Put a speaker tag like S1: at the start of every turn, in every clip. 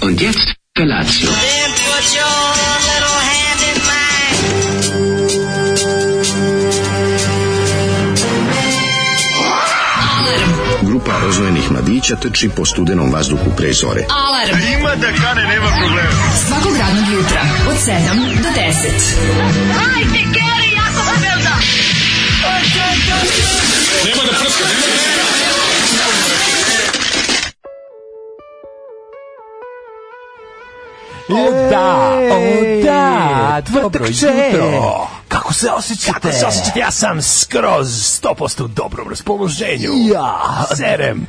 S1: Und jetzt Felatio.
S2: Then put your little hand in mine.
S3: Grupa rozvojenih mladića trči po studenom vazduhu pre zore.
S4: Alarm. Ima da kane, nema problema. Svakog radnog jutra, od 7 do 10.
S5: Oh,
S6: O da, o da, dobro
S7: Vrtakče!
S6: jutro.
S7: Kako se osjećate?
S6: Kako se osjećate? Ja sam skroz 100% u dobrom raspoloženju.
S7: Ja.
S6: Serem.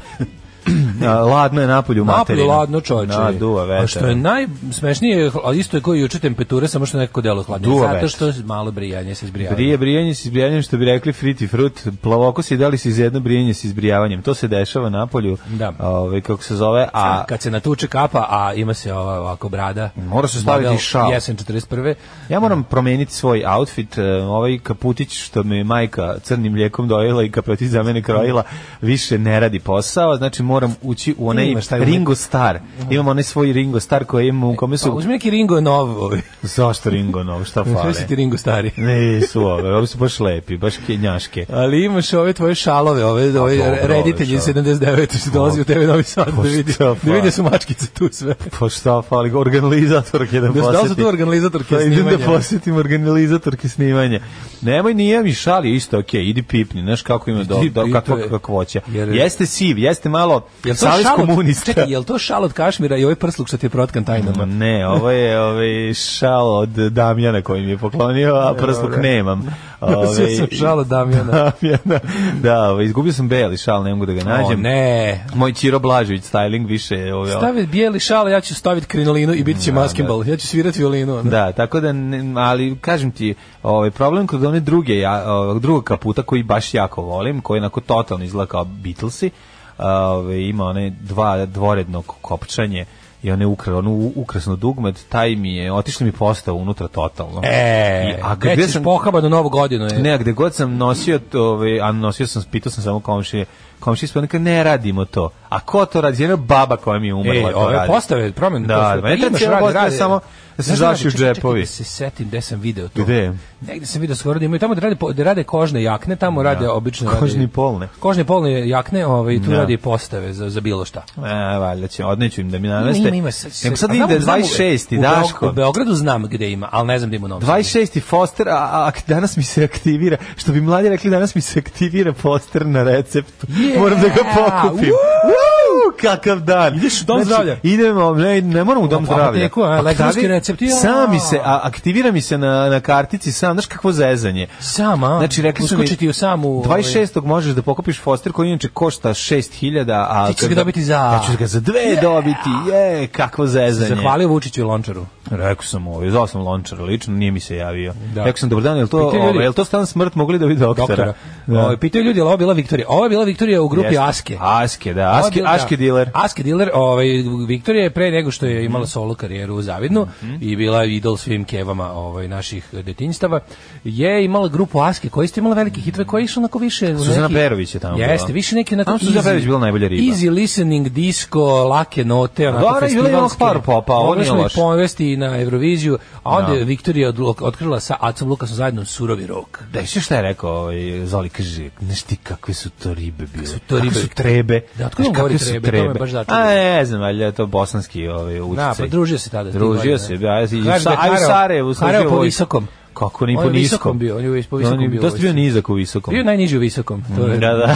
S7: A, ladno je napolju materinu.
S5: Napolju ladno Pa, čoveče.
S7: Naduva vetar.
S5: A što je najsmešnije, ali isto je koji juče temperature, samo što je nekako delo hladnije.
S7: Duva
S5: Zato
S7: vetar.
S5: što malo brijanje se izbrijava.
S7: Brije, brijenje s izbrijanjem, što bi rekli friti frut, plavoko si dali si jedno brijenje s izbrijavanjem. To se dešava na polju,
S5: Da.
S7: ovaj, kako se zove, a
S5: A kad se natuče kapa, a ima se ova ovako brada.
S7: Mora se staviti
S5: model
S7: šal.
S5: Jesen 41.
S7: ja moram promeniti svoj outfit, e, ovaj kaputić što mi je majka crnim mlijekom dojela i kaputić za mene krojila, više ne radi posao, znači moram ući u onaj
S5: Imaš taj
S7: Ringo Star. Imam onaj svoj Ringo Star koji imam u kome
S5: Pa,
S7: su...
S5: uzmi neki Ringo nov. ovaj.
S7: Zašto Ringo, no, šta
S5: Sve
S7: fale?
S5: si ti Ringo stari.
S7: Ne, su ove, ove su baš lepi, baš kenjaške.
S5: Ali imaš ove tvoje šalove, ove, ove
S7: dobro,
S5: reditelji
S7: ove šalove.
S5: 79 što dolazi u tebe novi sad da
S7: Pa
S5: vidi,
S7: šta, pa.
S5: da vidi da su mačkice tu sve.
S7: Pa šta fali, organizatorke da
S5: Da,
S7: posjeti.
S5: su- da li su tu organizatorke
S7: Pa idem
S5: snimanja?
S7: da posjetim organizatorke snimanja. Nemoj, nije mi šali, isto, okej, idi pipni, znaš kako ima do,
S5: Idi
S7: do,
S5: pipni, to
S7: kakva
S5: je-
S7: kakvoća.
S5: jer-
S7: Jeste siv, jeste malo
S5: Jel to
S7: savez
S5: šal od-
S7: komunista. Mm,
S5: Čekaj, jel to šal od Kašmira i ovaj prsluk što ti je protkan tajnama?
S7: Ne, ovo je ovaj šal od Damjana koji mi je poklonio, a prsluk
S5: dobro.
S7: nemam. Ovaj,
S5: Nosio sam šal od Damjana.
S7: Damjana. Da, ovaj, izgubio sam beli šal, ne mogu da ga
S5: O,
S7: nađem.
S5: ne.
S7: Moj Ćiro Blažević styling više ovaj,
S5: Stavi bijeli šal, ja ću staviti krinolinu i bit će maskimbal. Ja ću svirati violinu. ono.
S7: Mm, Da, tako da, ne, ali kažem ti, ovaj problem kod one druge, ja, ovog drugog kaputa koji baš jako volim, koji onako totalno izgleda kao Beatlesi, ovaj, ima one dva dvoredno kopčanje i one ukra, ono u- ukrasno dugmet, taj mi je, otišli mi postao unutra totalno.
S5: E,
S7: I-
S5: a
S7: a gde
S5: gde ćeš
S7: sam-
S5: pohaba do novog godinu? Je.
S7: Ne, a gde god sam nosio, to, ovaj, a nosio sam, pitao sam samo komšije, komšije ispod, neka ne radimo to. A ko to radi? Jedna baba koja mi je umrla
S5: Ej,
S7: to
S5: E, ove
S7: radi.
S5: postave, promene
S7: Da,
S5: postave.
S7: da,
S5: Pa
S7: ne treba
S5: imaš
S7: cijela
S5: radi,
S7: postava,
S5: radi.
S7: samo da se
S5: Znaš šta,
S7: zaši u
S5: čekaj, čekaj,
S7: džepovi.
S5: Da se setim gde sam video to.
S7: Gde?
S5: Negde sam video skoro da imaju tamo da rade po- da rade kožne jakne, tamo rade obične
S7: Kožni
S5: rade-
S7: polne.
S5: Kožne polne jakne, ovaj tu
S7: Da.
S5: rade i postave za za bilo šta.
S7: E, valjda će, odneću im da mi nameste.
S5: Ima, ima,
S7: Nego sad
S5: a znam-
S7: ide
S5: znam u-
S7: 26.
S5: u Beog- U
S7: Daško.
S5: Beogradu znam gde ima, ali ne znam da ima u Novom Sadu.
S7: 26. Foster, a, a danas mi se aktivira, što bi mladi rekli, danas mi se aktivira Foster na receptu. Moram da ga pokupim. Woo! Kakav dan. Znači,
S5: Ideš u dom zdravlja?
S7: Idemo, ne, ne moram u dom
S5: U
S7: zdravlja.
S5: apoteku, a,
S7: Pa
S5: elektronski
S7: tavi-
S5: recept, ja.
S7: Sami se, a, aktivira mi se na, na kartici sam, znaš kakvo zezanje.
S5: Sam, a?
S7: Znači, rekli su mi,
S5: Uskoči ti u samu, ovaj-
S7: 26. možeš da pokupiš Foster, koji inače košta 6000, a...
S5: Ti ćeš
S7: kad-
S5: ga dobiti za-
S7: Ja ću ga za dve dobiti, je, kakvo zezanje.
S5: Zahvalio Vučiću i Lončaru.
S7: Rekao sam ovo, zvao sam Lončara lično, nije mi se javio.
S5: Da.
S7: Rekao sam, dobar dan, je li to,
S5: Pitaju ljudi-
S7: ovo, je li to stan smrt mogli da vidi doktora?
S5: doktora.
S7: Da.
S5: Ovaj, pitaju ljudi, je li ovo bila Viktorija? Ovo je bila Viktorija u grupi
S7: Jeste.
S5: Aske.
S7: Aske, da,
S5: Ovo je
S7: Aske,
S5: bila-
S7: Aske dealer.
S5: Aske dealer, ovaj, Viktorija je pre nego što je imala solo karijeru u Zavidnu i bila idol svim kevama ovaj, naših detinjstava, je imala grupu Aske koja je isto imala velike hitove, koja je išla onako više... u
S7: Suzana
S5: neki-
S7: Perović je tamo bila.
S5: Jeste, više neki onako...
S7: Tamo Suzana
S5: easy-
S7: Perović bila najbolja riba.
S5: Easy listening, disco, lake note, onako
S7: Dobro, i bila je onog par popa, ovo
S5: Mogli
S7: nije
S5: smo ih
S7: loše.
S5: povesti na Euroviziju, a onda
S7: Da.
S5: je Viktorija odlu- otkrila sa Acom Lukasom zajedno surovi rok.
S7: Da, sve šta je rekao, ovaj, Zoli kaže, znaš ti kakve su to ribe bile? Kakve su
S5: to ribe?
S7: trebe?
S5: Da, otkud
S7: Znaš
S5: on govori
S7: kakve su
S5: trebe? To me baš začudilo.
S7: A, ne znam, ali je to bosanski ovaj, uticaj.
S5: Da, pa družio se tada. s tim
S7: Družio
S5: godinama.
S7: se, da, ja i
S5: Kaže
S7: sa,
S5: da je
S7: a i u
S5: Karel-
S7: Sarajevu služio
S5: Karel po
S7: vojsku.
S5: visokom.
S7: Kako, ni
S5: On
S7: po
S5: je
S7: niskom.
S5: visokom bio, on je po visokom
S7: On je
S5: bio u
S7: Dosta bio
S5: vojsci.
S7: nizak u visokom.
S5: Bio najniži u visokom. To je.
S7: Da, da.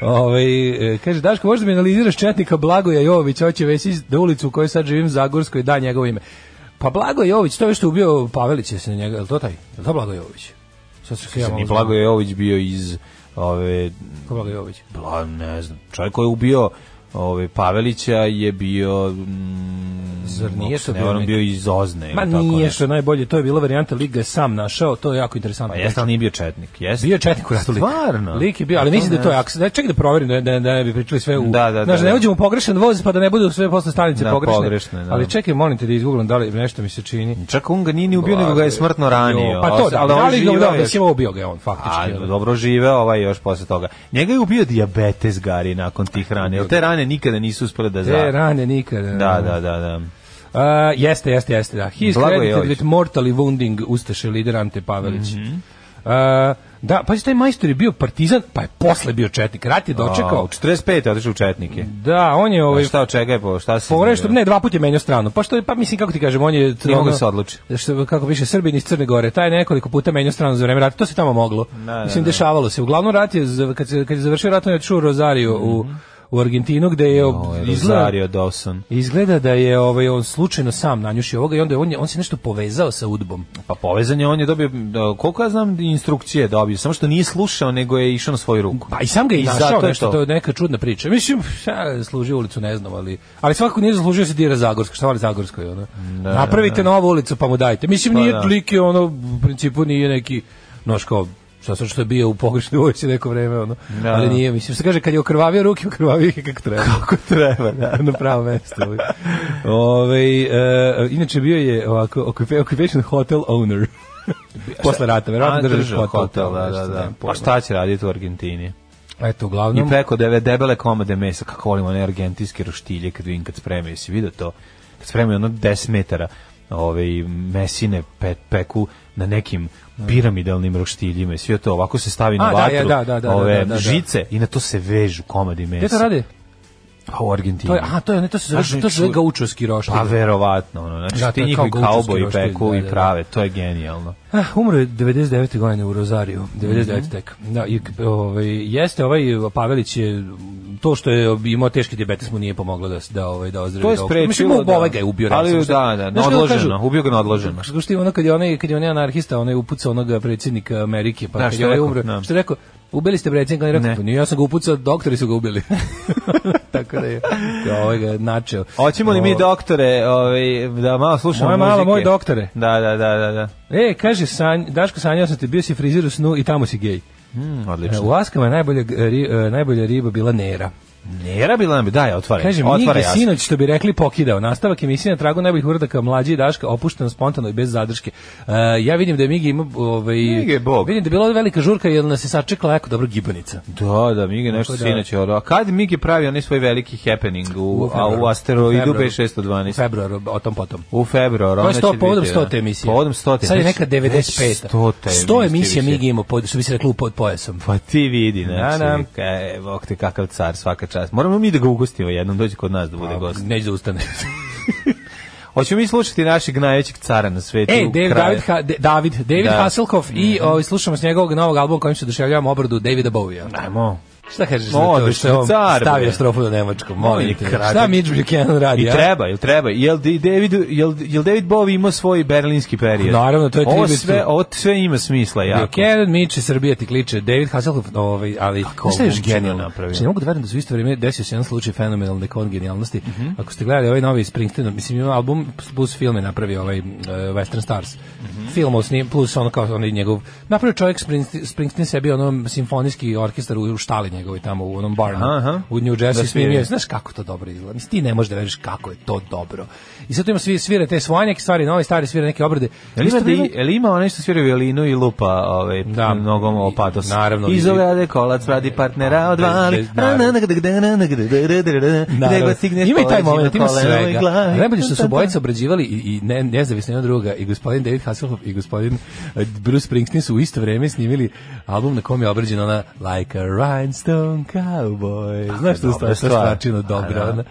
S5: Ovaj, e, kaže, Daško, možda mi analiziraš četnika Blagoja Jović, hoće Vesić na ulicu u kojoj sad živim, Zagorskoj, da, njegovo ime. Pa Blago Jović, to je što je ubio Pavelić, je se na njega, je li to taj? Je li to Blago Jović? Sad se ja
S7: Ni
S5: malo
S7: Blago
S5: znam.
S7: Jović bio iz ove pa,
S5: Ko Blago Jović.
S7: Bla, ne znam. Čovjek koji je ubio ove Pavelića je bio mm,
S5: Zar nije to
S7: Ne,
S5: bio
S7: on
S5: neki-
S7: bio iz Ozne.
S5: Ma
S7: ili tako
S5: nije
S7: nešto.
S5: što je najbolje, to je bila varijanta Liga je sam našao, to je jako interesantno. Znači,
S7: Pa jeste, ali nije bio četnik. Jeste.
S5: Bio je četnik u ratu lik.
S7: Stvarno? Pa
S5: Lik je bio, ali
S7: To
S5: mislim da je to
S7: ne
S5: je aks- Da, čekaj da proverim da, da, da bi pričali sve u...
S7: Da, da, da,
S5: Znaš, ne
S7: da.
S5: uđemo u pogrešan voz pa da ne budu sve posle stanice
S7: Da,
S5: pogrešne.
S7: pogrešne, da.
S5: Ali čekaj, molim te da izgooglam da li nešto mi se čini.
S7: Čak on ga nije ni ubio, nego ga je smrtno ranio.
S5: Jo, pa to,
S7: Os-
S5: da,
S7: ali
S5: ali
S7: on
S5: da li ga,
S7: živeo
S5: da,
S7: je.
S5: mislim, ovo bio ga je on, faktički.
S7: A,
S5: ono.
S7: dobro žive ovaj još posle toga. Njega je ubio dijabetes Gari nakon tih rane. Jel te rane nikada nisu uspele da za...
S5: Te E, rane nikada.
S7: Da, da, da, da.
S5: A, jeste, jeste, jeste, da. He is
S7: Blago je
S5: credited
S7: Jović.
S5: with mortally wounding Ustaše lider Ante Pavelić.
S7: Mhm.
S5: A, da, pa taj majstor je bio partizan, pa je posle bio četnik. Rat je
S7: A, u
S5: dočekao.
S7: 45. je otišao u četnike.
S5: Da, on je
S7: Pa
S5: ovaj
S7: šta od čega je po, šta se...
S5: Fore što ne dva puta je menjao stranu. Pa što je pa mislim kako ti kažem, on je
S7: Nije mogao
S5: ono-
S7: se odluči.
S5: Što kako piše Srbin iz Crne Gore, taj je nekoliko puta menjao stranu za vreme rata. To se tamo moglo.
S7: da,
S5: mislim
S7: da.
S5: dešavalo se. Uglavnom rat je za- kad se kad je završio rat on je otišao u Rosario u u Argentinu gde je
S7: Ovo je
S5: izgleda,
S7: Mhm. Rosario Dawson.
S5: izgleda da je ovaj on slučajno sam nanjušio ovoga i onda je on je, on se nešto povezao sa udbom.
S7: Pa povezan je, on je dobio, da, koliko ja znam, instrukcije je dobio, samo što nije slušao, nego je išao na svoju ruku.
S5: Pa i sam ga je
S7: I
S5: izašao,
S7: zato je
S5: nešto, to.
S7: to.
S5: je neka čudna priča. Mislim, ja služio ulicu, ne znam, ali, ali svakako nije zaslužio se dira Zagorska, šta vali Zagorskoj, ono. Napravite novu ulicu pa mu dajte. Mislim,
S7: Pa
S5: nije
S7: da.
S5: lik je ono, u principu nije neki, noš kao, šta sad što je bio u pogrešnoj vojci neko vreme, ono.
S7: Da.
S5: Ali nije, mislim, se kaže, kad je okrvavio ruke, okrvavio ih je kako treba. Kako
S7: treba, da.
S5: na pravo mesto. ovaj. Ovaj, e, inače bio je ovako, occupa- occupation hotel owner. Posle rata,
S7: A,
S5: verovatno držiš
S7: držao
S5: Pa, hotel.
S7: hotel, da, da,
S5: nešto,
S7: da.
S5: nemam
S7: Pa
S5: pojma.
S7: šta će raditi u Argentini?
S5: Eto,
S7: I
S5: uglavnom...
S7: preko deve debele komade mesa, kako volim one argentinske roštilje kad vidim kad spremaju, si vidio to? Kad spremaju ono 10 metara ove, mesine pe, peku na nekim piramidalnim roštiljima i sve to ovako se stavi na
S5: A, da,
S7: vatru
S5: je, da, da, da,
S7: ove
S5: da, da, da.
S7: žice i na to se vežu komadi mesa.
S5: Gde to radi?
S7: Pa u Argentini.
S5: To je, aha, to je, ne, to se
S7: Znaš,
S5: zove, to se zove
S7: ču-
S5: gaučovski roštilj.
S7: Znači, Pa verovatno, ono, znači
S5: Da, to
S7: ti
S5: je
S7: njihovi
S5: kao gaučovski
S7: kauboji
S5: roštilj,
S7: peku
S5: da,
S7: i
S5: da, da.
S7: prave, to je genijalno.
S5: Ah, umro je 99. godine u Rozariju, 99.
S7: Mhm.
S5: tek. Da, i, ovaj, jeste, ovaj Pavelić je, to što je imao teški dijabetes mu nije pomoglo da, da, ovaj, da ozdravi.
S7: To je
S5: dobro.
S7: sprečilo,
S5: Mislim, mu
S7: da.
S5: ovaj ga je ubio.
S7: Ali,
S5: recimo, šta-
S7: da, da,
S5: Znaš
S7: na
S5: kako kažu?
S7: odloženo, ubio ga na odloženo.
S5: Što što je ono kad je onaj kad je onaj anarhista, onaj upucao onog predsjednika Amerike, pa
S7: Da,
S5: kad
S7: što
S5: je
S7: je
S5: ovaj umro,
S7: rekao, da.
S5: što je rekao, ubili ste predsjednika, on je rekao,
S7: Ne.
S5: "Pa nije, ja sam ga upucao, doktori su ga ubili. Tako da je, ovaj ga je načeo.
S7: Hoćemo li mi
S5: O,
S7: doktore, ovaj da malo slušamo
S5: Moja mala,
S7: muzike?
S5: moj doktore.
S7: Da, da, da, da, da.
S5: E, kaže, sanj, Daško, sanjao sam te, bio si frizer u snu i tamo si gej.
S7: Mm,
S5: E,
S7: odlično.
S5: U Askama je najbolja, g- ri, e, najbolja riba bila nera.
S7: Nera bila nam, daj, otvaraj.
S5: Kaže,
S7: otvaraj
S5: Miki
S7: jas.
S5: sinoć, što bi rekli, pokidao. Nastavak emisije na tragu najboljih uradaka mlađe i Daška, opušteno, spontano i bez zadrške. E, ja vidim da je Migi ima... Ovaj,
S7: Migi je bog.
S5: Vidim da je bila velika žurka, jer nas je sačekala jako dobro gibanica.
S7: Da, da, Migi nešto
S5: Tako da.
S7: sinoć je odrao. A kad Migi pravi onaj svoj veliki happening u, a,
S5: februaru.
S7: u asteroidu
S5: februaru. U
S7: B612?
S5: februaru, o tom potom.
S7: U februaru.
S5: To je
S7: onda
S5: sto,
S7: će
S5: povodom
S7: biti, da.
S5: 100. emisije.
S7: Povodom 100.
S5: Sad je
S7: Već-
S5: neka
S7: već
S5: 95.
S7: 100.
S5: 100 emisija Migi imao, pod, što bi se reklo, pod pojasom.
S7: Pa ti vidi, znači,
S5: Da, da.
S7: ka- e, bok te kakav car svaka čast. Moramo mi da ga ugostimo jednom, dođe kod nas da bude gost.
S5: Neće da ustane.
S7: Hoćemo mi slušati našeg najvećeg cara na svetu.
S5: Ej, E, David,
S7: kralja.
S5: David, Ha- De- David, David
S7: Da.
S5: Hasselhoff i ovaj, slušamo s njegovog novog albuma kojim se oduševljavamo obradu Davida Bowie.
S7: Ajmo.
S5: Šta kažeš za to
S7: Odlično,
S5: što je on
S7: car,
S5: stavio
S7: bre.
S5: strofu na nemačkom?
S7: On
S5: Molim
S7: je
S5: te.
S7: kratak.
S5: Šta Mitch Buchanan radi?
S7: I
S5: a?
S7: treba, jel treba. Jel Di- David, jel, jel David Bowie ima svoj berlinski period?
S5: Naravno, to je
S7: ovo
S5: tribut.
S7: sve, ovo sve ima smisla jako.
S5: Buchanan, Mitch i Srbija ti kliče, David Hasselhoff, ovaj, ali Kako šta je još
S7: ovom čudu
S5: genijalno
S7: napravio?
S5: Znači, ne mogu da verujem da su u isto vrijeme desio se jedan slučaj fenomenalne kongenijalnosti.
S7: Mhm.
S5: Ako ste gledali ovaj novi Springsteen, mislim ima album plus film je napravio ovaj eh, Western Stars.
S7: Mhm.
S5: Film o snim, plus ono kao onaj njegov, napravio čovjek Springsteen, Springsteen sebi onom simfonijski orkestar u- u štali njegovoj tamo u onom barnu,
S7: Aha, aha.
S5: u New Jersey
S7: Da
S5: da snimio.
S7: svira.
S5: Znaš kako to dobro izgleda. Mislim, ti ne možeš da veriš kako je to dobro. I sad tu ima svi svira te svoje neke stvari, nove stvari svira neke obrade.
S7: Jel
S5: Isto
S7: ima, da,
S5: vrijeme-
S7: i- jel ima onaj što svira violinu i lupa ovaj,
S5: Da.
S7: nogom o
S5: I-
S7: patos?
S5: naravno, i-
S7: Izove ade kolac, radi partnera, odvali.
S5: bez- naravno.
S7: Gde
S5: Naravno.
S7: god stigneš
S5: Ima i taj
S7: poleći na
S5: moment, ima
S7: koleno i
S5: svega.
S7: glavi.
S5: Najbolje što su obojica obrađivali i, i ne, nezavisno jedan druga, i gospodin David Hasselhoff i gospodin eh, Bruce Springsteen su u isto vreme snimili album na kom je obrađena ona Like a Rhinestone Cowboy. Znaš što
S7: dobra
S5: je
S7: stvar.
S5: stvarčino dobro.
S7: A, da.
S5: ona.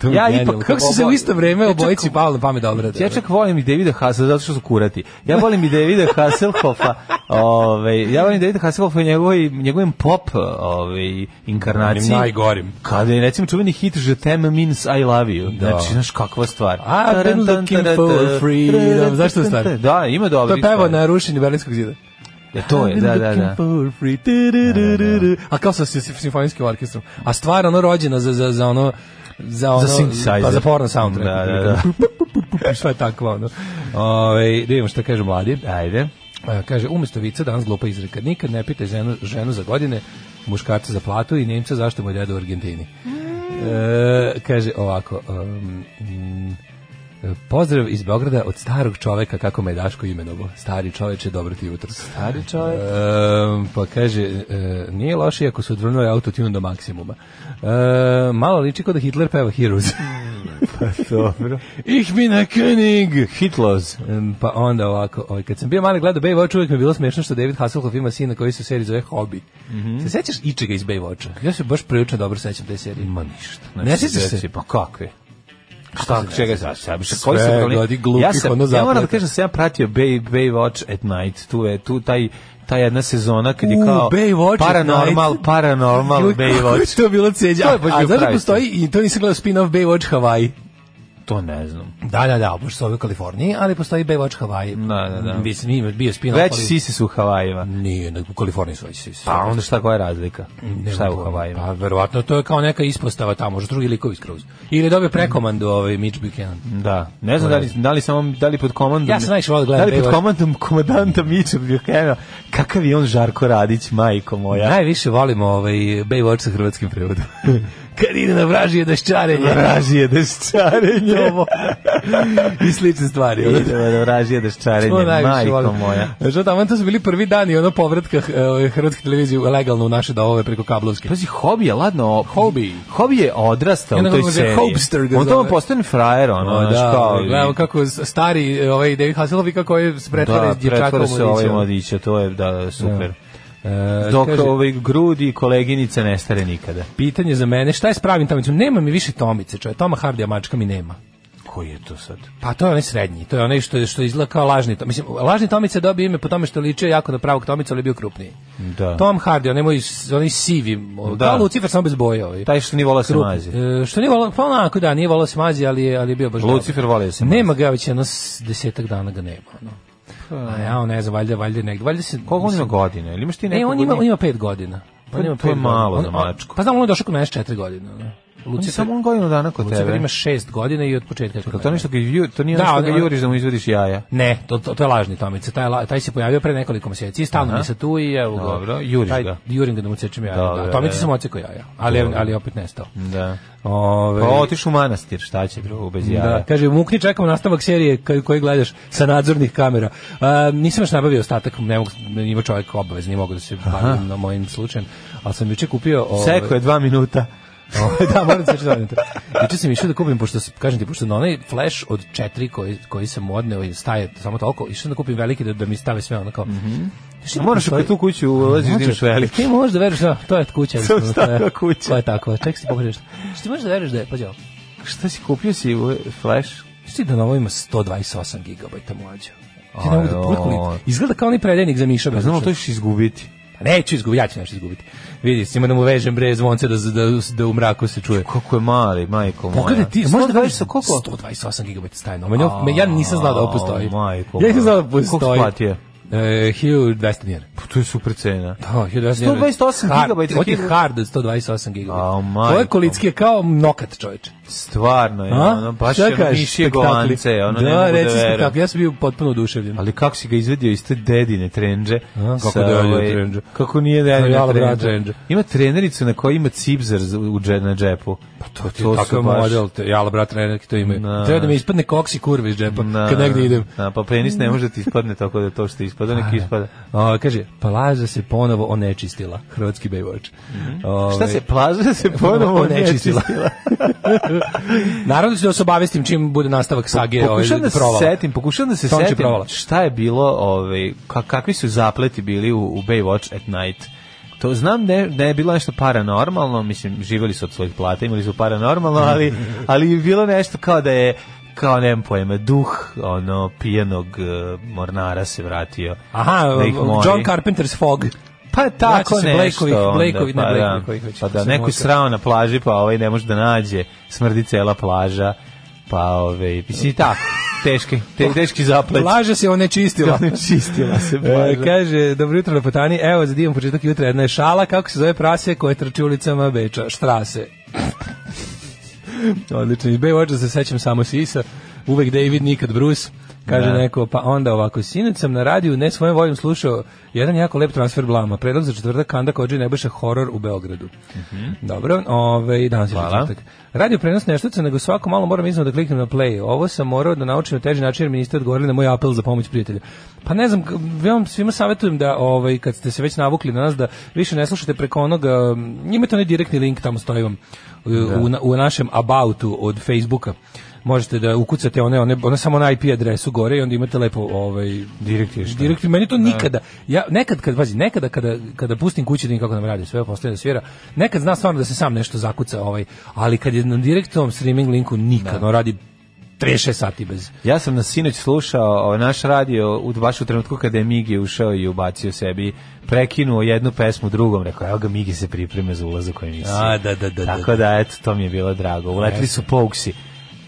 S5: To mi je
S7: Ja
S5: genijalno.
S7: ipak
S5: Kako su se
S7: obo-
S5: u isto vreme
S7: Ja čak-
S5: obojici palo na pamet da obrade? ono?
S7: Ja čak volim i Davida Hasselhoffa zato što su kurati. Ja volim i Davida Hasselhoffa. Ovaj ja volim Davida Hasselhoffa i njegovoj njegovim pop ovaj inkarnaciji.
S5: Onim najgorim.
S7: Kada je recimo čuveni hit Je tem means I love you.
S5: Da.
S7: Znači znaš kakva stvar.
S5: I've been looking for freedom. Zašto je stvar?
S7: Da, ima
S5: To
S7: dobro.
S5: je pevo na rušenju Berlinskog zida.
S7: to je, da, da, da.
S5: A kao sa si- simfonijskim orkestrom. A stvar ono rođena za, za, za ono za ono,
S7: Za synthesizer.
S5: Pa za porno soundtrack.
S7: Da, da, da.
S5: Sve tako, ono. Ove, da vidimo šta kaže mladi.
S7: Ajde.
S5: E, kaže, umjesto vica danas glupa izreka. Nikad ne pitaj ženu, ženu za godine, muškarca za platu i Nemca zašto mu je deda u Argentini.
S7: Mm.
S5: E, kaže ovako, um, mm, pozdrav iz Beograda od starog čoveka, kako me je Daško imenovo. Stari čoveče, dobro ti jutro. Stari čovek. pa kaže, e, nije loše ako su odvrnuli autotune do maksimuma. E, malo liči kao da Hitler peva Heroes.
S7: Dobro.
S5: Ich bin a König!
S7: Hitlos.
S5: Em, Pa onda ovako, ovaj, kad sam bio mali gledao Baywatch, uvijek mi je bilo smiješno što David Hasselhoff ima sina koji se u seriji zove Hobby. Se sećaš ičega iz Baywatcha? Ja se baš prilično dobro sećam te serije.
S7: Ma ništa.
S5: Ne sjećaš se?
S7: Pa kakvi? Šta, čega znaš? Ja bih se
S5: Sve godi glupih,
S7: ja sam,
S5: ono
S7: ja moram da
S5: zapleta.
S7: kažem da sam ja pratio Bay, Baywatch at night. Tu je, tu taj ta jedna sezona kad je
S5: U,
S7: kao
S5: Baywatch at
S7: paranormal,
S5: night.
S7: paranormal
S5: Joj, kako je
S7: Baywatch.
S5: to bilo ceđa.
S7: To je baš
S5: A,
S7: bio
S5: znaš da
S7: pravi
S5: postoji, i to nisam gledao spin-off Baywatch Hawaii.
S7: To ne znam.
S5: Da, da, da, pošto su ovi u Kaliforniji, ali postoji Baywatch Hawaii. Mm,
S7: Da, da, da.
S5: Mislim, ima- bio spin-off.
S7: Već
S5: ali-
S7: sisi su u Havajima.
S5: Nije, nego u Kaliforniji su već svi.
S7: Pa onda šta koja je razlika? šta je u Havajima?
S5: Pa verovatno to je kao neka ispostava tamo, možda drugi likovi skroz. Ili dobio prekomandu ovaj Mitch Buchanan.
S7: Da, ne znam da li, da li samo da li pod komandom
S5: Ja sam najviše volao da gledam
S7: Da li pod
S5: Baywatch.
S7: komandom komandanta Mića Buchanan, kakav je on Žarko Radić, majko moja.
S5: Najviše volim ovaj Baywatch sa hrvatskim prevodom. Kad ide na vražije daščarenje.
S7: Vražije deščarenje.
S5: I slične stvari. ono.
S7: Idemo da vražije
S5: To
S7: deščarenje,
S5: najviše
S7: majko
S5: volim.
S7: moja.
S5: Što tamo, to su bili prvi dani ono povratka eh, hrvatske televizije legalno u naše domove preko kablovske.
S7: Pazi, hobi je, ladno,
S5: Hobi.
S7: hobi je odrastao
S5: Ja
S7: u
S5: ne
S7: toj
S5: mogu da
S7: seriji.
S5: hobster ga
S7: On tamo
S5: zove.
S7: postane frajer, ono,
S5: O,
S7: znaš, kao, i-
S5: gledamo kako s- stari eh, ovaj David Hasselhoff i kako je se pretvara
S7: da,
S5: s dječakom
S7: pretvara
S5: u
S7: se ovaj
S5: lice.
S7: mladića, to je, da, da, super.
S5: E,
S7: Dok
S5: kaže-
S7: ovaj grudi koleginice ne stare nikada.
S5: Pitanje za mene, šta je s pravim tomicom? Nema mi više tomice, čovje. Toma Hardija mačka mi nema.
S7: Koji je to sad?
S5: Pa to je onaj srednji, to je onaj što, što izgleda kao lažni tomic. Mislim, lažni tomic je dobio ime po tome što liče jako na pravog tomica, ali je bio krupniji.
S7: Da.
S5: Tom Hardy, onaj moj, s- onaj sivi, da.
S7: Da.
S5: kao Lucifer, samo bez boje ovaj.
S7: Taj što ni vola se mazi.
S5: E, što nije volao, pa onako da, nije volao da se mazi, ali je, ali je bio baš dobar.
S7: Lucifer voli da se mazi.
S5: Nema ga već jedno s- desetak dana ga nema. No. A ja, ne znam, valjda, valjda negdje. Valjda se,
S7: Pa. Koliko on ima godina? Ili imaš ti
S5: Ne,
S7: neko
S5: E, on ima, on ima pet godina.
S7: Pa
S5: On ima
S7: to je
S5: pet
S7: malo
S5: godina.
S7: za
S5: On- on-
S7: mačku.
S5: Pa znam, on je došao kod mene s četiri godine. ono.
S7: Lucifer.
S5: Lucifer,
S7: Samo on godinu dana kod
S5: Lucifer
S7: tebe.
S5: pa ima šest godina i od početka. je kod
S7: Jel To
S5: mene.
S7: nešto ga ju, to nije
S5: Da,
S7: nešto
S5: on-
S7: ga
S5: on-
S7: juriš da mu izvadiš jaja.
S5: Ne, to, to, to je lažni Tomica. Taj, la- taj se pojavio pre nekoliko mjeseci i stalno
S7: Aha.
S5: mi se tu i evo ga.
S7: Dobro, juriš
S5: Taj-
S7: ga.
S5: Jurim ga da mu cečem jaja.
S7: Dobro,
S5: Da,
S7: e.
S5: da, Tomici
S7: da.
S5: sam ocekao jaja, ali, ali je opet nestao.
S7: Da.
S5: Ove,
S7: Pa otiš u manastir, šta će drugo bez jaja?
S5: Da, kaže, mukni čekamo nastavak serije koji, koji gledaš sa nadzornih kamera. A, nisam još nabavio ostatak, ne mogu, ima čovjek obavez, nije mogu da se bavim na mojim slučajem, ali sam juče kupio... ove-
S7: Seko je dva minuta.
S5: Ovaj, da, moram se čitati. Juče sam išao da kupim, pošto, s- kažem ti, pošto na onaj flash od četiri koji, koji sam odneo i staje samo toliko, išao sam da kupim veliki da, da mi stave sve ono kao... Znaš,
S7: A moraš
S5: postoji-
S7: kad tu kuću ulaziš da imaš
S5: Znači,
S7: veliki.
S5: Ti možeš da veruješ da to je kuća.
S7: Samo
S5: mislim,
S7: takva
S5: to je-
S7: kuća.
S5: To je tako, ček si pogreš. Što ti možeš da veruješ da je, pađo,
S7: Šta si kupio si u flash?
S5: Šti da na ovo ima 128 GB mlađe. Ti ne mogu da
S7: Aj, oj.
S5: pogledam. Izgleda kao onaj predajnik za Miša.
S7: Pa
S5: bez
S7: znamo,
S5: uša.
S7: to ćeš izgubiti.
S5: Pa Neću izgubiti, ja ću nešto izgubiti. Vidi, s njima da mu vežem bre zvonce da, da, da u mraku se čuje.
S7: Kako je mali, majko moja.
S5: Pogledaj ti, možda da
S7: kažeš
S5: kažeš
S7: sa koliko?
S5: 128 GB stajno. Meni, ovo- me, ja nisam znao da ovo postoji.
S7: A, majko
S5: ja nisam znao da
S7: moja. Koliko
S5: postoji.
S7: si platio?
S5: E, 1200 dinara.
S7: Pa to je super cena.
S5: Da, 1200 dinara.
S7: 128
S5: Hard,
S7: GB za
S5: Ovo ti je
S7: hiljadu-
S5: hard od 128 GB.
S7: A, majko.
S5: Ovo je kolicki je kao nokat čoveče.
S7: Stvarno je,
S5: A?
S7: ono, baš
S5: Šta
S7: je ono
S5: kažeš,
S7: mišje
S5: spektakli?
S7: govance, ono, ne
S5: da,
S7: mogu da
S5: reci
S7: verujem.
S5: spektakli, ja sam bio potpuno oduševljen.
S7: Ali kako si ga izvedio iz te dedine trenđe?
S5: A, kako
S7: Sa,
S5: dedine
S7: ovaj,
S5: trenđe?
S7: Kako nije dedine
S5: Jala, brat,
S7: trenđe?
S5: trenđe.
S7: Ima trenericu na kojoj ima cipzer za- u dže, na džepu. Pa
S5: To ti je takav model, te, jala brat, neki to imaju.
S7: Da.
S5: Treba da mi ispadne koksi kurve iz džepa, kad negdje idem. Pa
S7: Da, pa penis ne može da ti ispadne tako da to što ispada, nek ispada.
S5: O, kaže, plaža se ponovo onečistila, hrvatski Baywatch. Ovaj, Ove,
S7: Mhm. Šta se, plaža se ponovo onečistila.
S5: Naravno ću da se obavestim čim bude nastavak sage ovaj ove
S7: Pokušam da se
S5: provala.
S7: setim, pokušam da se
S5: Tonči
S7: setim
S5: provala.
S7: šta je bilo, ovaj, ka- kakvi su zapleti bili u, u Baywatch at night. To znam ne, ne je bilo nešto paranormalno, mislim, živjeli su od svojih plata, imali su paranormalno, ali, ali je bilo nešto kao da je kao nemam pojma, duh ono pijenog eh, mornara se vratio.
S5: Aha, um,
S7: da ih moli.
S5: John Carpenter's Fog.
S7: Pa tako
S5: Vraća Znači se
S7: nešto.
S5: Blakeovih-
S7: onda,
S5: Blakeovi- ne,
S7: pa da,
S5: Blakeovi koji hoće
S7: pa
S5: da
S7: da,
S5: se
S7: neko je
S5: moka.
S7: srao na plaži, pa ovaj ne može da nađe, smrdi cela plaža, pa ovaj, mislim i tako, teški, te, teški zaplet.
S5: Plaža se onečistila.
S7: Čistila se
S5: E,
S7: plaža.
S5: kaže, dobro jutro lepotani, evo za divan početak jutra jedna je šala, kako se zove prase koje trči ulicama Beča, štrase. Odlično. Iz Baywatcha se sećam samo Sisa, uvek David, nikad Bruce. Kaže
S7: Da.
S5: neko, pa onda ovako, sinoć sam na radiju ne svojom voljom slušao jedan jako lep transfer blama, predlog za četvrtak Kanda Kođe Nebojša horor u Beogradu. Dobro, ove, danas je
S7: Mhm. Hvala.
S5: četvrtak. Radio prenos neštaca, nego svako malo moram iznova da kliknem na play. Ovo sam morao da naučim na teži način jer mi niste odgovorili na moj apel za pomoć prijatelja. Pa ne znam, k- ja vam svima savjetujem da ovaj, kad ste se već navukli na nas da više ne slušate preko onoga, mm, imate onaj direktni link, tamo stoji vam u, u na- u našem aboutu od Facebooka. Možete da ukucate one, one, one samo na IP adresu gore i onda imate lepo ovaj,
S7: Direkt je šta?
S5: Direkt meni to nikada. Ja nekad kad pazi, nekada kada kada pustim kući da vidim kako nam radi sve postaje da svira. Nekad zna stvarno da se sam nešto zakuca ovaj, ali kad je na direktnom streaming linku nikad, on radi 3-6 sati bez.
S7: Ja sam na sinoć slušao ovaj, naš radio u baš u trenutku kada je Migi ušao i ubacio sebi prekinuo jednu pesmu drugom, rekao evo ga Migi se priprema za ulazak u emisiju.
S5: A, da, da, da, da.
S7: Tako da, eto, to mi je bilo drago. Uletili su pouksi.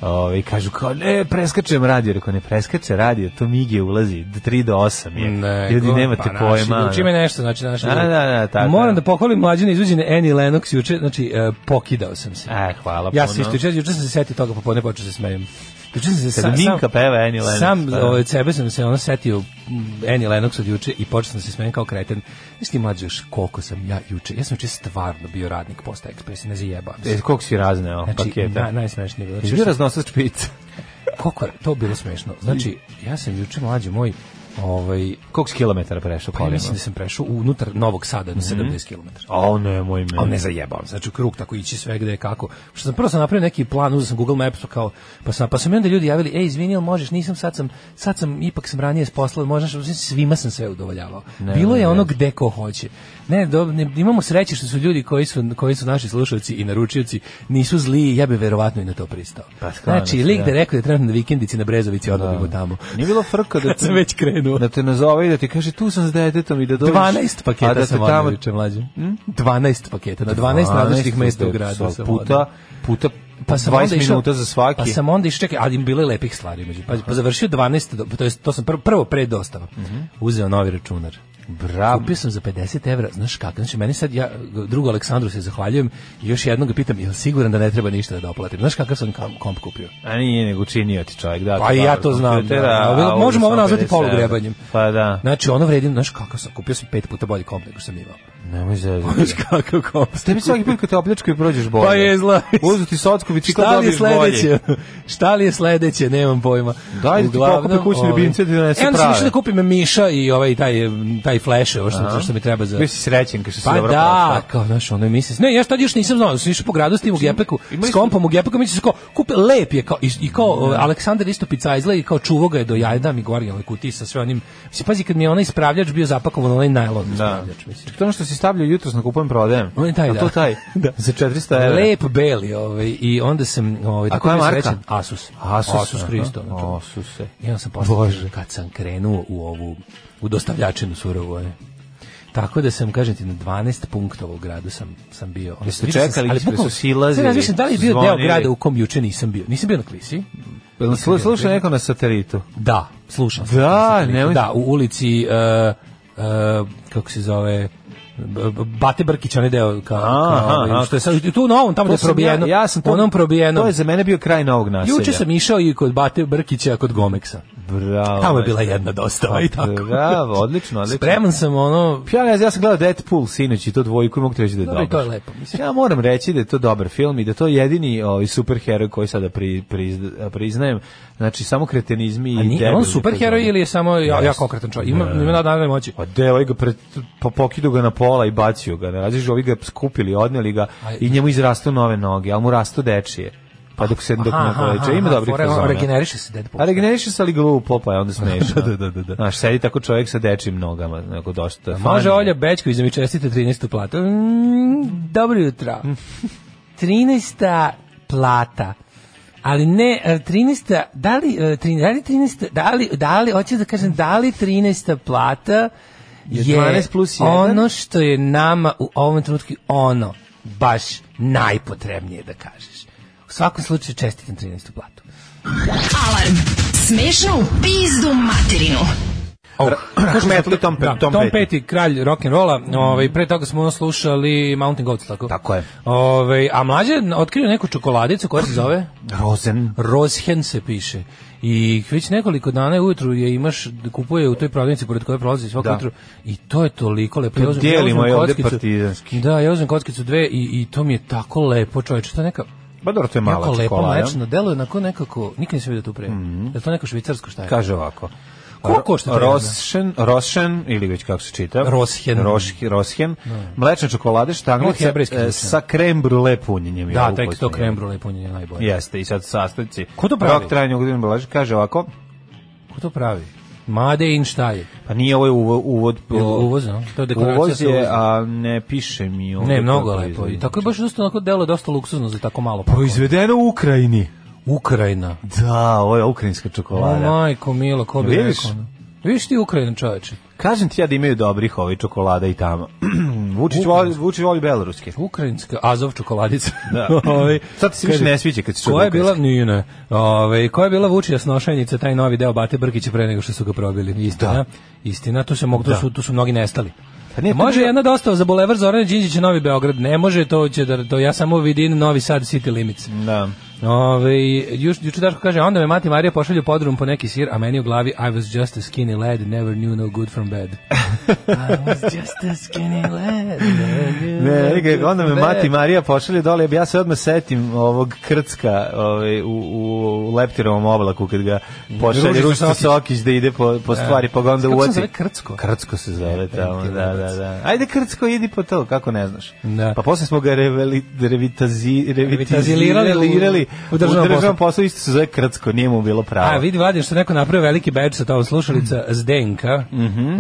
S7: Ove, kažu kao, ne, preskačem radio. Rekao, ne preskače radio, to Migi ulazi, d- 3 do 8 je. Ljudi, nemate
S5: pa, naši
S7: pojma.
S5: ljudi,
S7: ono.
S5: Čime nešto, znači naši.
S7: Da,
S5: ljudi.
S7: da, da, tako,
S5: Moram
S7: da.
S5: da pohvalim mlađine izvođene Annie Lennox juče, znači e, pokidao sam se.
S7: E, hvala
S5: Ja
S7: puno.
S5: se isto juče, juče sam se setio toga popodne počeo se smejem. Juče sam se
S7: Kada
S5: sam-
S7: Minka peva Annie Lennox,
S5: Sam
S7: pa da.
S5: ovaj, od sebe sam se ono setio mm, Annie Lennox od juče i počeo sam se smejem kao kreten. Znaš ti mlađe još koliko sam ja juče. Ja sam juče stvarno bio radnik posta ekspres, ne zajebam
S7: E,
S5: se.
S7: koliko si razneo
S5: Znači,
S7: paketa?
S5: na, najsmešnije je bilo.
S7: Jesi
S5: Znači,
S7: bio
S5: juče-
S7: raznosač pizza?
S5: koliko je to bilo smešno. Znači, ja sam juče mlađe moj ovaj,
S7: Koliko si kilometara prešao
S5: pa ja
S7: kolima?
S5: mislim da sam prešao unutar Novog Sada na 70 km.
S7: O, ne, moj me.
S5: A ne zajebam, se, znači u krug tako ići sve gde kako. Što sam prvo sam napravio neki plan, uzeo sam Google Maps pa kao pa sam pa su mi onda ljudi javili, ej, izvini, jel možeš, nisam sad sam sad sam ipak sam ranije s posla, možeš, mislim, svima sam sve udovoljavao. Bilo je ono gde ko hoće. Ne, do, ne, imamo sreće što su ljudi koji su koji su naši slušaoci i naručioci nisu zli, ja bih verovatno i na to pristao.
S7: Pa, sklonio
S5: znači,
S7: se,
S5: lik
S7: da.
S5: da je rekao da trenutno na vikendici na Brezovici odmah da. tamo.
S7: Nije bilo frka da
S5: Kad sam već krenuo.
S7: Da te nazove i da ti kaže tu sam s detetom i da dođeš.
S5: 12 paketa
S7: a da te
S5: sam
S7: tamo Hm?
S5: odneo juče mlađe. 12 paketa, na 12, različitih mesta u gradu sam odneo.
S7: Puta, puta
S5: pa sam
S7: 20
S5: onda išao-
S7: minuta za svaki.
S5: Pa sam onda išao, čekaj, ali im bile lepih stvari među. Pa, pa završio 12, do- to jest to sam prvo, prvo pre dostava.
S7: Mhm.
S5: Uzeo novi računar.
S7: Bravo.
S5: Kupio sam za 50 evra, znaš kako, znači meni sad, ja drugo Aleksandru se zahvaljujem i još jednog ga pitam, jel siguran da ne treba ništa da doplatim? Znaš kakav sam kam- komp kupio?
S7: A nije nego činio ti čovjek, da.
S5: Pa
S7: ti
S5: i ja
S7: dobar
S5: to znam. Da,
S7: kompjuter, a
S5: da.
S7: ovdje
S5: Možemo ovo
S7: samo
S5: nazvati
S7: 50 evra.
S5: polugrebanjem.
S7: Pa da.
S5: Znači, ono vredi, znaš kakav sam, kupio sam pet puta bolji komp nego što sam imao.
S7: Nemoj zezati.
S5: Znaš kakav komp.
S7: Tebi svaki put kad te opljačkaju prođeš bolje.
S5: Pa je, izla-
S7: Uzu ti socku bicikla
S5: Šta li je
S7: dobiješ bolje.
S5: sledeće? Šta li je sledeće? Nemam pojma.
S7: Daj da ti
S5: Uglavnom,
S7: pokupe kućni
S5: ovaj,
S7: ljubimci da ti donese
S5: e, onda sam
S7: prave.
S5: išao da kupim Miša i ovaj taj, taj flash, ovo što, što mi treba za...
S7: Bio si srećen kad si
S5: Pa
S7: dobro
S5: da,
S7: prošao.
S5: kao, znaš, ono je misli, ne, ja tad još nisam znao, da sam išao po gradu s tim u gepeku,
S7: imali
S5: s kompom u gepeku, mi se kao, kupe, lep je, kao, i, i kao, o, Aleksandar isto picajzla i kao čuvo ga je do jajda, mi govorim, ali kutiji sa sve onim, mislim, pazi, kad mi je onaj ispravljač bio zapakovan, onaj najlon
S7: Da.
S5: ispravljač, mislim.
S7: To je ono što si stavljao jutros na kupujem prodajem.
S5: On je taj,
S7: Jel
S5: da.
S7: to taj.
S5: Da.
S7: Za 400 evra.
S5: Lep beli, ovaj, i onda sam, ovaj, tako
S7: koja
S5: bio
S7: marka?
S5: srećan. Asus.
S7: Asus.
S5: Asus
S7: aha.
S5: Hristo. znači,
S7: Asuse.
S5: I onda sam posle, kad sam krenuo u ovu, u dostavljačinu surovu, je. Tako da sam, kažem ti, na 12 punktova u gradu sam, sam bio. Ono,
S7: Jeste
S5: vidio sam se,
S7: čekali,
S5: ali
S7: ispred
S5: bukvalno,
S7: su silazili,
S5: sad razmišljam, da li je bio deo
S7: zvonili.
S5: grada u kom juče nisam bio. Nisam bio na Klisi.
S7: Jel nas slu- sluša neko na satelitu?
S5: Da, slušam. sam.
S7: Da,
S5: Nisam bio.
S7: nemoj-
S5: Da, u ulici, uh, uh, kako se zove, B- B- Bate Brkić, onaj deo kao,
S7: Aha,
S5: kao ovaj,
S7: aha.
S5: što je sad, tu u novom, tamo da je
S7: sam
S5: probijeno,
S7: ja, ja sam to,
S5: onom probijeno.
S7: To je za mene bio kraj novog naselja.
S5: Juče sam išao i kod Bate Brkića, kod Gomeksa.
S7: Bravo.
S5: Tamo je bila jedna dostava i tako.
S7: Ovaj Bravo, odlično, odlično.
S5: Spreman sam ono...
S7: Ja, ne znam, ja sam gledao Deadpool sinoć i to dvojku i mogu ti reći da je
S5: Dobro,
S7: dobar.
S5: i to je lepo, mislim.
S7: Ja moram reći da je to dobar film i da je to jedini ovaj, superheroj koji sada pri, priz- priznajem. Znači, samo kretenizmi i
S5: A nije, je on
S7: debilni
S5: superheroj
S7: fazoni.
S5: ili je samo ja,
S7: Jeste.
S5: jako okretan čovjek? Ima, ima nadane moći.
S7: Pa de, ovaj ga pred, pa pokidu ga na pola i bacio ga. Ne razliš, ovi ga skupili, odneli ga
S5: Aj.
S7: i njemu izrastu nove noge, ali mu rastu dečije. Pa dok se dok ne poveća, ima dobrih
S5: fora,
S7: fazona.
S5: Regeneriše se Deadpool.
S7: A regeneriše se ali glupo, pa je onda smešno.
S5: Da, da, da, da.
S7: Znaš, sedi tako čovjek sa dečim nogama, neko dosta.
S5: Može
S7: funny.
S5: Olja Bečković da mi čestite 13. platu. Mm, dobro jutro. 13. plata. Ali ne, e, 13. Da li, e, tri- da li 13. Da li, da li, hoću da kažem, da li 13. plata je,
S7: 12 plus jedan?
S5: ono što je nama u ovom trenutku ono baš najpotrebnije da kažeš. U svakom slučaju čestitam 13. platu.
S4: Alarm. Smešnu pizdu materinu.
S7: Oh, Kmetli Tom,
S5: Da,
S7: Pe- Tom, Petty. Mhm.
S5: Petty, kralj rock and rolla. Ovaj pre toga smo slušali Mountain Goats tako.
S7: Tako je.
S5: Ovaj a mlađe je otkrio neku čokoladicu koja se zove
S7: Rosen.
S5: Roshen se piše. I već nekoliko dana ujutru je imaš kupuje u toj prodavnici pored koje prolazi svako
S7: Da.
S5: jutro i to je toliko lepo. Ja uzmem- ja
S7: dijelimo
S5: uzmem
S7: je ovde
S5: kockicu-
S7: partizanski.
S5: Da, ja uzmem kockicu dve i, i to mi je tako lepo, čoveče, to je neka
S7: Ba Pa dobro, to je mala
S5: Jako lepo
S7: čokolada. Mhm.
S5: mlečno, deluje onako nekako, nikad nisam vidio tu pre. Je li to neko švicarsko šta je?
S7: Kaže ovako.
S5: Koliko košta taj
S7: Roshen, Roshen, ili već kako se čita?
S5: Roshen.
S7: Rosh, Roshen. Mlečne čokolade,
S5: Ovo je
S7: štanglica
S5: hebrejski
S7: e,
S5: dućan.
S7: sa krem brule punjenjem.
S5: Da,
S7: Ja,
S5: taj
S7: ukusno
S5: to
S7: je.
S5: krem brule punjenje najbolje.
S7: Jeste, i sad sastojci.
S5: Ko to pravi?
S7: Rok trajanja ugodinu belaži, kaže ovako,
S5: Ko to pravi? Made in šta je?
S7: pa nije ovo uvod, uvod,
S5: Je li uvoz, no? To je deklaracija
S7: uvoz
S5: sa
S7: je,
S5: uvozom.
S7: a ne piše mi ovde.
S5: Ne, mnogo
S7: kako
S5: lepo. I
S7: izgleda.
S5: tako Pa je baš dosta onako delo dosta luksuzno za tako
S7: Pa
S5: malo. pakovanje.
S7: Proizvedeno u Ukrajini.
S5: Ukrajina.
S7: Da, ovo je ukrajinska
S5: O,
S7: čokolada.
S5: Pa, majko, milo, ko bi
S7: Vidiš?
S5: rekao. ono? Vidiš ti Ukrajinu, čoveče?
S7: Kažem ti ja da imaju dobrih ovih čokolada i tamo. Vučić
S5: Ukrajinska.
S7: voli, Vučić voli beloruske.
S5: Ukrajinska Azov čokoladica.
S7: Da.
S5: Ovaj,
S7: Sad ti se više
S5: kaže,
S7: ne sviđa kad si
S5: Koja je
S7: čovjek
S5: bila, nije, ne, ovaj, koja je bila Vučija snošajnica, taj novi deo Bate Brkića pre nego što su ga probili. Istina,
S7: Da.
S5: istina, tu, se mogu, tu,
S7: Da.
S5: su, tu su mnogi nestali.
S7: Pa nije, to
S5: može
S7: bilo-
S5: jedna dosta za bulevar Zorana Đinđića Novi Beograd, ne može to će da to ja samo vidim Novi Sad City Limits.
S7: Da.
S5: Ove, juč, juče Daško kaže, onda me mati Marija pošalje u podrum po neki sir, a meni u glavi I was just a skinny lad, never knew no good from bad. I was just a skinny lad, never knew
S7: Ne,
S5: no
S7: nego,
S5: good
S7: onda me
S5: from
S7: Mati
S5: bad.
S7: Marija pošalje dole, ja se odmah setim ovog krcka ovaj, u, u, u leptirovom oblaku kad ga pošalje
S5: Ružica
S7: Ružica
S5: Sokić.
S7: Sokić da ide po, po stvari, pa ga onda
S5: Kako se
S7: uoči.
S5: zove krcko?
S7: Krcko se zove tamo,
S5: ti
S7: da, da,
S5: lebac.
S7: da. Ajde krcko, idi po to, kako ne znaš.
S5: Da.
S7: Pa posle smo ga reveli, revitazi, revitazilirali
S5: Revitazilirali u-
S7: lirali
S5: u državnom
S7: državnom
S5: poslu.
S7: poslu, isto se zove krcko, nije mu bilo pravo.
S5: A, vidi, Vladimir, što je neko napravio veliki badge sa tobom,
S7: Mhm.
S5: slušalica Zdenka,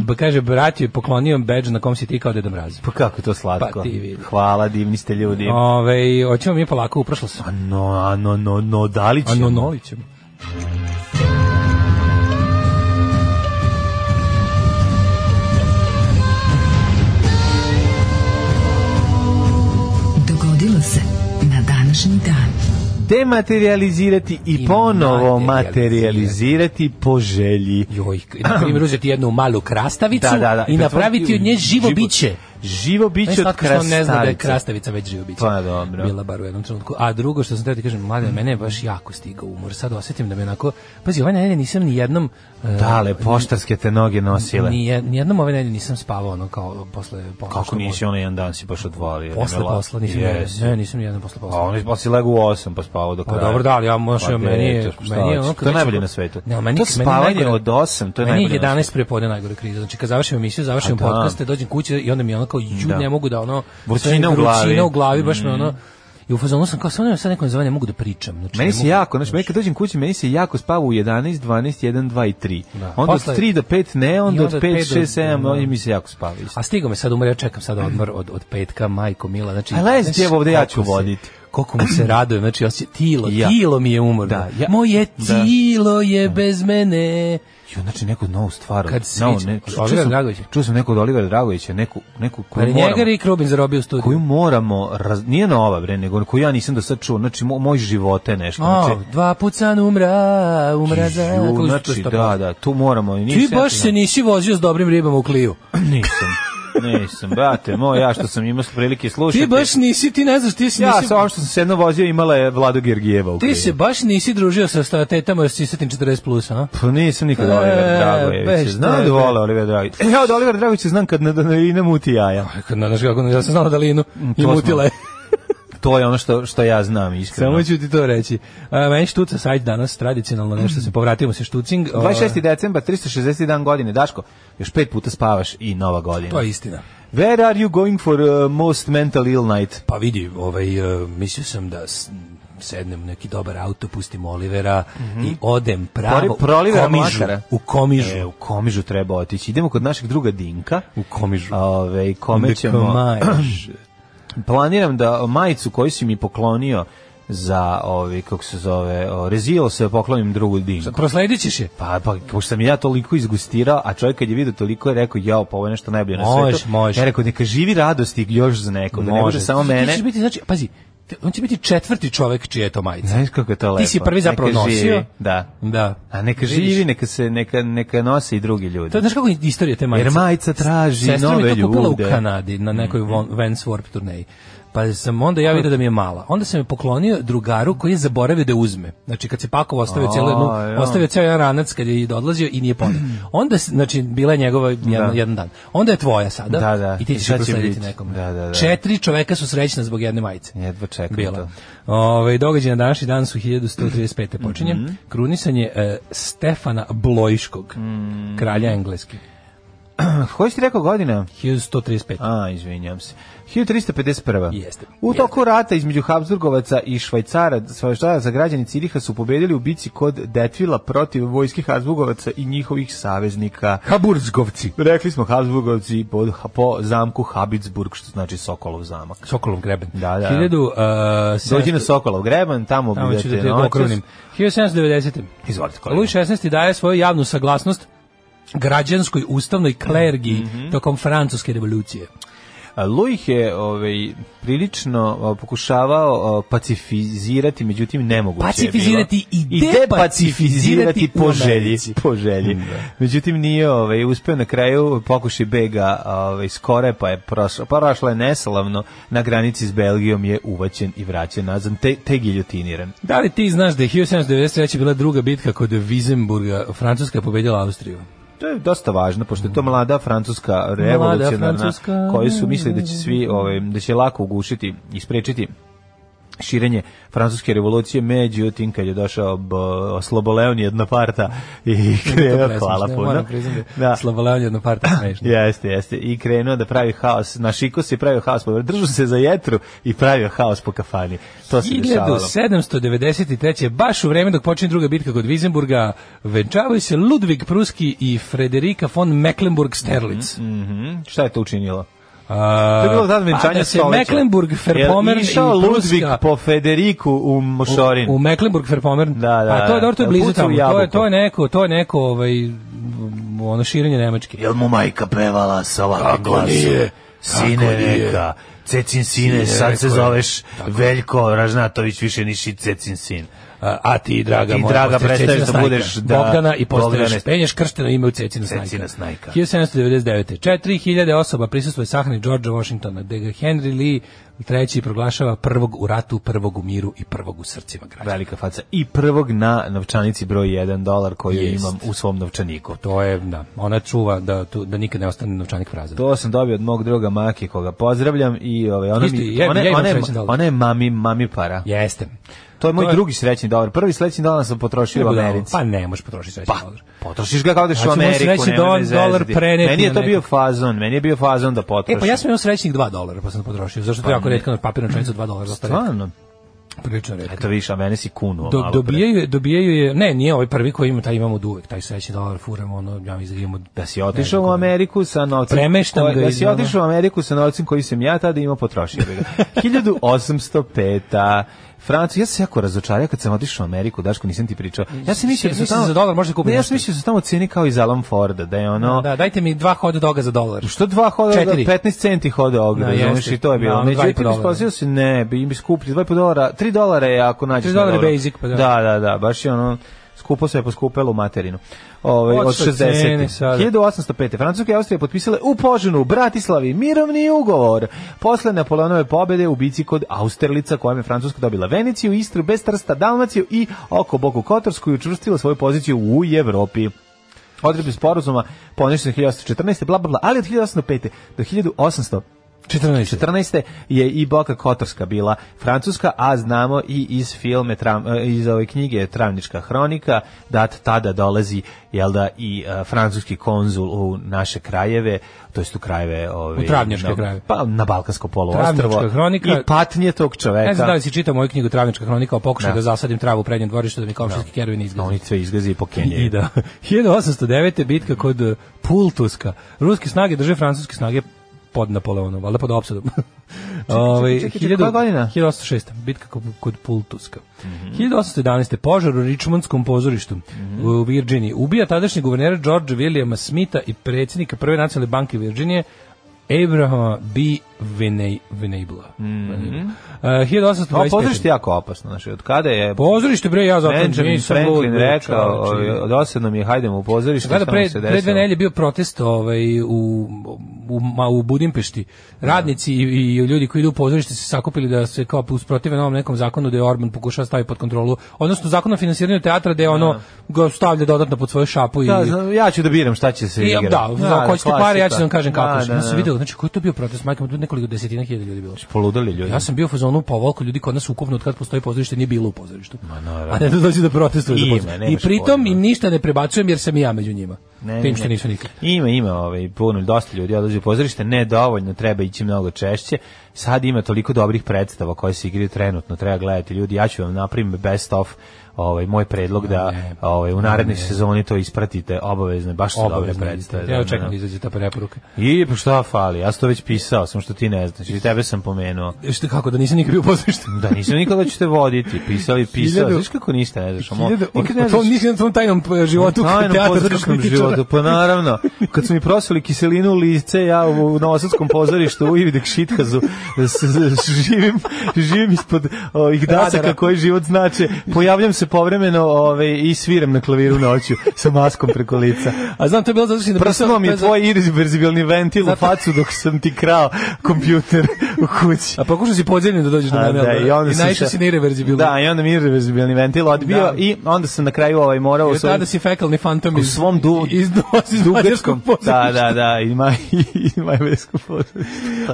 S5: pa kaže, brat je poklonio badge na kom si ti kao Deda Mraz.
S7: Pa kako je to slatko.
S5: Pa ti vidi.
S7: Hvala, divni ste ljudi.
S5: Ove, hoćemo mi polako, uprošlo se.
S7: A no, a no, no, no, da li
S5: A no,
S7: ćemo?
S5: nolit ćemo.
S4: Dogodilo se na današnji dan.
S7: Dematerializirati i,
S5: I
S7: ponovo
S5: materijalizirati.
S7: materializirati po želji.
S5: Joj, na primjer, uzeti jednu malu krastavicu
S7: Da, da, da.
S5: i napraviti od nje živo biće.
S7: Živo biće od
S5: Najslatko što on
S7: krastavice.
S5: ne zna da je krastavica već živo biće.
S7: Pa, dobro. Mm.
S5: Bila bar u jednom trenutku. A drugo što sam teo ti kažem, mlade, mene je baš jako stigao umor. Sad osetim da me onako... Pazi, ovaj nedelje nisam ni jednom... e,
S7: Dale, poštarske te noge nosile.
S5: Nije, nijednom ove nedelje nisam spavao ono kao posle ponoćnog
S7: Kako nisi onaj jedan dan si baš odvalio.
S5: Posle
S7: nema la-
S5: posla nisam
S7: Jesi.
S5: yes. ne, nisam jedan posle
S7: A
S5: posla.
S7: on je pa si legu u 8 pa spavao do
S5: Pa
S7: kraja.
S5: dobro, da, ali ja možda
S7: Pa,
S5: meni je,
S7: eto, šta
S5: meni je
S7: hoćeš.
S5: ono
S7: To je najbolje na svetu.
S5: Ne, meni,
S7: To
S5: meni
S7: spavanje
S5: najgore-
S7: od osam, to je
S5: meni
S7: najbolje na
S5: 11 prepodne najgore kriza. Znači kad završim emisiju, završim
S7: da.
S5: podcaste, dođem kući i onda mi je ono kao ju
S7: Da.
S5: ne mogu da ono
S7: Vrućina
S5: sve-
S7: u glavi. Mm.
S5: vrućina u glavi baš me ono i u fazonu sam kao samo sad neko nazove, ne mogu da pričam. Znači,
S7: Meni
S5: ne
S7: se
S5: mogu-
S7: jako, znači, meni kad dođem kući, meni se jako spava u 11, 12, 1, 2 i 3.
S5: Da.
S7: Onda
S5: Posle-
S7: od 3 do 5 ne, onda,
S5: I
S7: od 5,
S5: do-
S7: 6, 7,
S5: da.
S7: onda mi se jako spava. isto.
S5: A stigo me sad umor, ja čekam sad odmor od, od petka, majko Mila. Znači,
S7: A lezi ti,
S5: znaš
S7: evo ovde, ja ću
S5: koliko se-
S7: voditi.
S5: Koliko mu se radujem, znači osje, tilo,
S7: Ja.
S5: tilo mi je umorno.
S7: Da, ja-
S5: Moje
S7: Da.
S5: tilo je bez mene.
S7: Jo, znači neku novu stvar. od-
S5: Kad se
S7: novu,
S5: vidi- od
S7: čuo
S5: Olivera
S7: sam-
S5: Dragovića?
S7: Čuo sam neku od Olivera Dragovića, neku, neku
S5: Ali
S7: koju moramo,
S5: njega i Krubin zarobio u studiju.
S7: koju moramo raz, nije nova bre, nego koju ja nisam do sad čuo. Znači, mo, moj život je nešto. znači,
S5: O, dva put san umra, umra za...
S7: ju,
S5: Kako
S7: znači,
S5: se to
S7: da,
S5: kaže?
S7: da, tu moramo. i
S5: Ti
S7: nisam ja
S5: baš
S7: to-
S5: se nisi vozio s dobrim ribama u kliju.
S7: Nisam. Nisam, brate moj, ja što sam imao prilike slušati.
S5: Ti baš nisi, ti ne znaš, ti si
S7: Ja
S5: nisi...
S7: sa ovom što sam se jedno vozio imala je Vlado Gergijeva u
S5: Ti
S7: krivi.
S5: se baš nisi družio sa statetama jer si sisatim 40 plus, a?
S7: Pa nisam nikad
S5: E,
S7: Oliver Dragojević.
S5: bez
S7: Znam
S5: tebe.
S7: da vole Oliver Dragojević. E, ja od Oliver Dragojevića znam kad ne, ne, ne muti jaja.
S5: Kako, Pa znaš kako, ja sam znala da Linu i
S7: Mm, to
S5: mutila je.
S7: To je ono što, što ja znam, iskreno.
S5: Samo ću ti to reći. A, meni štuca sajt danas, tradicionalno
S7: Mm.
S5: nešto se povratimo se štucing. ovaj, O,
S7: 26. decembar, 361 godine. Daško, još pet puta spavaš Pa i nova godina.
S5: To je istina.
S7: Where are you going for uh, most mental ill night?
S5: Pa vidi, ovaj, e, mislio sam da s- sednem u neki dobar auto, pustim Olivera i odem pravo
S7: Pro- Mhm. prolivera
S5: u komižu.
S7: Mlakara.
S5: U komižu.
S7: E, u komižu treba otići. Idemo kod našeg druga Dinka.
S5: u komižu.
S7: Ove, kome ćemo... planiram da majicu koju si mi poklonio za ovi kako se zove o, rezilo se poklonim drugu dinku
S5: Prosledit ćeš je.
S7: pa pa pošto sam ja toliko izgustirao a čovjek kad je video toliko je rekao jao pa ovo je nešto najbolje na
S5: Može,
S7: svetu
S5: može.
S7: ja rekao neka živi radosti još za neko da ne
S5: Može.
S7: bude samo
S5: Ti- Ti
S7: mene
S5: ćeš biti, znači, pazi, on će biti četvrti čovek čije je to majica.
S7: Znaš kako je to lepo.
S5: Ti si prvi zapravo
S7: Neka živi,
S5: nosio.
S7: Da.
S5: Da.
S7: A neka
S5: Vidiš?
S7: živi, neka se neka neka nose i drugi ljudi.
S5: To, znaš kako je istorija te majice?
S7: Jer majica traži
S5: Sestra mi
S7: nove
S5: je to kupila u
S7: ljude. Mhm.
S5: Kanadi na nekoj von- Vans Warp turneji. Pa sam onda ja vidio da mi je mala. Onda sam je poklonio drugaru koji je zaboravio da je uzme. Znači kad se pakovo ostavio
S7: A,
S5: cijelu jednu,
S7: ja.
S5: ostavio ceo jedan ranac kad je odlazio i nije ponio. Onda, s- znači, bila je njegova jedan, jedan dan. Onda je tvoja sada
S7: Da, da.
S5: i ti
S7: I
S5: ćeš
S7: sad
S5: je
S7: će
S5: proslediti
S7: biti.
S5: nekom.
S7: Da, da, da.
S5: Četiri čoveka su srećna zbog jedne majice.
S7: Jedva čekam
S5: Bila.
S7: to.
S5: Ove, Ovaj, događaj na današnji dan su 1135. počinje.
S7: Mhm.
S5: Krunisanje e, Stefana Blojškog,
S7: Mm.
S5: kralja engleske.
S7: Koji si rekao godina?
S5: 1135.
S7: A, izvinjam se. 1351.
S5: Jeste.
S7: U toku rata između Habsburgovaca i Švajcara, Švajcaraca građani Ciriha su pobedili u bici kod Detvila protiv vojskih Habsburgovaca i njihovih saveznika.
S5: Haburzgovci.
S7: Rekli smo Habsburgovci po, po zamku Habsburg, što znači Sokolov zamak.
S5: Sokolov greben.
S7: Da, da.
S5: 1700
S7: Dođi na Sokolov greban, tamo,
S5: Tamo ću da
S7: budete
S5: te
S7: noćas.
S5: okrunim. 1790.
S7: Izvolite, kolega.
S5: Louis XVI daje svoju javnu saglasnost građanskoj ustavnoj klergiji
S7: Mhm.
S5: tokom francuske revolucije.
S7: A, Louis je ovaj, prilično o, pokušavao o, pacifizirati, međutim nemoguće
S5: Pacifizirati
S7: je
S5: i
S7: bilo.
S5: depacifizirati
S7: depacifizirati
S5: u
S7: po želji.
S5: Americi.
S7: Po želji. Međutim nije ovaj, uspeo na kraju pokušaj bega ovaj, skore, pa je prošla, prošla je neslavno, na granici s Belgijom je uvaćen i vraćen nazad, te, te giljotiniran.
S5: Da li ti znaš da je 1793. bila druga bitka kod Wiesenburga, Francuska je pobedjela Austriju?
S7: To je dosta važno, pošto je to mlada francuska revolucionarna,
S5: Francuska.
S7: koji su mislili da će svi, ovaj, da će lako ugušiti i sprečiti širenje francuske revolucije, međutim kad je došao b, Sloboleon jedna parta i krenuo, hvala puno.
S5: Da.
S7: Da.
S5: Slavoleon je jedno par tako smešno.
S7: Jeste, jeste. I krenuo da pravi haos. Na šiko se pravio haos. po- Držao se za jetru i pravio haos po kafani. To se dešavalo.
S5: 1793. baš u vreme dok počinje druga bitka kod Wiesenburga, venčavaju se Ludvig Pruski i Frederika von Mecklenburg-Sterlitz.
S7: Mhm. Šta je to učinilo?
S5: A,
S7: To je bilo tad
S5: pa
S7: venčanje
S5: da se
S7: stoleća.
S5: Mecklenburg-Ferpomern
S7: Jel
S5: i
S7: išao Ludvig
S5: Pruska
S7: po Federiku u Mošorin.
S5: u Mecklenburg-Ferpomern.
S7: Da, da,
S5: A to je dobro, to je
S7: da.
S5: blizu
S7: Puca u
S5: tamo. To je,
S7: jabuku.
S5: to je neko, to je neko ovaj, ono širenje Nemačke.
S1: Jel mu majka pevala sa ovakvim
S6: Kako nije?
S1: glasom? Sine
S6: Kako nije?
S1: neka, cecin sine, sad
S6: rekao
S1: se
S6: je.
S1: zoveš Veljko Ražnatović, više nisi cecin sin.
S5: A, a ti, draga
S1: Ti,
S5: moja,
S1: draga,
S5: postaješ
S1: prestaješ
S5: Cecina
S1: da
S5: Snajka.
S1: budeš, da,
S5: Bogdana i postaješ,
S1: Bogdane.
S5: penješ kršteno ime u Cecina Snajka.
S1: Cecina Snajka.
S5: 1799. 4000 osoba prisustuje sahrani Georgea Washingtona, gde ga Henry Lee III proglašava prvog u ratu, prvog u miru i prvog u srcima građana.
S7: Velika faca. I prvog na novčanici broj 1 dolar koju
S5: Jest.
S7: imam u svom novčaniku.
S5: To je, da, ona čuva da, tu, da nikad ne ostane novčanik prazan.
S7: To sam dobio od mog druga Maki, koga pozdravljam i ovaj, ona,
S5: Isto,
S7: mi,
S5: ja-
S7: ona,
S5: ja imam
S7: ona, je,
S5: srećan dolar.
S7: ona je mami, mami para.
S5: Jeste.
S7: To je moj
S5: To je-
S7: drugi srećni dolar. Prvi srećni dolar sam potrošio u Americi.
S5: Pa ne, možeš potrošiti srećni dolar.
S7: Potrošiš ga kao da
S5: Znači,
S7: u
S5: možeš
S7: Ameriku.
S5: reći
S7: nemoj me
S5: don- dolar
S7: zezati.
S5: preneti
S7: Meni je
S5: na
S7: to bio
S5: nekog.
S7: fazon, meni je bio fazon da potrošim.
S5: E, pa ja sam imao srećnih 2 dolara, pa sam potrošio. Zašto to je jako redko na papirnu čenicu 2 dolara? dosta redko.
S7: Stvarno?
S5: Prilično redko.
S7: Eto viš, a mene si
S5: Do,
S7: kunuo Pa malo pre.
S5: dobijaju, je- dobijaju je, ne, nije ovaj prvi koji ima, taj imamo od uvek, taj srećni dolar furamo, ono, ja mislim da imamo...
S7: Da si otišao u Ameriku sa novcem.
S5: Premeštam
S7: koji-
S5: ga
S7: Da
S5: iz
S7: si
S5: ono-
S7: otišao u Ameriku sa novcem koji sam ja tada imao potrošio. bi ga. 1805. Francu, ja sam se jako razočarao kad sam otišao u Ameriku, Daško, nisam ti pričao. Ja sam mislio da su
S5: Mislim,
S7: tamo...
S5: za dolar možeš da kupiš
S7: Ne, Ja
S5: nešto.
S7: sam mislio da su tamo cene kao iz Alan Forda, da je ono...
S5: Da, dajte mi dva hot doga za dolar.
S7: Što dva hoda,
S5: Četiri.
S7: 15 centi hoda ogra,
S5: Da,
S7: razumeš,
S5: jeste.
S7: i to je
S5: Da,
S7: bilo.
S5: ono dva i po
S7: Međutim,
S5: dolara.
S7: ispostavio se, ne, bi im bi skuplji, 2,5 dolara, 3 dolara je ako nađeš.
S5: Tri
S7: na
S5: dolara je
S7: dobro.
S5: basic, pa da.
S7: Da, da, da, baš je ono, skupo se je poskupelo u materinu. Ove, od
S5: Otišle
S7: 60.
S5: cene sada.
S7: 1805. Francuska i Austrija potpisale u Poženu, u Bratislavi, mirovni ugovor. Posle Napoleonove pobede u bici kod Austerlica, kojom je Francuska dobila Veneciju, Istru, bez trsta, Dalmaciju i oko Boku Kotorsku i učvrstila svoju poziciju u Evropi odredbe sporazuma poništene 1814. bla bla bla, ali od 1805. do 1814.
S5: 14.
S7: je i Boka Kotorska bila francuska, a znamo i iz filme, Tram- eh, iz ove knjige Travnička hronika, da tada dolazi jel da, i eh, francuski konzul u naše krajeve, to jest u krajeve... Ove,
S5: U travnjačke
S7: na-
S5: krajeve.
S7: Pa na Balkansko
S5: Travnička
S7: poluostrvo.
S5: hronika.
S7: I patnje tog čoveka.
S5: Ne znam da li si čitao moju knjigu Travnička hronika o pokušaju da,
S7: Da.
S5: zasadim travu u prednjem dvorištu da mi komšinski kervin izgazi.
S7: Oni sve izgazi po Keniji.
S5: I da. 1809. bitka kod eh, Pultuska. Ruske snage drže francuske snage pod Napoleonom, valjda pod opsadom. Ovaj,
S7: čekaj, čekaj, koja godina? Mhm.
S5: 1806. Bitka kod, kod Pultuska. 1811. Požar u Richmondskom pozorištu u Virginiji. Ubija tadašnji guverner George Williama Smitha i predsjednika Prve nacionalne banke Virginije Abrahama B. Venei- Venabla. Mm -hmm. uh, 1825.
S7: Ovo Mhm. pozorište je jako opasno, znači, od kada je
S5: Pozorište bre, ja zato
S7: Benjamin
S5: nisam
S7: Franklin
S5: lud, bre,
S7: rekao,
S5: čoveče.
S7: ovaj, dosadno mi je, hajdemo u pozorište,
S5: Gledao
S7: šta nam
S5: pre,
S7: se
S5: pre dve
S7: desilo.
S5: nelje bio protest ovaj, u, u, ma, u Budimpešti. Radnici i, i ljudi koji idu u pozorište se sakupili da se kao usprotive novom nekom zakonu da je Orban pokušava staviti pod kontrolu, odnosno zakon o finansiranju teatra da je ono ga stavlja dodatno pod svoju šapu i
S7: Da, znam, ja ću da biram šta će se
S5: I,
S7: igrati.
S5: da, da, ako hoćete pare, ja ću vam kažem kako. Da,
S7: Da, da,
S5: sam
S7: da.
S5: video, znači, koji je to bio protest? Majka, tu nekoliko desetina hiljada ljudi bilo.
S7: Poludali ljudi.
S5: Ja sam bio u fazonu pa ovoliko ljudi kod nas ukupno od kad postoji pozorište nije bilo u pozorištu. A ne da dođu da protestuju za
S7: Ima,
S5: pozorište. I
S7: nemaš
S5: pritom
S7: pojma.
S5: im ništa ne prebacujem jer sam i ja među njima.
S7: Ne, ne,
S5: Tim što
S7: ne.
S5: nisu nikad.
S7: Ima, ima, ovaj, puno, dosta ljudi odlazi u pozorište, ne dovoljno, treba ići mnogo češće. Sad ima toliko dobrih predstava koje se igraju trenutno, treba gledati ljudi. Ja ću vam napravim best of ovaj moj predlog da ovaj u narednoj sezoni to ispratite obavezno baš su dobre
S5: Obavezno.
S7: predstave.
S5: Ja
S7: da,
S5: očekujem
S7: da.
S5: da izađe ta preporuka.
S7: I pa šta fali? Ja sam to već pisao, samo što ti ne znaš. I tebe sam pomenuo.
S5: Što kako da nisam nikad bio u pozorištu?
S7: Da nisam nikada ću te voditi, pisali, pisao.
S5: Hiljadu-
S7: Znaš kako ništa ne znaš. Amo,
S5: Hiljade-
S7: nikad ne
S5: o
S7: znaš
S5: tom, nisam na tom tajnom eh, životu
S7: Tajnom
S5: teatra
S7: pozorišnom
S5: kritičara.
S7: životu, pa naravno. Kad su mi prosili kiselinu u lice, ja u u Novosadskom pozorištu u Ividek Šitkazu s- s- živim, živim ispod ovih dasaka
S5: Radara.
S7: koji život znače. Pojavljam se povremeno ove, i sviram na klaviru noću sa maskom preko lica.
S5: A znam, to je bilo zato što si napisao-
S7: Prsnuo mi
S5: to
S7: je
S5: je za-
S7: tvoj irreverzibilni ventil u
S5: Zato-
S7: facu dok sam ti krao kompjuter u kući.
S5: A pokušao si podzemljen da dođeš do
S7: A,
S5: mene,
S7: da,
S5: ali-
S7: i onda
S5: i
S7: sam
S5: naišao
S7: se-
S5: si na irreverzibilno.
S7: Da, i onda mi je irreverzibilni ventil odbio
S5: Da.
S7: i onda sam na kraju ovaj morao...
S5: Jer
S7: svoj-
S5: tada si fekalni fantom
S7: u
S5: iz,
S7: svom du,
S5: iz, iz, iz mađarskog
S7: dugačkom. Da,
S5: pozorišta.
S7: da, da, ima i majvesko pozorište.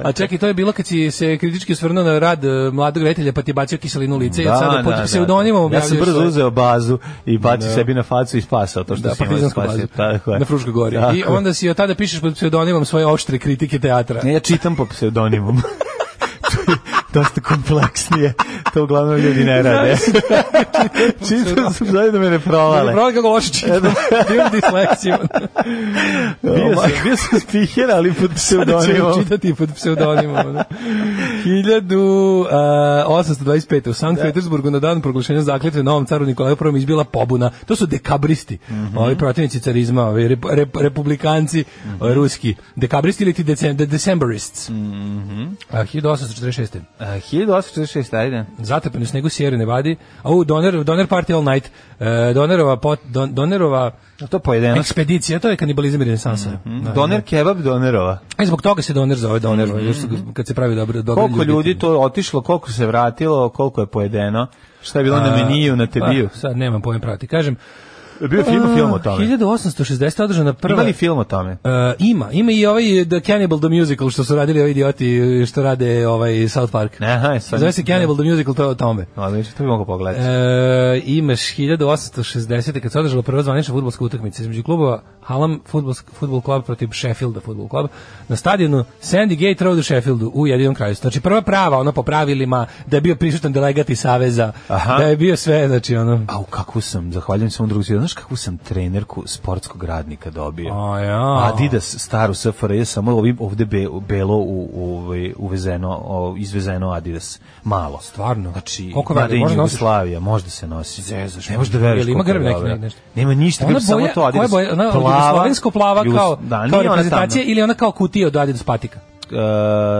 S5: A čekaj, to je bilo kad si se kritički osvrnuo na rad e, mladog reditelja, pa ti je bacio kiselinu u lice i sada pod pseudonimom
S7: Ja sam
S5: objavljuješ
S7: brzo
S5: svoje-
S7: uzeo bazu i bacio sebi na facu i spasao to što
S5: da,
S7: sam imao
S5: partizansku
S7: spasio.
S5: bazu
S7: Tako je.
S5: na Fruškoj gori.
S7: Tako
S5: I
S7: je.
S5: onda si od tada pišeš pod pseudonimom svoje oštre kritike teatra.
S7: Ne, ja čitam po pseudonimom. To je dosta kompleksnije. To uglavnom ljudi ne rade. čitam sam zajedno da me ne provale.
S5: Pravo kako loše čitam. Imam disleksiju.
S7: Bio sam, bio sam spiher, ali pod
S5: Da ću
S7: pseudonimom.
S5: čitati pod pseudonimom. ono. da. 1825. u Sankt Petersburgu na dan proglašenja zakletve novom caru Nikolaju I izbila pobuna. To su dekabristi, ovi protivnici carizma, ovi rep- rep- republikanci ovi ruski. Dekabristi ili ti decem, de- decemberists. A, 1846.
S7: A, 1846, ajde.
S5: Zatrpani u snegu Sierra Nevada. A u Donner, Donner Party All Night. E, Donnerova, pot, don, Donnerova
S7: To pojedeno.
S5: ekspedicija, to je kanibalizam i renesansa. Da,
S7: Doner kebab Donerova.
S5: I zbog toga se doner zove doner, jer su ga- kad se pravi dobro dobro
S7: Mhm. Koliko ljudi to je otišlo, koliko se vratilo, koliko je pojedeno, šta je bilo na meniju, na
S5: pa.
S7: tebiju.
S5: sad nemam pojma prati. Kažem,
S7: Bio je film, film o tome.
S5: 1860 održana prva
S7: Ima li film o tome?
S5: E, ima, ima i ovaj The Cannibal the Musical što su radili ovi idioti što rade ovaj South Park.
S7: Aha, sad-
S5: Zove se Cannibal the Musical, to je o tome.
S7: Odlično, to bi mogao pogledati.
S5: E, imaš 1860. kad se održala prva zvanična futbolska utakmica između klubova Hallam Football Club protiv Sheffielda Football Club na stadionu Sandy Gate Road u Sheffieldu u jedinom kraju. Znači prva prava, ono po pravilima, da je bio prisutan delegat iz Saveza,
S7: Aha.
S5: da je bio sve, znači ono...
S7: Au, kakvu sam, zahvaljujem se ovom drugu svijetu, znaš kakvu sam trenerku sportskog radnika dobio?
S5: A ja.
S7: Adidas, staru SFRJ, samo ovim ovde be, belo u, u, ovaj, uvezeno, o, izvezeno Adidas. Malo.
S5: Stvarno?
S7: Znači,
S5: Koliko
S7: mada
S5: velike?
S7: i
S5: Možda nosiš?
S7: Jugoslavija, možda se nosi.
S5: Zezaš
S7: ne
S5: me.
S7: možeš da veruješ
S5: Jel ima
S7: koliko je
S5: grb neki,
S7: dobra.
S5: ne- nešto?
S7: Nema ništa, grb, samo to Adidas.
S5: koja boja, ona
S7: Plava,
S5: jugoslovensko plava
S7: jugos-
S5: kao,
S7: da, nije
S5: kao
S7: ona
S5: reprezentacija
S7: tamna.
S5: ili ona kao kutija od Adidas patika?
S7: E,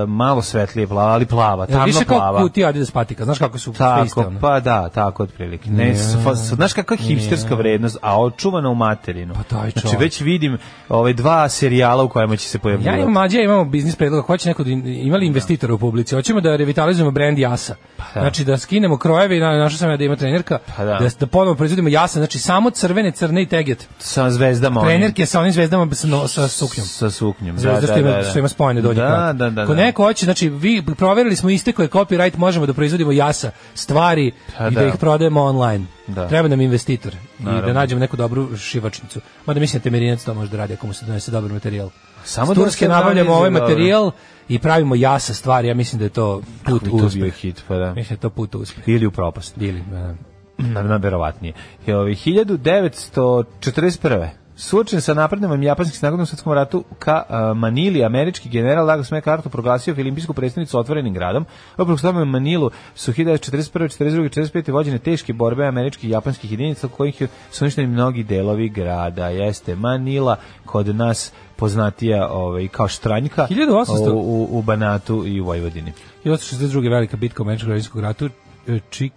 S7: malo svetlije plava, ali plava,
S5: Jel
S7: tamno
S5: više kao
S7: plava.
S5: kutija Adidas patika, znaš kako su sve iste
S7: Tako,
S5: ono?
S7: pa da, tako otprilike. Ne, s- fa- s- znaš kakva je hipsterska vrednost, a očuvana u materinu.
S5: Pa taj
S7: znači
S5: čovek.
S7: već vidim ove dva serijala u kojima će se
S5: Ja
S7: pojavljivati.
S5: imam mlađe, ja imamo biznis predlog, hoće neko da in- imali investitora u publici. Hoćemo da revitalizujemo brend Jasa.
S7: Pa da.
S5: Znači da skinemo krojeve, na, našao sam ja da ima trenerka,
S7: Pa da.
S5: da. s- da ponovo proizvodimo Jasa, znači samo crvene, crne i teget.
S7: sa zvezdama. onim.
S5: Trenerke sa onim zvezdama sa, no, sa suknjom.
S7: Sa suknjom.
S5: Zvezda što ima, što ima spojene donje
S7: da,
S5: krajeve.
S7: Da, da,
S5: Ako
S7: da.
S5: neko hoće, znači vi proverili smo iste koje copyright možemo da proizvodimo jasa, stvari
S7: Pa
S5: i da,
S7: da.
S5: ih prodajemo online.
S7: Da.
S5: Treba nam investitor i da nađemo neku dobru šivačnicu. Mada mislim da temerinac to može da radi ako mu se donese dobar materijal.
S7: Samo
S5: S
S7: da
S5: Turske
S7: se
S5: nabavljamo
S7: analizuje
S5: ovaj
S7: dobro.
S5: materijal i pravimo jasa stvari. Ja mislim da je to put
S7: I
S5: u
S7: to bio
S5: uspeh.
S7: hit, pa da.
S5: Mislim da je to put u uspeh.
S7: Ili u propast.
S5: Dili, da.
S7: Na, na verovatnije. Je, ovi, 1941. Suočen sa napredanjem japanskih snaga u svetskom ratu ka a, Manili, američki general Douglas MacArthur proglasio Filimpijsku predstavnicu otvorenim gradom. Oprok tome u Manilu su 1941. 42. 45. vođene teške borbe američkih i japanskih jedinica u kojih su uništeni mnogi delovi grada. Jeste Manila kod nas poznatija ovaj, kao Štranjka
S5: 1800.
S7: u, u, u Banatu i u Vojvodini.
S5: I 862. velika bitka u Međunarodnom građanskom ratu, e, Čik,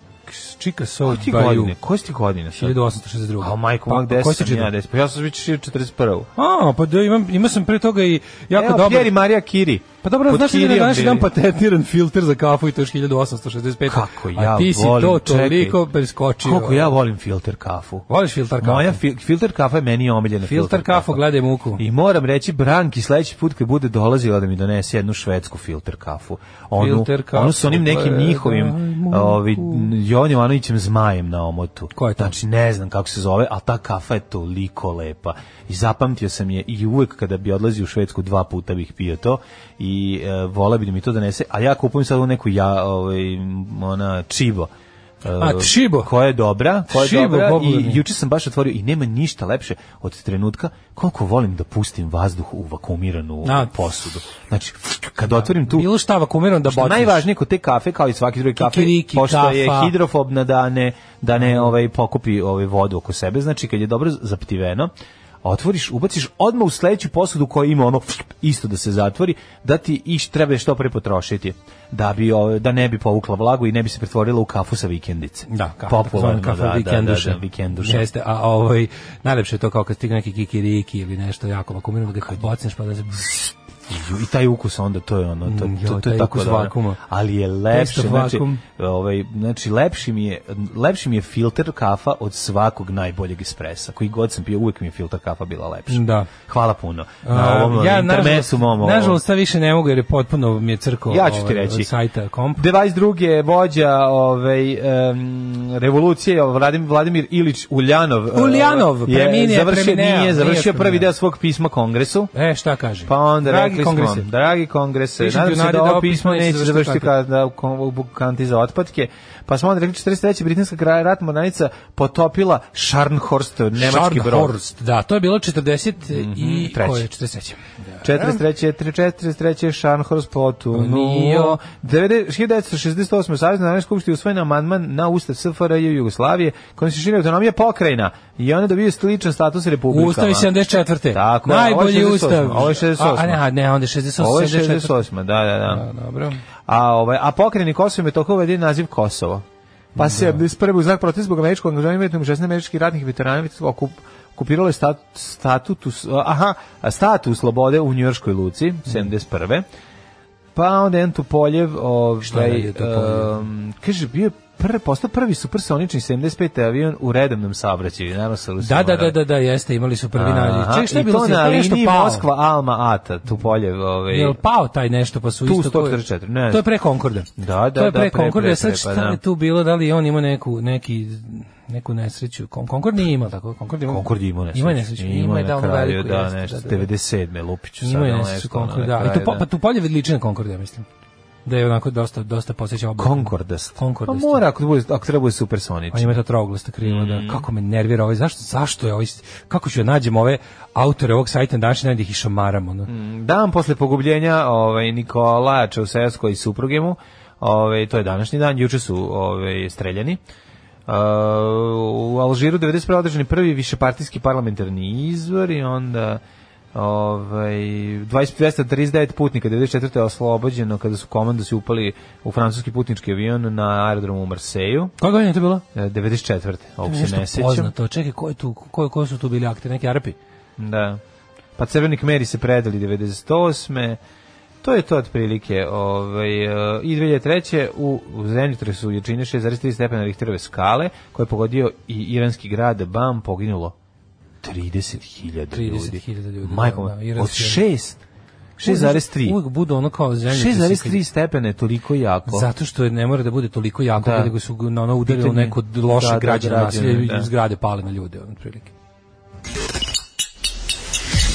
S5: Čika
S7: Koje
S5: Sov
S7: ti
S5: Baju,
S7: godine? Koje ti godine sad?
S5: 1862.
S7: A majko, pa,
S5: koji
S7: gde
S5: si
S7: sam ja?
S5: čitao?
S7: Gde sam? Pa ja sam već 41.
S5: A, pa da, imam, imao sam pre toga i jako
S7: Evo,
S5: dobro.
S7: Pjeri Marija Kiri.
S5: Pa dobro,
S7: Pod
S5: znaš li da je
S7: Kirijom
S5: na današnji dan
S7: bili.
S5: patentiran filter za kafu i to još 1865.
S7: Kako ja
S5: A ti si
S7: volim,
S5: to
S7: čekaj.
S5: toliko preskočio.
S7: Koliko ja volim filter kafu.
S5: Voliš filtar kafu?
S7: Moja fi, filter kafa je meni omiljena
S5: filtar kafu, gledaj muku.
S7: I moram reći Branki sledeći put kad bude dolazila da mi donese jednu švedsku filter kafu. Onu,
S5: Filter kafu,
S7: onu sa onim nekim
S5: gledaj
S7: njihovim
S5: muku.
S7: ovi, Jovan Jovanovićem zmajem na omotu.
S5: Ko je to?
S7: Znači ne znam kako se zove, ali ta kafa je toliko lepa. I zapamtio sam je i uvek kada bi odlazio u Švedsku dva puta bih pio to i e, vola bi da mi to donese, a ja kupujem sad u neku ja, ovaj, ona čibo. e,
S5: A, Chibo.
S7: Koja je dobra, koja je
S5: Chibo,
S7: dobra i
S5: popularni.
S7: juče sam baš otvorio i nema ništa lepše od trenutka koliko volim da pustim vazduh u vakuumiranu
S5: Da.
S7: posudu. Znači, kad otvorim tu...
S5: Bilo šta vakumiran da
S7: Što
S5: bociš.
S7: najvažnije kod te kafe kao i svaki drugi kafe,
S5: Kikiriki,
S7: pošto je
S5: kafa. Mm.
S7: hidrofobna da ne da ne ovaj pokupi ovaj vodu oko sebe, znači kad je dobro zaptiveno, otvoriš, ubaciš odmah u sledeću posudu koja ima ono isto da se zatvori, da ti iš treba je što pre potrošiti da bi ovaj, da ne bi povukla vlagu i ne bi se pretvorila u kafu sa vikendice.
S5: Da, kafa,
S7: popularno
S5: takozvana kafa
S7: da,
S5: vikenduša.
S7: Da, da, da, vikenduša.
S5: Jeste, a ovaj, najlepše je to kao kad stigne neki kikiriki ili nešto jako vakumirano da ga bocneš pa da se...
S7: Ju, I taj ukus onda to je ono to,
S5: Mm,
S7: to,
S5: joj,
S7: to je
S5: taj
S7: tako
S5: ukus
S7: dobro.
S5: vakuma.
S7: Ali je lepše,
S5: Taste of
S7: znači,
S5: vakum.
S7: ovaj znači lepši mi je lepši mi je filter kafa od svakog najboljeg espresa. Koji god sam pio, uvek mi je filter kafa bila lepša.
S5: Da.
S7: Hvala puno. Na ovom ovaj,
S5: ja,
S7: intermesu mom. ovo-
S5: Nažalost, sad više ne mogu jer je potpuno mi je crko
S7: Ja ću ti
S5: ovaj,
S7: reći.
S5: od sajta komp.
S7: 22. vođa ovaj, em, revolucije, ovaj, Vladim- Vladimir Ilić Uljanov, eh,
S5: Uljanov,
S7: je
S5: preminuo,
S7: završio,
S5: preminuo,
S7: nije
S5: nije
S7: završio prvi
S5: preminuo.
S7: deo svog pisma kongresu.
S5: E, šta kaže?
S7: Pa onda
S5: Dragi
S7: rekli
S5: kongrese,
S7: smo, dragi kongrese,
S5: Pišem ti
S7: nadam
S5: u
S7: se
S5: nadi
S7: da
S5: da
S7: ovo
S5: ovo
S7: pismo
S5: pismo neće
S7: neće
S5: završiti
S7: završiti
S5: tako.
S7: kada u bukanti za otpadke, pa smo onda rekli 43. britanska kraj- ratna mornarica potopila Scharnhorst, nemački brod. Mhm,
S5: Scharnhorst, da, to je bilo 40 i
S7: treći.
S5: koje 43.
S7: 43. 43. Scharnhorst potunuo.
S5: Ponio.
S7: 1968. Savjezna narodna skupština usvojena amandman na Ustav SFRJ i Jugoslavije, kojom se širi autonomija pokrajina i ona dobije sličan status republikama.
S5: Ustav iz 74.
S7: Tako je,
S5: Najbolji
S7: ovo je 68.,
S5: ustav.
S7: ovo je 68..
S5: A, a ne, ne, onda je 68.
S7: Ovo je 68. Da, da, da.
S5: Da, dobro.
S7: A, ovaj, a pokrajini Kosovo i Metohija uveden naziv Kosovo. Pa da. se u znak protiv zbog američkog angažovanja vijetnog 16 američkih ratnih veterana okup, okupiralo je stat, statutus, aha, statu slobode u Njujorškoj luci, 71. Pa onda jedan Tupoljev,
S5: Šta je
S7: ovaj,
S5: radio Tupoljev?
S7: em, kaže, bio je prvi, postao prvi supersonični 75. avion u redovnom saobraćaju, naravno sa Rusima.
S5: Da, da, da, da, da, jeste, imali su prvi nađe.
S7: Aha,
S5: Ček, šta je
S7: i
S5: bilo
S7: to
S5: se
S7: na
S5: nešto
S7: liniji
S5: pao?
S7: Moskva, Alma, Ata, Tupoljev. Ovaj,
S5: Jel pao taj nešto pa su
S7: Tu
S5: isto... koje-
S7: 144, ne.
S5: To je pre Konkorda.
S7: Da, da,
S5: To je
S7: da,
S5: pre
S7: pre, pre,
S5: Konkorda, sad
S7: pre, pa
S5: šta
S7: da.
S5: je tu bilo, da li je on imao neku, neki, neku nesreću? Kon- Konkord nije imao tako, Konkord ima...
S7: Konkord ima nesreću.
S5: Ima je nesreću, ima je da
S7: na
S5: ono
S7: kraju,
S5: veliku.
S7: da,
S5: jeste,
S7: nešto,
S5: da, da.
S7: 97. Lupiću sad.
S5: Ima je
S7: ono
S5: nesreću
S7: nešto, ono
S5: Konkord,
S7: na
S5: da. I
S7: kraju,
S5: to, pa, pa tu polje liči na Konkord, ja mislim. Da je onako dosta, dosta posjeća oblik.
S7: Konkordast.
S5: Konkordast.
S7: Pa mora, ako, bude, ako treba bude supersonič.
S5: On Pa ima to troglasta krilo,
S7: Mm.
S5: da. Kako me nervira ovaj, zašto, zašto je ovaj, kako ću ja nađem ove autore ovog sajta na današnji dan da ih išamaram, ono.
S7: Mm. Dan posle pogubljenja ovaj, Nikola Čausevsko i supruge mu, ovaj, to je današnji dan, juče su ovaj, streljani. Uh, u Alžiru 91. održani prvi višepartijski parlamentarni izvor i onda ovaj 20 239 putnika 94. je oslobođeno kada su komandosi upali u francuski putnički avion na aerodromu u Marseju.
S5: Koja godina je to bilo?
S7: E, 94. Ovog se ne
S5: Nešto
S7: sećam.
S5: poznato. Čekaj, ko, je tu, ko, ko su tu bili akti? Neki Arapi?
S7: Da. Pa Crveni kmeri se predali 98. To je to otprilike. Ovaj, e, I 2003. u, u zemljotresu jačine 6,3 stepena Richterove skale, koje je pogodio i iranski grad Bam, poginulo 30.000 ljudi.
S5: 30.000 ljudi,
S7: Majko,
S5: da, da,
S7: moja, od
S5: iranski-
S7: 6. 6,3.
S5: Uvijek budu ono kao zemlje.
S7: 6,3 stepene, toliko jako.
S5: Zato što je, ne mora da bude toliko jako,
S7: Da.
S5: da. nego su ga na ono udarili u
S7: Pitanje-
S5: neko loše
S7: Da,
S5: da,
S7: da,
S5: građane
S7: građane,
S5: nasilje
S7: da.
S5: i zgrade pale na ljude, ono, otprilike.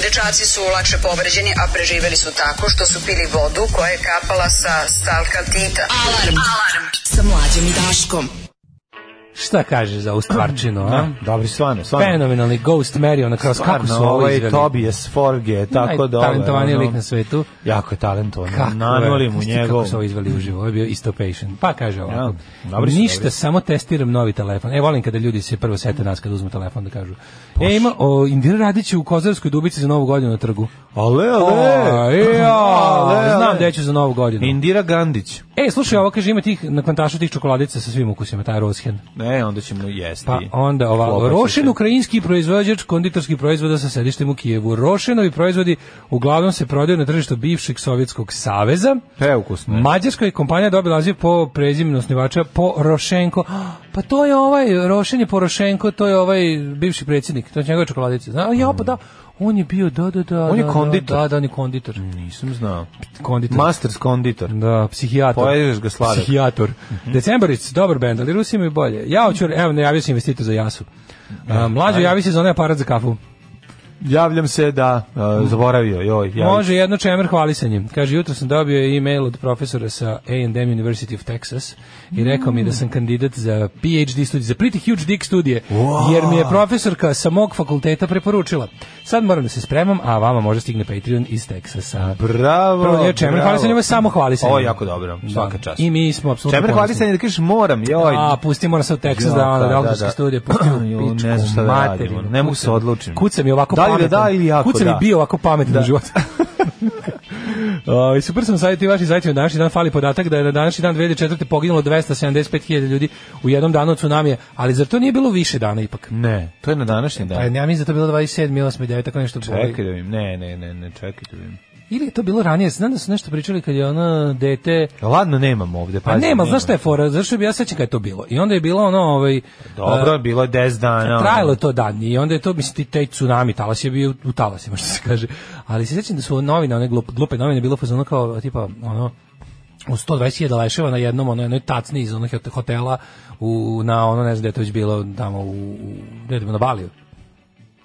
S4: Dečaci su lakše povređeni, a preživeli su tako što su pili vodu koja je kapala sa stalka Tita. Alarm! Alarm! Sa mlađom i Daškom.
S5: Šta kažeš za ovu stvarčinu, a?
S7: Dobri, stvarno, stvarno.
S5: Fenomenalni Ghost Mary, ona kroz kako su
S7: Stvarno,
S5: ovo
S7: ovaj
S5: izveli.
S7: Tobias Forge, tako dobro.
S5: Najtalentovaniji
S7: ono,
S5: lik na svetu.
S7: Jako je talentovan.
S5: Kako
S7: Nanuli
S5: je,
S7: mu
S5: znaš ti
S7: njegov.
S5: Kako su ovo izveli uživo, ovo je bio isto patient. Pa kaže ovako,
S7: Ja, dobri su,
S5: ništa,
S7: dobri
S5: samo testiram novi telefon. E, volim kada ljudi se prvo sete nas kada uzmu telefon da kažu. E, ima, o, Indira Radić je u Kozarskoj dubici za novu godinu na trgu.
S7: Ale,
S5: O,
S7: ale. Ale,
S5: ja, znam
S7: ale.
S5: da ću za novu godinu.
S7: Indira Gandić.
S5: E, slušaj, ovo kaže, ima tih, na kvantašu tih čokoladica sa svim ukusima, taj Roshen.
S7: Ne, E, onda ćemo jesti.
S5: Pa onda ovako,
S7: Klopat će
S5: Rošen
S7: se.
S5: ukrajinski proizvođač konditorskih proizvoda sa sedištem u Kijevu. Rošenovi proizvodi uglavnom se prodaju na tržištu bivšeg Sovjetskog saveza.
S7: Preukusno je.
S5: Mađarska je kompanija dobila naziv po prezimenu osnivača po Rošenko. Pa to je ovaj Rošen je po Rošenko, to je ovaj bivši predsjednik, to je njegove čokoladice. Zna, ja pa da, on je bio da da da.
S7: Mm. On je
S5: da,
S7: konditor. Mm.
S5: Da, da, da, on je konditor.
S7: Nisam znao.
S5: Konditor.
S7: Masters konditor.
S5: Da, psihijator.
S7: Pojedeš ga sladak. Mhm.
S5: Psihijator. Decembaric, dobar bend, ali Rusi imaju bolje. Ja hoću, evo, najavio se investitor za jasu. A, mlađo, javi se za onaj aparat za kafu.
S7: Javljam se da uh, zaboravio, joj, ja.
S5: Može jedno čemer hvalisanjem. Kaže, jutro sam dobio e-mail od profesora sa A&M University of Texas i rekao mi da sam kandidat za PhD studije, za pretty huge dick studije, jer mi je profesorka sa mog fakulteta preporučila. Sad moram da se spremam, a vama može stigne Patreon iz Texasa.
S7: Bravo.
S5: Prvo je čemer
S7: bravo.
S5: hvalisanje, ovo je samo hvalisanje.
S7: Ovo je jako dobro, svaka čast.
S5: I mi smo apsolutno
S7: Čemer
S5: ponosni.
S7: hvalisanje da kažeš moram, joj.
S5: A, pusti, moram sad u Texas da, ono, da, da, da, da. studije, pusti ono, u
S7: Jo,
S5: pičku,
S7: ne znam šta da
S5: materinu.
S7: radimo, ne mogu se odlučim.
S5: Kud sam i ovako
S7: Da li da
S5: pametan.
S7: da ili jako
S5: Kud sam
S7: da?
S5: i bio ovako pametan u životu. O, I super sam sajti i vaši zajti na današnji dan fali podatak da je na današnji dan 2004. poginulo 275.000 ljudi u jednom danu od tsunamije, ali zar to nije bilo više dana ipak?
S7: Ne, to je na današnji
S5: Pa ja
S7: dan.
S5: mislim da je to bilo 27, 8, 9, tako nešto bilo.
S7: Čekaj da vidim, ne, ne, ne, ne, čekaj da vidim.
S5: Ili je to bilo ranije, znam da su nešto pričali kad je ono dete...
S7: Ladno, nemam ovde,
S5: Pa
S7: pazi.
S5: nema, znaš šta je fora, zašto bi ja sećam kad je to bilo? I onda je bilo ono, ovaj...
S7: Dobro, bilo je 10 dana. ono.
S5: Trajalo je to dan i onda je to, mislim, ti taj tsunami talas je bio u talasima, što se kaže. Ali se sjećam da su novine, one glup, glupe novine, bilo fazono kao, tipa, ono, u 120.000 leševa na jednom ono jednoj tacni iz onog hotela u na ono ne znam gde je to već bilo tamo u u- gde je to bilo, na Baliju.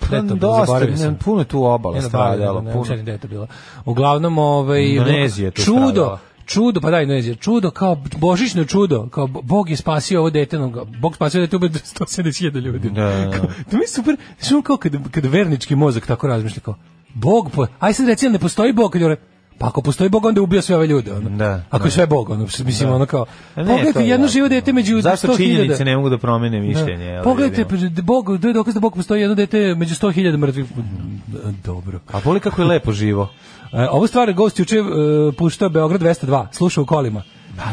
S5: Gde je to bilo?
S7: Pa Dosta,
S5: Zaboravio sam.
S7: ne, puno je tu obala
S5: Ne na Baliju,
S7: stradala,
S5: ne, ne,
S7: puno.
S5: sećam gde je to bilo. Uglavnom ovaj
S7: Indonezija je tu
S5: čudo
S7: stradala.
S5: čudo, pa da, Indonezija, čudo, kao božićno čudo, kao bo- Bog je spasio ovo dete, no, Bog spasio dete ubio 170.000 ljudi.
S7: Da, da, da.
S5: Kao, to mi je super, znaš ono kao kad, kad vernički mozak tako razmišlja, kao, Bog, po, aj sad reci, jel ne postoji Bog, kad je ono, pa ako postoji Bog, onda je ubio sve ove ljude, ono.
S7: Da,
S5: Ako
S7: da.
S5: je sve Bog, ono, mislim, ono kao,
S7: A ne, to
S5: pogledajte
S7: je
S5: jedno
S7: jasno.
S5: živo dete među 100.000.
S7: Zašto činjenice ne mogu da promene mišljenje? jel,
S5: Da. Pogledajte,
S7: vidimo?
S5: pa, Bog, to je dokaz da Bog postoji jedno dete među 100.000 mrtvih. Dobro.
S7: A voli kako je lepo živo.
S5: E, ovu stvar gost juče e, puštao Beograd 202, slušao u kolima.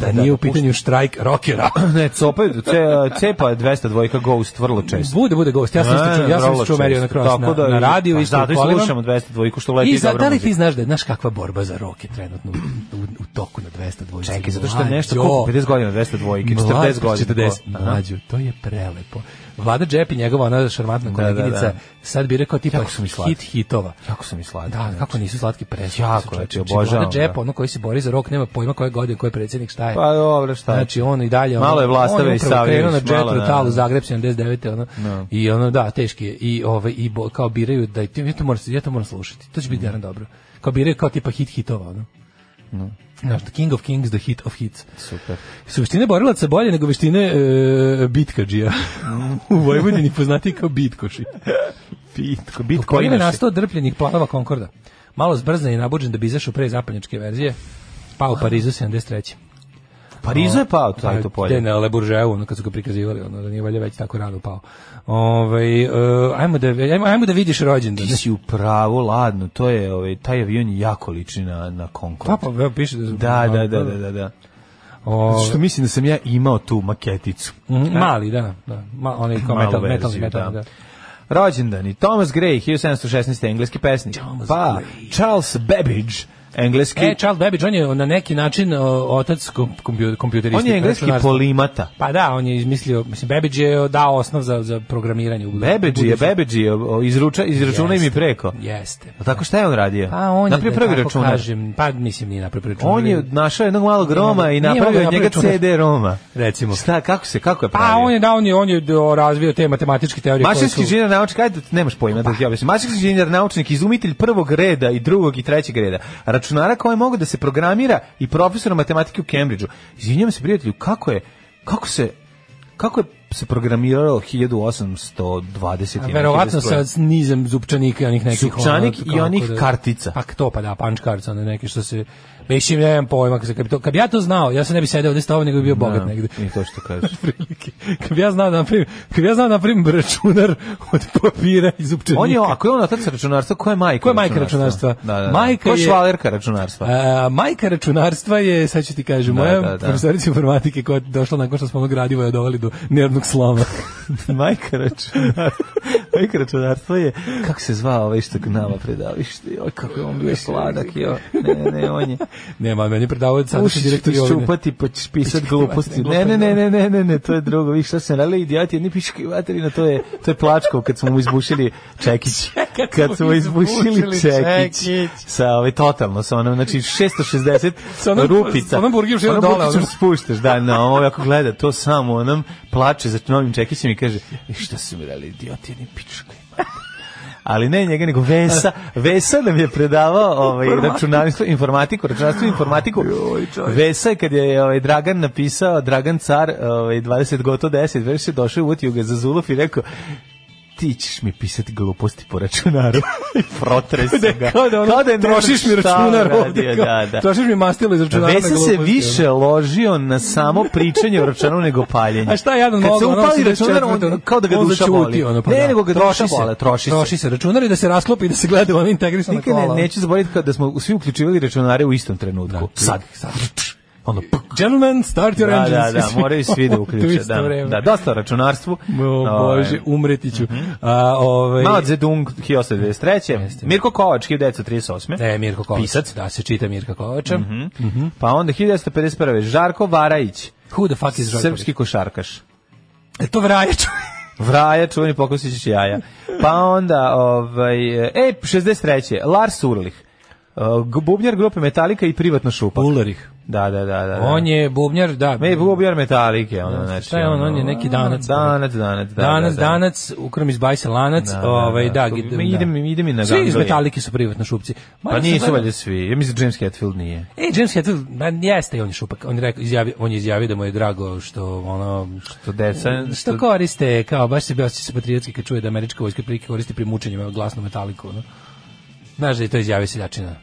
S5: Da, nije u pitanju štrajk rokera.
S7: ne, copa, je- ce, cepa je 202 Ghost vrlo često.
S5: Bude, bude gost, ja sam isto čuo, ja sam isto
S7: vrlo
S5: čuo Merio na
S7: često.
S5: kroz, na,
S7: Tako da-
S5: na radiju,
S7: pa
S5: isto
S7: zato
S5: u
S7: i
S5: kolima.
S7: slušamo 202 što leti
S5: I za,
S7: dobro
S5: da li
S7: muzika.
S5: ti znaš da je, znaš kakva borba za rok je trenutno u, u, u toku na 202?
S7: Čekaj, zato što je
S5: Mlađo.
S7: nešto koliko 50 godina 202, 40
S5: Mlađo,
S7: godina.
S5: 40,
S7: Aha.
S5: mlađo, to je prelepo. Vlada Džep i njegova ona šarmantna
S7: Da, da, da.
S5: koleginica sad bi rekao tipa
S7: Jako su mi slatki.
S5: hit hitova.
S7: Kako sam i sladak.
S5: Pa Da, kako nisu slatki preslatki. su,
S7: Znači, Jako,
S5: čoveče.
S7: ja ti
S5: Vlada
S7: obožavam,
S5: Džep,
S7: da.
S5: ono koji se bori za rok, nema pojma koje godine, koji je predsjednik, šta je.
S7: Pa dobro, šta je?
S5: Znači on i dalje ono,
S7: Malo je Vlastave i Savljević,
S5: On je upravo krenuo
S7: malo,
S5: na
S7: da,
S5: Jet Rotalu
S7: da.
S5: Zagreb 79 ono. I ono da, teški je i ovaj i bo, kao biraju da i ti ja to moram ja to moram slušati. To će
S7: Mhm.
S5: biti mm. dobro. Kao biraju kao tipa hit hitova ono. Znaš, the king of kings, the hit of hits.
S7: Super.
S5: Su veštine borilaca bolje nego veštine e, bitkađija. U Vojvodini poznati kao bitkoši.
S7: Bitko,
S5: U kojim je
S7: bitcoin
S5: nastao drpljenih planova Concorda. Malo zbrzan i nabuđen da bi izašao pre zapadnjačke verzije. Pa u Parizu 73.
S7: Pa Parizu je pao taj to
S5: Pa Gde
S7: polje.
S5: na Le Bourgeoisu, ono kad su ga prikazivali, ono da nije valjda već tako rano pao. Ovaj e, ajmo da ajmo, ajmo da vidiš rođendan.
S7: Ti si u pravu, ladno, to je, ovaj, taj avion je jako liči na, na Concorde.
S5: Pa pa evo, piše da Ovaj. su-
S7: Da, da, da, da, da, da.
S5: O,
S7: Zato što mislim da sam ja imao tu maketicu.
S5: m, mali, da, da. Ma, onaj kao
S7: Malu
S5: Mhm, metal,
S7: verziju,
S5: metal, metal, da.
S7: Rođendani Thomas Gray, 1716. engleski pesnik. pa Charles Babbage, engleski.
S5: E, Charles Babbage, on je na neki način o, otac kom, kompju- kompjuteristike.
S7: on je engleski
S5: računarstva.
S7: polimata.
S5: Pa da, on je izmislio, mislim, Babbage je dao osnov za, za programiranje. u budu-
S7: Babbage je,
S5: budućem.
S7: Babbage je, o, izruča, izračunaj mi
S5: Jeste,
S7: preko.
S5: Jeste.
S7: A tako šta je on radio?
S5: Pa on je,
S7: Napravio
S5: da
S7: prvi
S5: tako
S7: računar.
S5: kažem, pa mislim nije napravio prvi računar.
S7: On je našao jednog malog Roma i
S5: nije mogao
S7: napravio od njega
S5: napraviti računar.
S7: CD-Roma.
S5: Recimo.
S7: Šta, kako se, kako je pravio?
S5: Pa on je da on je on je do- razvio te matematičke teorije. koje
S7: Mašinski
S5: su-
S7: inženjer naučnik, ajde, nemaš pojma
S5: Pa.
S7: da ti ja objasnim. Mašinski inženjer naučnik, izumitelj prvog reda i drugog i trećeg reda. Računara koja je mogu da se programira i profesor matematike u Cambridgeu. Izvinjavam se prijatelju, kako je, kako se, kako je se programiralo 1820.
S5: A verovatno sa nizem zupčanika i onih nekih... ono,
S7: Zupčanik i
S5: kako
S7: onih kartica.
S5: Pa to pa da, punch cards, one neke što se... Mislim, ja nemam pojma, kad, se- kad, bi to, kad bi ja to znao, ja se ne bi sedeo ovde stao, nego bi bio bogat negde.
S7: I to što kažeš.
S5: Prilike. Kad bi ja znao da naprimim, kad bi ja znao da naprimim računar od papira iz zupčanika.
S7: On je, ako je on otac računarstva, ko je majka
S5: Ko je majka računarstva?
S7: Da, da, da.
S5: Majka
S7: ko je
S5: je-
S7: švalerka računarstva?
S5: A, Pa, majka računarstva je, sad ću ti kažem,
S7: Da,
S5: moja
S7: da, da.
S5: profesorica informatike koja je došla nakon što smo ono gradivo je doveli do nervnog sloma.
S7: majka računarstva. majka računarstva je, kako se zvao ovaj što k nama predavište? Joj, kako je on bio sladak, joj. Ne, ne, on je.
S5: Nema, meni je predavao sad
S7: Uši ćeš
S5: direktor Jovine.
S7: čupati pa ćeš pisat gluposti. Ne, ne, ne, ne, ne, ne, ne, to je drugo. Vi šta se radili, idioti, jedni piški vaterina, to je, to je plačkov kad smo mu izbušili Čekić. Kad smo izbušili Čekić. Sa ovaj, totalno, sa onom, znači 660
S5: Sa onom-
S7: rupica.
S5: sa onom burgiru
S7: Onom
S5: dole, ono.
S7: burgiru
S5: onom.
S7: spuštaš, da, na ovo ako gleda, to samo onom plače za novim Čekićem i kaže, "E, šta su mi radili, idioti, jedni pički. Ali ne njega, nego Vesa. Vesa nam je predavao ovaj, računarstvo, informatiku, računarstvo i informatiku. Vesa je kad je ovaj, Dragan napisao, Dragan car, ovaj, 20 goto 10, već se došao i utio ga za Zuluf i rekao, ti ćeš mi pisati gluposti po računaru. I Protresu ga.
S5: Kao da ono,
S7: Kao je ne
S5: trošiš
S7: znam
S5: mi
S7: šta
S5: računar ovde.
S7: uradio,
S5: kao,
S7: Da, da.
S5: Trošiš mi mastilo iz računara. na ono.
S7: Vesa se
S5: gluposti,
S7: više ložio na samo pričanje o računaru nego paljenje.
S5: A šta je jadan
S7: Kad
S5: mogao?
S7: se
S5: ono,
S7: upali
S5: 84,
S7: računar, on,
S5: ono,
S7: kao da ga
S5: on
S7: duša
S5: začuti,
S7: boli.
S5: ono, pa da.
S7: Ne, nego ga
S5: Troši
S7: duša
S5: se,
S7: boli, troši se.
S5: Troši se računar i da se rasklopi i da se gleda u ono integrisano
S7: Nikad
S5: kola.
S7: ne, neću zaboraviti kada smo svi uključivali računare u istom trenutku.
S5: Da,
S7: sad, sad. Ono, puk.
S5: Gentlemen, start your
S7: Da,
S5: engines.
S7: da, da, moraju svi da
S5: U
S7: uključe.
S5: isto
S7: Da,
S5: vreme.
S7: da, dosta o računarstvu.
S5: O
S7: Ovaj,
S5: Bože, umreti ću.
S7: Mhm.
S5: A, ovaj,
S7: Mao Zedong, 1893. Mirko Kovač, 1938.
S5: Ne, Mirko Kovač.
S7: Pisac.
S5: Da, se čita Mirka Kovača.
S7: Pa onda 1951. Žarko Varajić,
S5: Who the fuck is Žarko?
S7: srpski košarkaš.
S5: E, to vrajač.
S7: Vraja, čuveni pokosić jaja. Pa onda, ovaj, e, 63. Lars Urlih. eh, Bubnjar grupe Metallica i privatno šupak.
S5: Ulerih.
S7: Da, da, da, da. da.
S5: On je bubnjar, da.
S7: Me je bubnjar Metallica, ono, znači.
S5: Šta je on? On je neki danac.
S7: Danac, danac, da,
S5: danas,
S7: da, da.
S5: danas, ukrom iz bajsa lanac, ovaj, da,
S7: Što-
S5: idem,
S7: mi idem-
S5: da.
S7: idem i na
S5: Svi iz
S7: ganglije.
S5: metalike su privatno šupci. Ma,
S7: Pa
S5: ja sam
S7: nisu
S5: gledao-
S7: valjda svi. Ja mislim da James Hetfield nije.
S5: E, James Hetfield, ma, jeste i on je šupak. On je, rekao, izjavi, on je izjavio da mu je drago što, ono,
S7: To deca...
S5: što koriste, kao baš se osjeća se patriotski kad čuje da američka vojska prilike koristi pri mučenjima glasnu metaliku. No? Znaš da je to izjavio seljačina?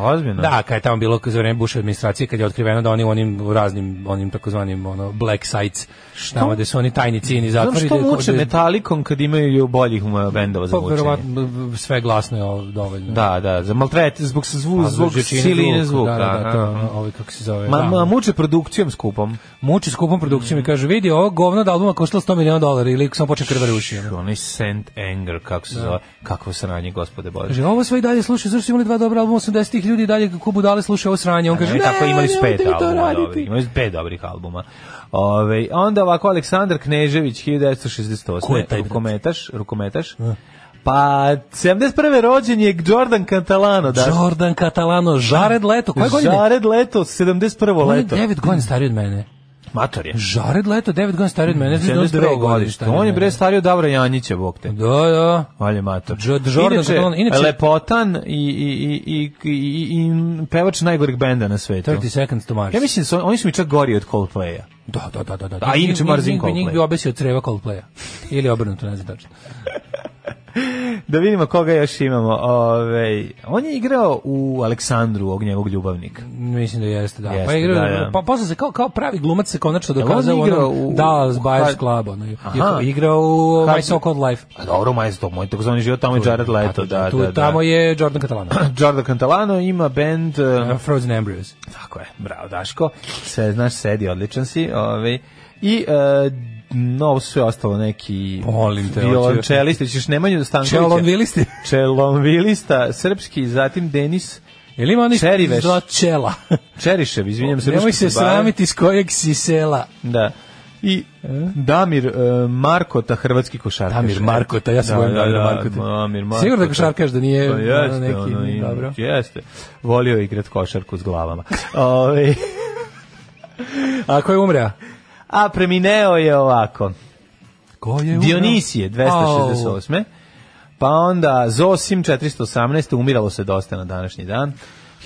S7: Ozbiljno?
S5: Da, kad je tamo bilo za vreme Bush administracije kad je otkriveno da oni u onim raznim onim takozvanim ono black sites tamo gde su oni tajni cini
S7: Znam
S5: zatvori.
S7: što
S5: gde-
S7: muče
S5: gde-
S7: metalikom kad imaju i boljih mu- bendova za
S5: Pa
S7: mučenje.
S5: verovatno b- b- sve glasno je ovo dovoljno.
S7: Da, da, za maltret, zbog zvu,
S5: Pa,
S7: zbog
S5: jačine
S7: siline zvuka.
S5: Da, da, da, to, je
S7: aha.
S5: ono, ovaj kako se zove.
S7: Ma,
S5: da. Mm.
S7: ma, muče produkcijom skupom.
S5: muči skupom produkcijom i kaže, vidi, ovo govno od albuma koštalo 100 miliona dolara ili samo počne krvar uši. ono.
S7: Onaj Saint Anger, kako se zove, kakvo sranje, gospode Bože.
S5: Kaže, ovo sve i dalje slušaju, zašto su imali dva dobra albuma 80-ih ljudi i dalje kako budale slušaju ovo sranje. On kaže,
S7: Oni
S5: ne,
S7: E, tako imali s pet
S5: nemojte mi to
S7: albuma dobri,
S5: raditi.
S7: imali s pet dobrih albuma. Ove, onda ovako Aleksandar Knežević, 1968.
S5: Ko je taj bre?
S7: Rukometaš, rukometaš. Pa, 71. rođen je Jordan Cantalano, da.
S5: Jordan Catalano, Jared Leto, koje godine?
S7: Jared Leto, 71.
S5: On je
S7: leto.
S5: 9 godina stariji od mene.
S7: Mator je.
S5: Žared Leto, 9 godina stariji od mene, ne znam da je on
S7: 72
S5: dva godine
S7: godište.
S5: stariji od
S7: On je
S5: mene.
S7: bre stario Davra Janjića, bog te.
S5: Da, da.
S7: Valje mator.
S5: Jo- Jordan Catalano, inače-
S7: lepotan i, i, i, i, i, i pevač najgoreg benda na svetu.
S5: 30 seconds to Mars.
S7: Ja mislim, su, oni su mi čak gori od Coldplaya.
S5: Da, da, da, da. da.
S7: A inače
S5: Njih-
S7: Mars in
S5: njih bi- Njih
S7: Coldplay.
S5: bi obesio od creva Coldplaya. Ili obrnuto, ne znam tačno.
S7: Da vidimo koga još imamo. Ove, on je igrao u Aleksandru, ovog njegovog ljubavnika.
S5: Mislim da jeste, da. pa
S7: Jeste,
S5: je igrao,
S7: da, da.
S5: pa posle se kao, kao pravi glumac se konačno dokazao
S7: on
S5: u
S7: igrao
S5: onom
S7: u-
S5: Dallas
S7: u-
S5: Buyers
S7: Har-
S5: Club, ono,
S7: Aha.
S5: igrao u ovaj,
S7: Har-
S5: My So Called Life.
S7: A dobro, majstvo, moj tako zvani život, tamo je Jared Leto, da,
S5: tu,
S7: da, da.
S5: Tamo je Jordan Catalano.
S7: Jordan Cantalano ima band... e,
S5: Frozen Embryos.
S7: Tako je, bravo Daško, sve znaš, sedi, odličan si. Ovaj. I e, no, sve ostalo neki
S5: Molim te,
S7: violončelisti, ćeš Nemanju Stankovića.
S5: Čelon Vilisti.
S7: Čelonvilista, srpski, zatim Denis
S5: Ili ima onih
S7: Čeriveš.
S5: zla čela.
S7: Čerišev, izvinjam se.
S5: Nemoj
S7: ruski
S5: se
S7: fudbaler.
S5: sramiti s kojeg si sela.
S7: Da.
S5: E?
S7: I Damir e, Markota, hrvatski košarkaš. E,
S5: Damir Markota, ja se bojim
S7: da,
S5: Damira
S7: da,
S5: Markota.
S7: Damir Markota.
S5: Sigurno da košarkaš da nije,
S7: Pa jeste,
S5: ono, neki,
S7: ono, ima,
S5: dobro.
S7: Jeste. Volio je igrat košarku s glavama. Ovaj,
S5: A ko je umreo?
S7: a premineo je ovako.
S5: Ko je
S7: Dionisije 268. Pa onda Zosim 418. Umiralo se dosta na današnji dan.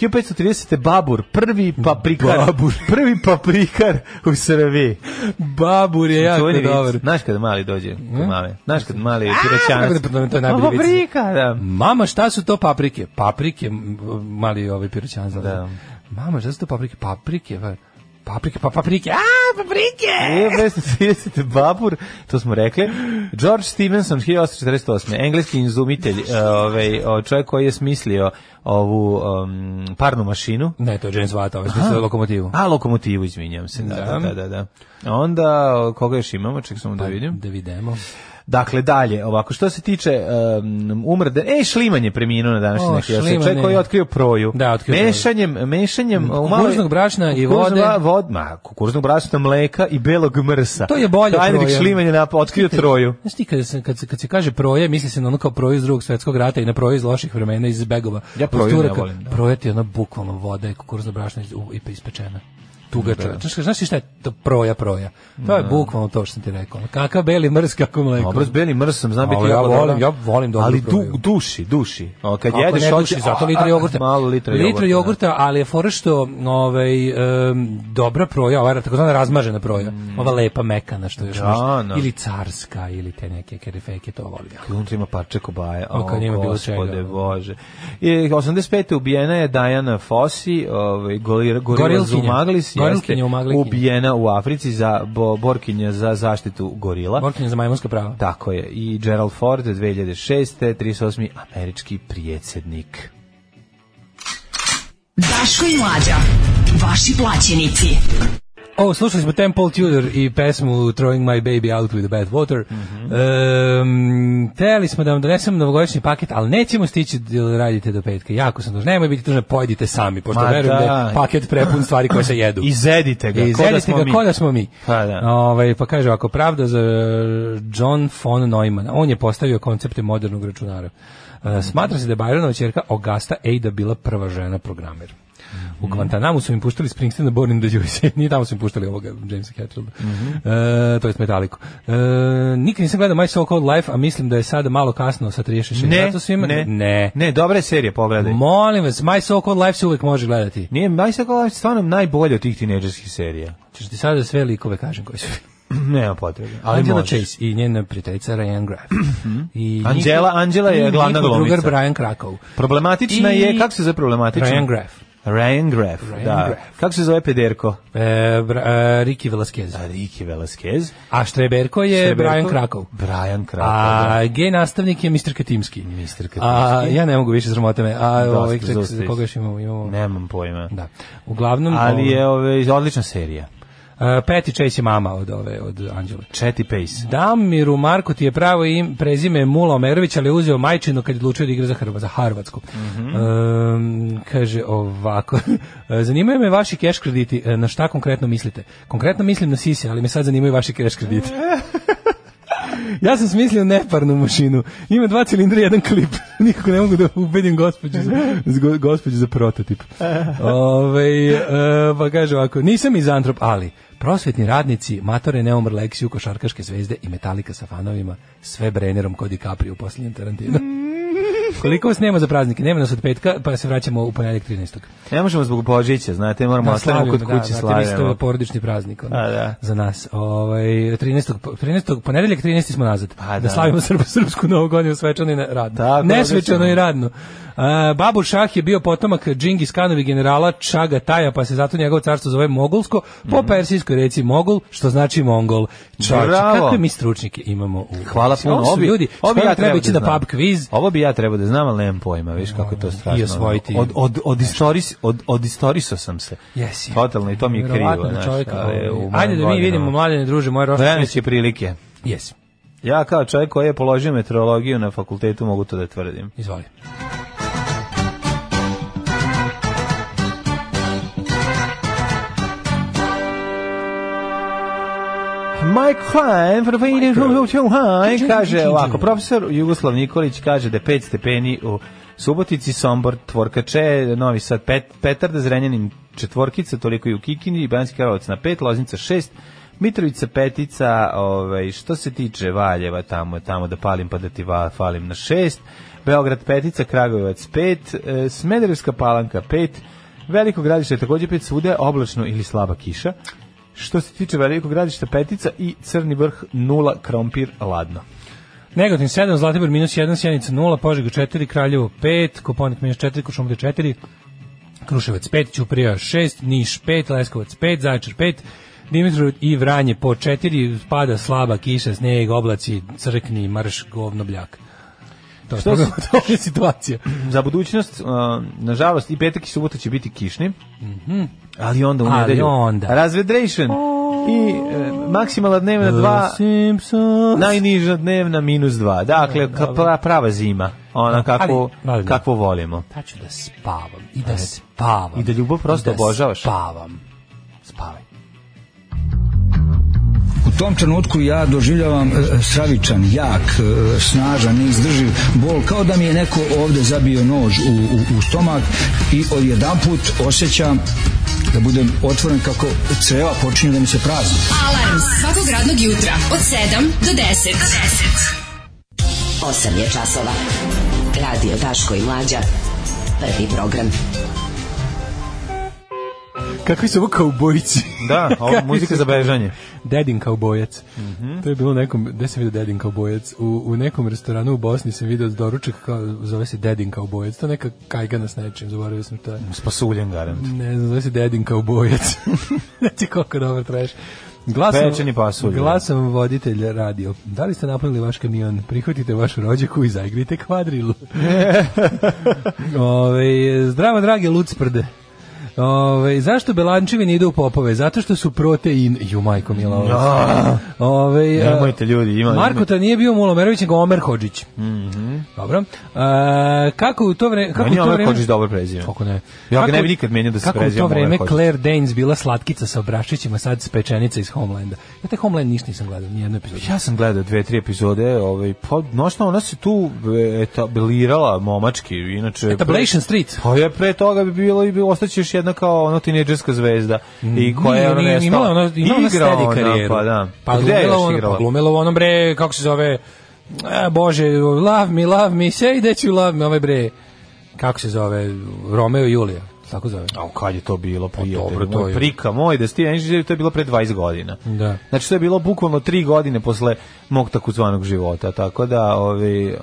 S7: 1530. Babur, prvi paprikar.
S5: Babur.
S7: Prvi paprikar u Srbiji.
S5: Babur je jako
S7: Čuveni vic.
S5: dobar.
S7: Znaš kad mali dođe kod mame? Znaš kad mali piroćanac?
S5: tako da- to je najbolji vic.
S7: Paprika, da.
S5: Mama, šta su to paprike? Paprike, m, mali ovaj piroćan zna.
S7: Da.
S5: Mama, šta su to paprike? Paprike, pa- paprike, pa paprike. A, paprike!
S7: E, 1530. Babur, to smo rekli. George Stevenson, 1848. Engleski izumitelj, e, ovaj, o, čovjek koji je smislio ovu um, parnu mašinu.
S5: Ne, to je James Watt, ovaj smislio lokomotivu.
S7: A, lokomotivu, izvinjam se. Da, Pa, da, da. da, da. A Onda, o, koga još imamo? Ček samo da vidim.
S5: Da vidimo.
S7: Dakle, dalje, ovako, što se tiče um, umrde, e, Šliman je preminuo na današnji
S5: O,
S7: dan. Šliman
S5: Šliman
S7: Čovjek koji je
S5: je.
S7: otkrio proju.
S5: Da, otkrio proju.
S7: mešanjem, mešanjem u malo-
S5: Kukuruznog brašna i
S7: kukuruznog
S5: vode.
S7: bra- vod, ma, kukuruznog brašna, mleka i belog mrsa.
S5: To je bolja
S7: Heinrich
S5: proja.
S7: Šliman je nap- otkrio troju.
S5: Znaš ti, kad se, kad, se, kad se kaže proje, misli se na ono kao proje iz drugog svetskog rata i na proje iz loših vremena, iz begova.
S7: Ja
S5: Od
S7: proju ne
S5: Turaka.
S7: volim, da.
S5: Proje ti je ono bukvalno voda i kukuruzno brašno iz- u- i pa ispečena. Tuga čovjek. Znaš, znaš ti šta je to proja, proja? To je bukvalno to što sam ti rekao. Ono, Kakav beli mrs, kako mleko.
S7: Dobro, s belim mrsom, znam biti
S5: Ali ja
S7: jako
S5: volim,
S7: dobro.
S5: ja volim dobru
S7: Ali du-
S5: proju.
S7: duši, duši. O, kad
S5: Kako
S7: jedeš,
S5: ne
S7: hoće-
S5: duši, zato
S7: a,
S5: litra
S7: a,
S5: jogurta.
S7: Malo litra jogurta.
S5: Litra jogurta, ali je fora što ovaj, em, dobra proja, ova takozvana razmažena proja, ova lepa mekana što još
S7: Mm. Da,
S5: možda-
S7: da.
S5: ili carska, ili te neke kerifejke, to volim. ja.
S7: I unutra ima parče kobaje.
S5: O, kad nema bilo čega.
S7: Bože. I 85. ubijena je Diana Fossi, ovaj, gorila, gorila
S5: Gorilkinja.
S7: Zumaglis,
S5: Gorilkinja
S7: jeste
S5: Zumagliskinja.
S7: ubijena u Africi za bo, borkinja za zaštitu gorila.
S5: Borkinje za majmonska prava.
S7: Tako je. I Gerald Ford 2006. 38. američki prijedsjednik.
S4: Daško i Mlađa. Vaši plaćenici.
S5: O, slušali smo Temple Tudor i pesmu Throwing My Baby Out With The Bad Water.
S7: Mhm.
S5: Em, teli smo da vam donesemo novogodišnji paket, ali nećemo stići da radite do petka. Jako sam dužan. Nemoj biti tužan, pojedite sami, pošto
S7: Ma
S5: verujem da
S7: da.
S5: je paket prepun stvari koje se jedu.
S7: I zedite ga.
S5: I
S7: ko da
S5: izredite
S7: smo
S5: ga
S7: mi.
S5: ko da smo mi.
S7: Pa da.
S5: Ovaj, pa kaže, ako pravda za eh, John von Neumann, on je postavio koncepte modernog računara. E, smatra se da je Bajronova čerka Augusta Ada bila prva žena programer. U
S7: Mhm.
S5: Guantanamu su im puštali Springsteena, Born in the Juice. Nije tamo su im puštali ovoga, Jamesa Hetfielda.
S7: Mhm.
S5: E, to je Metalliku. E, nikad nisam gledao My So Called Life, a mislim da je sada malo kasno sa 36.
S7: Ne,
S5: Zato svima-
S7: ne,
S5: ne.
S7: ne, dobra je serija, pogledaj.
S5: Molim vas, My So Called Life se uvek može gledati.
S7: Nije, Majsakova je stvarno najbolje od tih tineđerskih serija.
S5: Češ ti sada sve likove kažem koji su
S7: Nema potrebe. Ali
S5: Angela
S7: možeš. Mhm.
S5: Chase i njena prijateljica Ryan Graff. I
S7: Anđela-
S5: njihov-
S7: Anđela je
S5: i
S7: glavna
S5: njihov
S7: glumica.
S5: drugar Brian Krakow.
S7: Problematična
S5: I-
S7: je, kako se zove problematična?
S5: Ryan Graff.
S7: Ryan Graff,
S5: Ryan
S7: da.
S5: Graff.
S7: Kako se zove pederko?
S5: E, Bra- e, Ricky Velasquez.
S7: Riki Velasquez.
S5: A Štreberko je
S7: Štreberko?
S5: E, Brian Krakow.
S7: Brian Krakow, da.
S5: A gej nastavnik je Mr. Katimski. Mr.
S7: Katimski.
S5: A, ja ne mogu više sramota me. A, ovaj, ček,
S7: dosta
S5: za koga još imamo? imamo
S7: Nemam pojma.
S5: Da. Uglavnom,
S7: Ali je ove, odlična serija.
S5: ovaj, e, Patty Chase je mama od ove, od Anđele.
S7: Chetty Pace.
S5: Damiru Marko ti je pravo im prezime Mula Omerović, ali je uzeo majčinu kad je odlučio da igra za, Hrva, za Harvatsku. Ehm, kaže ovako, zanimaju me vaši cash krediti, E, na šta konkretno mislite? Konkretno mislim na sise, ali me sad zanimaju vaši cash krediti. Ja sam smislio neparnu mašinu. Ima dva cilindra i jedan klip. Nikako ne mogu da ubedim gospođu za, z- go- gospođu za prototip. Ove, e, pa kaže ovako, nisam izantrop, ali prosvetni radnici, matore neumr leksiju, košarkaške zvezde i metalika sa fanovima, sve brenerom kod Capri u posljednjem Tarantinu. Koliko vas nema za praznike? Nema nas od petka, pa se vraćamo u ponedjeljak 13.
S7: Ne možemo zbog Božića, znate, moramo da, ostavimo
S5: slavimo,
S7: kod kuće
S5: da, Da, to
S7: slavimo.
S5: je porodični praznik ono,
S7: A, da.
S5: za nas. Ovaj 13. po- 13. ponedeljak 13. smo nazad.
S7: A,
S5: da.
S7: Pa, da.
S5: slavimo srpsku srpsku novu godinu svečano i na- radno.
S7: Tako,
S5: Nesvečano
S7: odlično.
S5: i radno. A, Babur Šah je bio potomak Džingis Kanovi generala Čaga Taja, pa se zato njegovo carstvo zove Mogulsko,
S7: Mhm.
S5: po persijskoj reci Mogul, što znači Mongol. Čovječe,
S7: Bravo.
S5: kakve mi stručnike imamo u...
S7: Hvala
S5: Ovo
S7: puno.
S5: su
S7: Ovi,
S5: ljudi,
S7: ovi
S5: stvarno treba
S7: ja treba
S5: ići
S7: da
S5: na
S7: znam.
S5: pub quiz.
S7: Ovo bi ja trebao da znam, ali nemam pojma, viš kako je to strašno.
S5: I osvojiti.
S7: Od, od, od, istoris, od, od istoriso sam se.
S5: Yes, yes.
S7: Totalno, i to mi je krivo.
S5: Vjerovatno
S7: znaš,
S5: čovjek,
S7: ali
S5: ovaj,
S7: u mojim
S5: Ajde da mi
S7: godinama.
S5: vidimo, mladene druže, moje rošće.
S7: Vremeće prilike.
S5: Jesi,
S7: Ja kao čovjek koji je položio meteorologiju na fakultetu mogu to da tvrdim.
S5: izvoli.
S7: Mike Klein, for the feeling from Shanghai, kaže ovako, profesor Jugoslav Nikolić kaže da je 5 stepeni u Subotici, Sombor, Tvorkače, Novi Sad, Pet, Petarda, Zrenjanin, Četvorkica, toliko i u Kikini, Banski Karlovac na 5, Loznica 6, Mitrovica petica, ovaj, što se tiče Valjeva, tamo je tamo da palim pa da ti va, falim na 6, Beograd petica, Kragujevac pet, e, Smederevska palanka pet, Veliko gradište takođe pet svuda, oblačno ili slaba kiša. Što se tiče Velikog gradišta petica i Crni vrh nula, Krompir ladno.
S5: Negotin 7, Zlatibor minus 1, Sjenica 0, Požega 4, Kraljevo 5, Koponik minus 4, Košumlje 4, Kruševac 5, Ćuprija 6, Niš 5, Leskovac 5, Zaječar 5, Dimitrov i Vranje po 4, pada slaba kiša, sneg, oblaci, crkni, marš, govno, bljak. To je, to,
S7: Što si-
S5: to je situacija.
S7: Za budućnost, e, nažalost, i petak i subota će biti kišni, Mhm. ali onda u
S5: Ali
S7: nedelju.
S5: onda.
S7: Razvedration i e, maksimala dnevna 2,
S5: Simpsons.
S7: najniža dnevna minus 2. Dakle, ka- pra- prava zima, ona kako,
S5: ali-
S7: kako volimo.
S5: Ja ću da spavam i da spavam.
S7: I da ljubav prosto
S5: I da
S7: obožavaš.
S5: Spavam. Spavaj.
S8: U tom trenutku ja doživljavam e, stravičan, jak, e, snažan, neizdrživ bol, kao da mi je neko ovde zabio nož u, u, u stomak i odjedanput osjećam da budem otvoren kako creva počinju da mi se prazni.
S4: Alarm svakog radnog jutra od 7 do 10. Do 10.
S9: 8 je časova. Radio Daško i Mlađa. Prvi program.
S5: Kakvi su ovo kaubojici?
S7: Da, ovo je
S5: Kakvi
S7: muzika
S5: su-
S7: za bežanje. Mhm.
S5: Dedin kaubojac. To je bilo u nekom, gde sam vidio Dedin kaubojac? U, u nekom restoranu u Bosni sam vidio doručak, kao, zove se Dedin kaubojac. To je neka kajgana s nečim, zaboravio sam to.
S7: Spasuljen garant.
S5: Ne znam, zove se Dedin kaubojac. znači koliko dobar treš. Glasom,
S7: Pečeni pasulj.
S5: Glasom voditelja radio. Da li ste napunili vaš kamion? Prihvatite vašu rođaku i zaigrite kvadrilu. Ove, zdravo, dragi lucprde. Ove, zašto Belančevi ne idu u popove? Zato što su protein... Ju, majko, mila. ovo. Ove, a,
S7: Nemojte ljudi, ima... Mhm.
S5: Marko ta nije bio Mulomerović, nego Omer Hodžić. Dobro. A, kako u to vreme... Kako
S7: Meni je ovaj
S5: u to
S7: Omer
S5: vreme...
S7: Hodžić dobro prezime.
S5: Kako ne?
S7: Ja ga
S5: Kako-
S7: ne bi nikad menio da se
S5: Kako u
S7: prezivamo
S5: to
S7: Omer
S5: vreme
S7: Hodžić.
S5: Claire Danes bila slatkica sa obrašićima, sad spečenica iz Homelanda. Ja te Homeland ništa nisam gledao, nijednu epizodu.
S7: Ja sam gledao dve, tri epizode, ovaj, pa, znaš šta, ona se tu e, etablirala momački, inače...
S5: Etablation Street.
S7: Pa je pre toga bi bilo i bilo ostaće još jedna kao ono tinejdžerska zvezda i koja
S5: Mm. Nije,
S7: je ono
S5: nije,
S7: nestala.
S5: Imala ona, imala ona
S7: Igra
S5: steady
S7: ona,
S5: karijeru.
S7: Pa da.
S5: Pa
S7: Gde je
S5: glumila
S7: još
S5: ona-
S7: igrala?
S5: Pa glumila u onom bre, kako se zove, e, bože, love me, love me, say that you love me, ovaj bre, kako se zove, Romeo i Julija, tako zove.
S7: A kad je to bilo, prijatelj?
S5: Pa dobro, to
S7: moj,
S5: je-
S7: Prika moj, da Steven Engineer, to je bilo pre 20 godina.
S5: Da.
S7: Znači, to je bilo bukvalno 3 godine posle mog takozvanog života, tako da, ovi,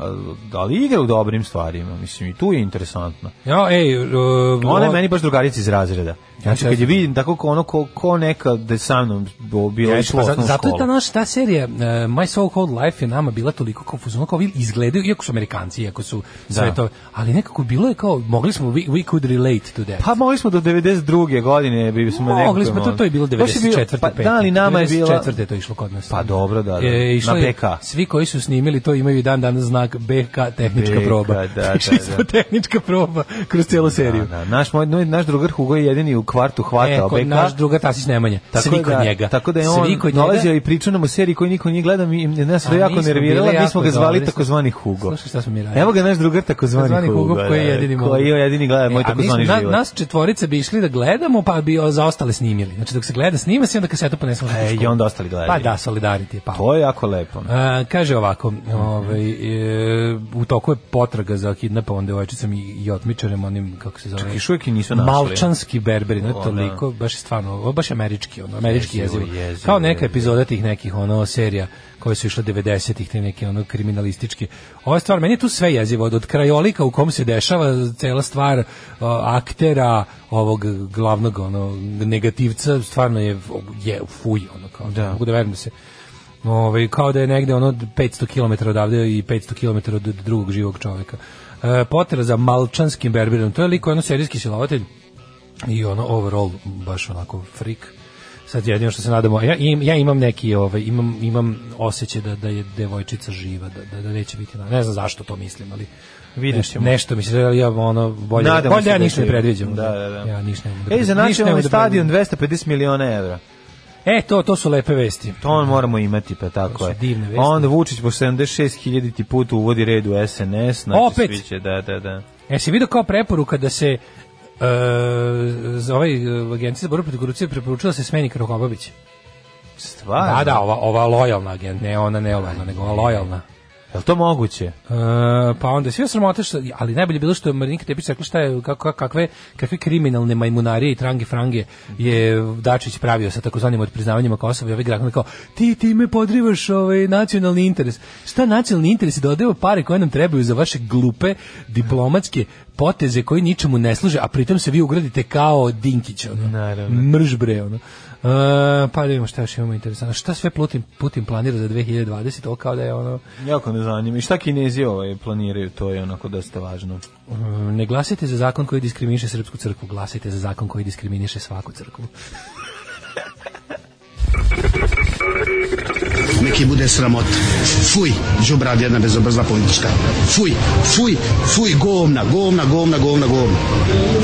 S7: ali igra u dobrim stvarima, mislim, i tu je interesantno.
S5: Ja, ej, uh,
S7: Ona je
S5: o-
S7: meni baš drugarica iz razreda. Znači, kad je vidim tako ko ono, ko, ko neka da je sa mnom bilo
S5: Jeste,
S7: išlo
S5: pa
S7: u
S5: za-
S7: osnovnu
S5: zato je ta
S7: školu.
S5: naša ta serija uh, My So Called Life je nama bila toliko kao fuzon kao vi izgledaju iako su Amerikanci iako su sve
S7: Da.
S5: to ali nekako bilo je kao mogli smo we, we could relate to that
S7: Pa mogli smo do 92. godine, bi smo nekako... ono,
S5: mogli smo to to je bilo
S7: Baš je bio-
S5: 94.
S7: Pa, da, ali nama je bila...
S5: 94. je to išlo kod nas E,
S7: Pa dobro, da, da.
S5: išlo
S7: na
S5: je-
S7: BK.
S5: svi koji su snimili to imaju i dan danas znak BK tehnička
S7: BK,
S5: proba
S7: da, da,
S5: Išli
S7: da.
S5: smo tehnička proba kroz cijelu seriju
S7: Da, Pa, da. Naš, moj, no, naš drugar Hugo je jedini u kvartu hvatao
S5: E, kod
S7: BK.
S5: naš druga Tasić Nemanja. Svi kod
S7: da,
S5: njega.
S7: Tako da je
S5: Svi
S7: on
S5: kod njega.
S7: dolazio i pričao nam o seriji koju niko nije gledao i nas
S5: A,
S7: to jako
S5: mi smo
S7: nervirala,
S5: bili
S7: mi smo ga
S5: jako
S7: zvali
S5: dobri.
S7: takozvani Hugo.
S5: Slušaj šta smo mi radili.
S7: Evo ga naš drugar takozvani
S5: Takozvani
S7: Hugo.
S5: Hugo, koji je
S7: da,
S5: jedini E,
S7: Koji je jedini gleda moj
S5: a mi smo-
S7: takozvani
S5: na-
S7: život.
S5: Nas četvorice bi išli da gledamo, pa bi o- za ostale snimili. Znači, dok se gleda, snima se i onda kasetu ponesemo.
S7: E, i onda ostali gledaju.
S5: Pa da, E, solidarity je pao.
S7: To je jako lepo.
S5: A, kaže ovako, ovaj, e, u toku je potraga za kidnapovom devojčicom i, i otmičarem, onim, kako se zove...
S7: Čak još uvijek i nisu našli.
S5: Malčanski berberi, no
S7: O,
S5: toliko, baš je stvarno, ovo je baš američki, ono, američki
S7: Jezivo,
S5: jezivo.
S7: jezivo,
S5: Kao neka
S7: jezivo.
S5: epizoda tih nekih, ono, serija koje su išle 90-ih, te neke, ono, kriminalističke. Ovo je stvar, meni je tu sve jezivo, od, od krajolika u kom se dešava cela stvar, o, aktera, ovog glavnog, ono, negativca, stvarno je, je fuj, ono, kao, da. mogu da verujem da se Ovaj kao da je negde ono 500 km odavde i 500 km od drugog živog čoveka. E, potera za malčanskim berberom. To je liko ono serijski silovatelj i ono overall baš onako freak. Sad jedino što se nadamo, ja, im, ja imam neki, ovaj, imam, imam osjećaj da, da je devojčica živa, da, da, da neće biti, na- ne znam zašto to mislim, ali
S7: Vidjet
S5: neš-
S7: ćemo.
S5: Nešto mi se da ja ono bolje,
S7: Nadamo
S5: bolje
S7: se
S5: ja
S7: da
S5: ništa ne
S7: živi.
S5: predviđam.
S7: Da, da, da.
S5: Ja ništa ne mogu da
S7: Ej, E, za
S5: predviđam. Ništa ne mogu
S7: nacionalni
S5: da
S7: stadion 250 miliona evra.
S5: predviđam. E, to, to su lepe vesti.
S7: To on moramo imati, pa tako
S5: To su
S7: je.
S5: Znači, divne vesti.
S7: Onda Vučić po 76.000 put uvodi red u SNS. Znači
S5: Opet?
S7: Svi će, da, da, da.
S5: E, si vidio kao preporuka da se e, za ovaj e, agencija za borbu protiv korupcije preporučila da se smeni Krkobabić.
S7: Stvarno? Pa,
S5: Da, da, ova, ova lojalna agent, ne ona nelojalna, nego ova lojalna.
S7: Jel to moguće?
S5: E, pa onda sve sramote što, ali najbolje je bilo što je Marinika Tepić rekla šta je kako kakve kakve kriminalne majmunarije i trange frange je Dačić pravio sa takozvanim odpriznavanjima Kosova i ovaj Graham kao ti ti me podrivaš ovaj nacionalni interes. Šta nacionalni interes je da odeva pare koje nam trebaju za vaše glupe diplomatske poteze koji ničemu ne služe, a pritom se vi ugradite kao Dinkić, ono.
S7: Naravno.
S5: Mrž bre, ono. E, pa da vidimo šta još imamo interesantno. Šta sve Putin, Putin planira za 2020, to kao da je ono...
S7: Jako ne zanima. I šta kinezi ovaj planiraju, to je onako dosta važno.
S5: Mm, Ne glasite za zakon koji diskriminiše srpsku crkvu, glasite za zakon koji diskriminiše svaku crkvu.
S3: Neki bude sramot. Fuj, džubrad jedna bezobrzla politička. Fuj, fuj, fuj, govna, govna, govna, govna, govna.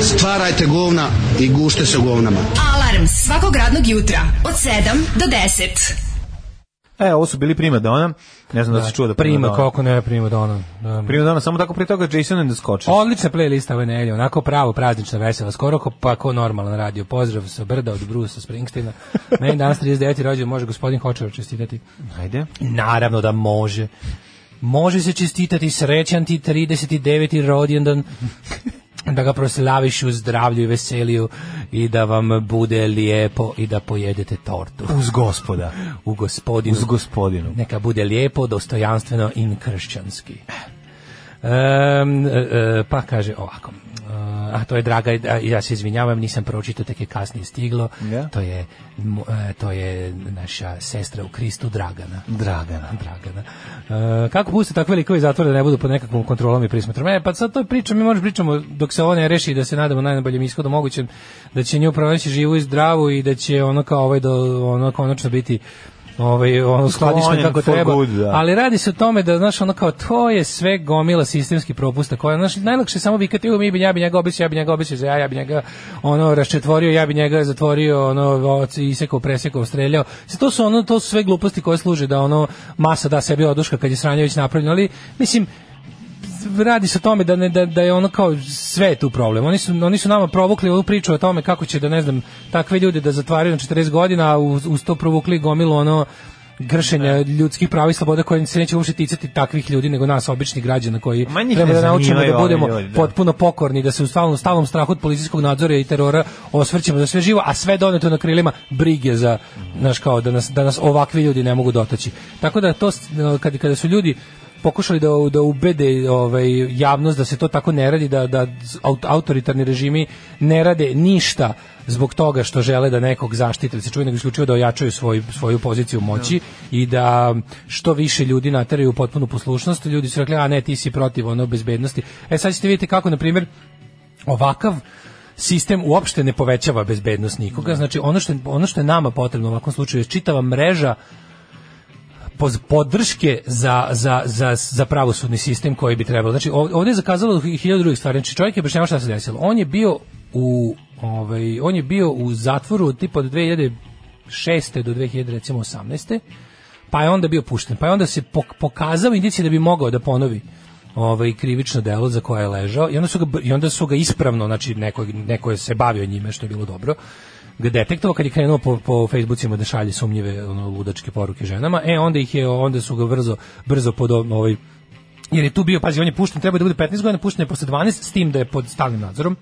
S3: Stvarajte govna i gušte se u govnama.
S4: Alarm svakog radnog jutra od 7 do 10.
S7: E, ovo su bili Prima Donna. Ne znam da, se čuo da
S5: prima, kako ne, prima dona. Da.
S7: Prima Donna, samo tako prije toga Jason and the Scotches.
S5: Odlična playlista ove nelje, onako pravo praznična vesela, skoro ko, pa ko normalan radio. Pozdrav sa brda od Brusa Springsteena. Meni je danas 39. rođen, može gospodin Hočevar čestitati.
S7: Ajde.
S5: Naravno da može. Može se čestitati srećan ti 39. rođendan da ga proslaviš u zdravlju i veselju i da vam bude lijepo i da pojedete tortu.
S7: Uz gospoda.
S5: u gospodinu.
S7: Uz gospodinu.
S5: Neka bude lijepo, dostojanstveno i kršćanski. Em, e, e, pa kaže ovako. E, a to je draga, a ja se izvinjavam, nisam pročitao, tek je kasnije stiglo.
S7: Da.
S5: To, je, mo- e, to je naša sestra u Kristu, Dragana.
S7: Dragana.
S5: Dragana. E, kako puste takve likove iz zatvora da ne budu pod nekakvom kontrolom i prismotrom? E, pa sad to pričamo, mi možemo pričamo dok se ovo ne reši da se nadamo najboljem ishodu mogućem, da će nju pronaći živu i zdravu i da će ono kao ovaj do, ono konačno biti ovaj ono skladišten
S7: Sklonjen
S5: kako
S7: for
S5: treba.
S7: good, da.
S5: Ali radi se o tome da znaš ono kao to je sve gomila sistemskih propusta koja znaš najlakše je samo vikati "U, mi bi ja bi njega obesio, ja bi njega obesio, za ja, ja bi njega ono raščetvorio, ja bi njega zatvorio, ono oci- isekao, presekao, streljao. Sve to su ono to su sve gluposti koje služe da ono masa da sebi oduška kad je Sranjević napravljen, ali mislim radi se o tome da, ne, da, da je ono kao sve je tu problem. Oni su, oni su nama provukli ovu priču o tome kako će da ne znam takve ljude da zatvaraju na 40 godina, a uz, uz to provukli gomilu ono gršenja ljudskih prava i sloboda koje se neće uopšte ticati takvih ljudi nego nas običnih građana koji
S7: Ma njih
S5: treba
S7: ne
S5: da naučimo
S7: zanimaju
S5: da
S7: ovi
S5: budemo
S7: ljudi, da.
S5: potpuno pokorni, da se u stalnom, stalnom strahu od policijskog nadzora i terora osvrćemo za sve živo, a sve doneto na krilima brige za, znaš kao, da nas, da nas ovakvi ljudi ne mogu dotaći. Tako da to, s- kad, kada su ljudi pokušali da, da ubede ovaj, javnost da se to tako ne radi, da, da aut- autoritarni režimi ne rade ništa zbog toga što žele da nekog zaštite, da se čuje nego isključivo da ojačaju svoj, svoju poziciju moći i da što više ljudi nateraju u potpunu poslušnost, ljudi su rekli, a ne, ti si protiv ono bezbednosti. E sad ćete vidjeti kako, na primjer, ovakav sistem uopšte ne povećava bezbednost nikoga. Znači, ono što, je- ono što je nama potrebno u ovakvom slučaju je čitava mreža poz- podrške za, za, za, za pravosudni sistem koji bi trebalo. Znači, ov- ovdje je zakazalo i hiljadu drugih stvari. Znači, čovjek je objašnjavao šta se desilo. On je bio u, ovaj, on je bio u zatvoru od tipa od 2006. do 2018. Pa je onda bio pušten. Pa je onda se pok- pokazao indicije da bi mogao da ponovi ovaj krivično delo za koje je ležao i onda su ga, br- i onda su ga ispravno znači neko, neko je se bavio njime što je bilo dobro ga detektovao kad je krenuo po, po Facebookima da šalje sumnjive ono, ludačke poruke ženama e onda ih je onda su ga brzo brzo pod ovaj jer je tu bio pazi on je pušten treba da bude 15 godina pušten je posle 12 s tim da je pod stalnim nadzorom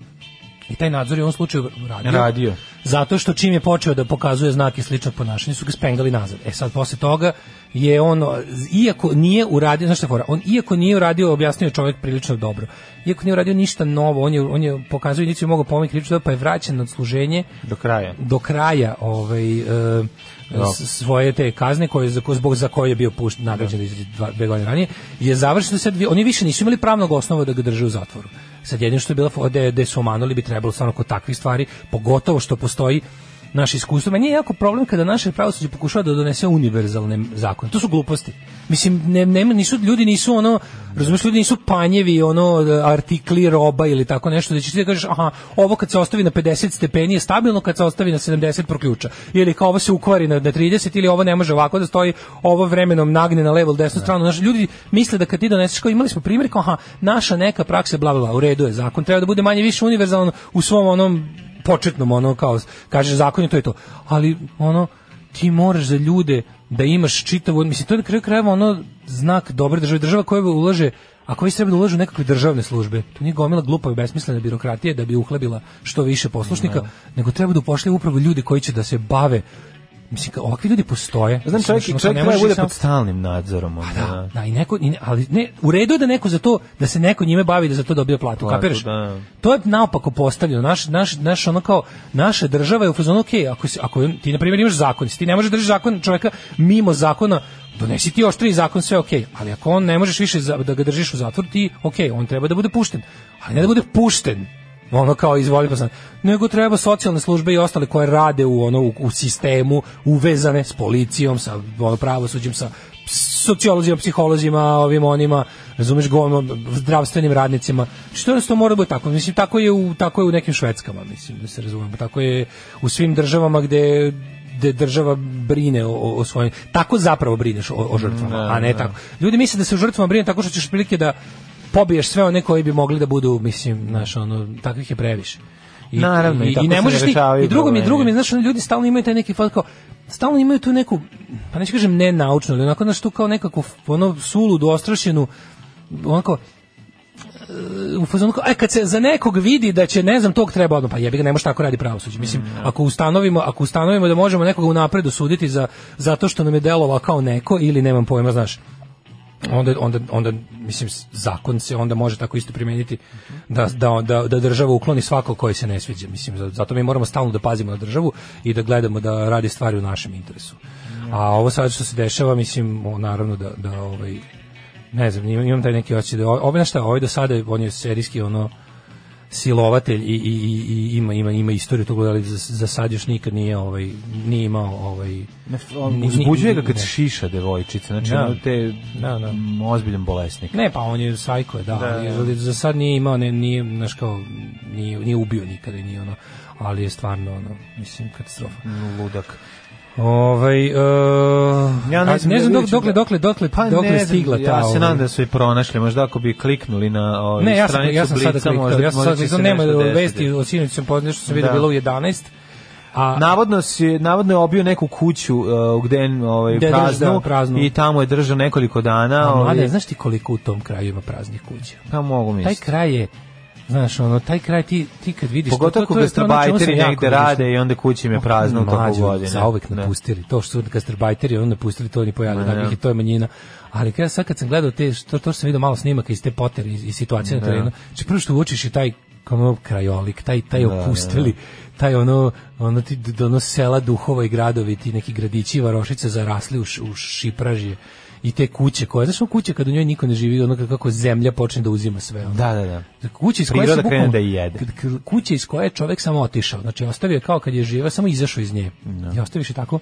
S5: i taj nadzor je u ovom slučaju radio.
S7: Radio.
S5: Zato što čim je počeo da pokazuje znake sličnog ponašanja su ga spengali nazad. E sad posle toga je on iako nije uradio, znaš šta je fora, on iako nije uradio, objasnio je čovjek prilično dobro. Iako nije uradio ništa novo, on je on je pokazao indiciju mogao pomoći krivično, delo, pa je vraćen na odsluženje
S7: Do kraja.
S5: do kraja ovaj e, s- svoje te kazne koje za koje- zbog za koje je bio pušten nagrađen iz dva dve godine ranije je završeno sad vi- oni više nisu imali pravnog osnova da ga drže u zatvoru. Sad jedino što je bilo da da su omanuli bi trebalo stvarno kod takvih stvari, pogotovo što postoji naše iskustvo. Meni je jako problem kada naše pravosuđe pokušava da donese univerzalne zakone. To su gluposti. Mislim, ne, nema- nisu, ljudi nisu ono, razumiješ, ljudi nisu panjevi, ono, artikli roba ili tako nešto, da ćeš ti da kažeš, aha, ovo kad se ostavi na 50 stepeni je stabilno, kad se ostavi na 70 proključa. Ili kao ovo se ukvari na, na 30, ili ovo ne može ovako da stoji, ovo vremenom nagne na levo ili desnu stranu. Znaš, ljudi misle da kad ti doneseš, kao imali smo primjer, kao, aha, naša neka praksa, bla, bla, bla, u redu je zakon, treba da bude manje više univerzalan u svom onom početnom ono kao kaže zakon je to je to ali ono ti moraš za ljude da imaš čitavu, mislim, to je na kraju krajeva ono znak dobre države, država koja ulaže, a koji se treba da ulaže u nekakve državne službe, to nije gomila glupa i besmislena birokratije da bi uhlebila što više poslušnika, nego treba da upošlje upravo ljudi koji će da se bave Mislim, kao, ovakvi ljudi postoje.
S7: Znam,
S5: Mislim,
S7: čovjek,
S5: znači, ono,
S7: čovjek,
S5: to ne
S7: treba
S5: možeš
S7: bude
S5: samo- Pa
S7: pod stalnim nadzorom. ono, onda,
S5: da, da, i neko, i ne- ali ne, u redu je da neko za to, da se neko njime bavi i da za to dobija platu,
S7: Platu,
S5: kapiraš?
S7: da.
S5: To je naopako postavljeno, naš, naš, naš ono kao, naša država je u fazonu, ok, ako, si, ako ti na primjer imaš zakon, ti ne možeš držiš zakon čovjeka mimo zakona, donesi ti oštriji zakon, sve ok, ali ako on ne možeš više za- da ga držiš u zatvoru, ti, ok, on treba da bude pušten, ali ne da bude pušten, ono kao izvoli pa sad. nego treba socijalne službe i ostale koje rade u ono u, u sistemu uvezane s policijom sa ono, pravosuđem sa sociolozima, psiholozima, ovim onima, razumeš, govno, zdravstvenim radnicima. Što jednostavno mora da bude tako? Mislim, tako je u, tako je u nekim švedskama, mislim, da se razumemo. Tako je u svim državama gde, gde država brine o, o- o svojim... Tako zapravo brineš o, o žrtvama, a ne tako. Ljudi misle da se o žrtvama brine tako što ćeš prilike da pobiješ sve one koji bi mogli da budu, mislim, znaš, ono, takvih je previše. I,
S7: Naravno, i
S5: i, i,
S7: tako
S5: ne
S7: se
S5: možeš ti,
S7: ne rešavaju
S5: i drugo mi,
S7: problemi.
S5: drugo mi, znaš, ono, ljudi stalno imaju taj neki fat kao, stalno imaju tu neku, pa neću kažem nenaučnu, ali onako, znaš, tu kao nekakvu, ono, suludu, ostrašenu, onako, u fazonu kao, e, kad se za nekog vidi da će, ne znam, tog treba odmah, pa jebi ga, ne može tako radi pravosuđe. Mislim,
S7: Mm,
S5: ako ustanovimo, ako ustanovimo da možemo nekoga unapred osuditi za, zato što nam je delovao kao neko ili nemam pojma, znaš, onda, onda, onda mislim zakon se onda može tako isto primeniti da, da, da, da država ukloni svako koji se ne sviđa mislim za- zato mi moramo stalno da pazimo na državu i da gledamo da radi stvari u našem interesu a ovo sad što se dešava mislim o, naravno da, da ovaj ne znam imam, imam taj neki osjećaj da ovaj šta ovaj do sada on je serijski ono silovatelj i, i, i, i ima ima ima istoriju tog ali za, za sad još nikad nije ovaj nije imao ovaj
S7: Ne, on
S5: ni-
S7: Uzbuđuje ga
S5: ni-
S7: kad
S5: ne.
S7: šiša devojčica, znači
S5: Da.
S7: ono te
S5: Da, da.
S7: m, ozbiljan bolesnik.
S5: Ne, pa on je sajko, da, ali, ali za sad nije imao, ne, nije, znaš kao, nije, nije ubio nikada, nije ono, ali je stvarno, ono, mislim, katastrofa.
S7: Ludak.
S5: Ovaj, uh,
S7: Ja ne
S5: a
S7: znam,
S5: ne znam
S7: ja
S5: dok,
S7: vidjet ću
S5: dokle,
S7: ga.
S5: dokle, dokle,
S7: Pa
S5: dokle
S7: ne
S5: je
S7: znam,
S5: stigla ta...
S7: ja se
S5: ovaj-
S7: nadam da su je pronašli, možda ako bi kliknuli na ovaj
S5: Ne, ja sam,
S7: stranicu
S5: ja sam sada
S7: Blica,
S5: kliknuo,
S7: možda,
S5: ja sam
S7: možda
S5: sada
S7: će
S5: kliknuo,
S7: se
S5: nema
S7: nešto
S5: vesti,
S7: desiti.
S5: o sinoć sam podneo što sam vidio
S7: Da.
S5: bilo u 11, a
S7: Navodno se navodno je obio neku kuću uh, gde je ovaj
S5: Gde je držao,
S7: praznu,
S5: da, praznu.
S7: i tamo je držao nekoliko dana,
S5: a mlade,
S7: ovaj
S5: znaš ti koliko u tom kraju ima praznih kuća?
S7: pa mogu
S5: Taj
S7: misliti.
S5: kraj je, znaš, ono, taj kraj ti, ti kad vidiš... to-
S7: Pogotovo
S5: to-
S7: ako
S5: to je ono na čemu
S7: gastarbajteri
S5: sam jako
S7: negde
S5: mislio.
S7: rade i onda kući im je prazno u toku
S5: Mlađi,
S7: godine.
S5: Zauvek
S7: Da.
S5: napustili. To što su gastarbajteri, ono napustili, to ni pojavili.
S7: Ne.
S5: Takvih i to je manjina. Ali kada sad kad sam gledao te, to, to što sam vidio malo snimaka iz te potere i, i situacije na terenu, znači prvo što uočiš je taj kao ono krajolik, taj, taj opustili, taj ono, ono, ti, d- ono sela duhova i gradovi, ti neki gradići i varošice zarasli u, š- u šipražje i te kuće koje, znaš ono kuće kad u njoj niko ne živi, ono kako zemlja počne da uzima sve. Ono.
S7: Da, da, da.
S5: Kuća iz koje
S7: Priroda
S5: se
S7: krene
S5: bukvalno-
S7: da je jede.
S5: k- k- Kuća iz koje je čovjek samo otišao. Znači ostavio je kao kad je živa, samo izašao iz nje. I ostaviš je tako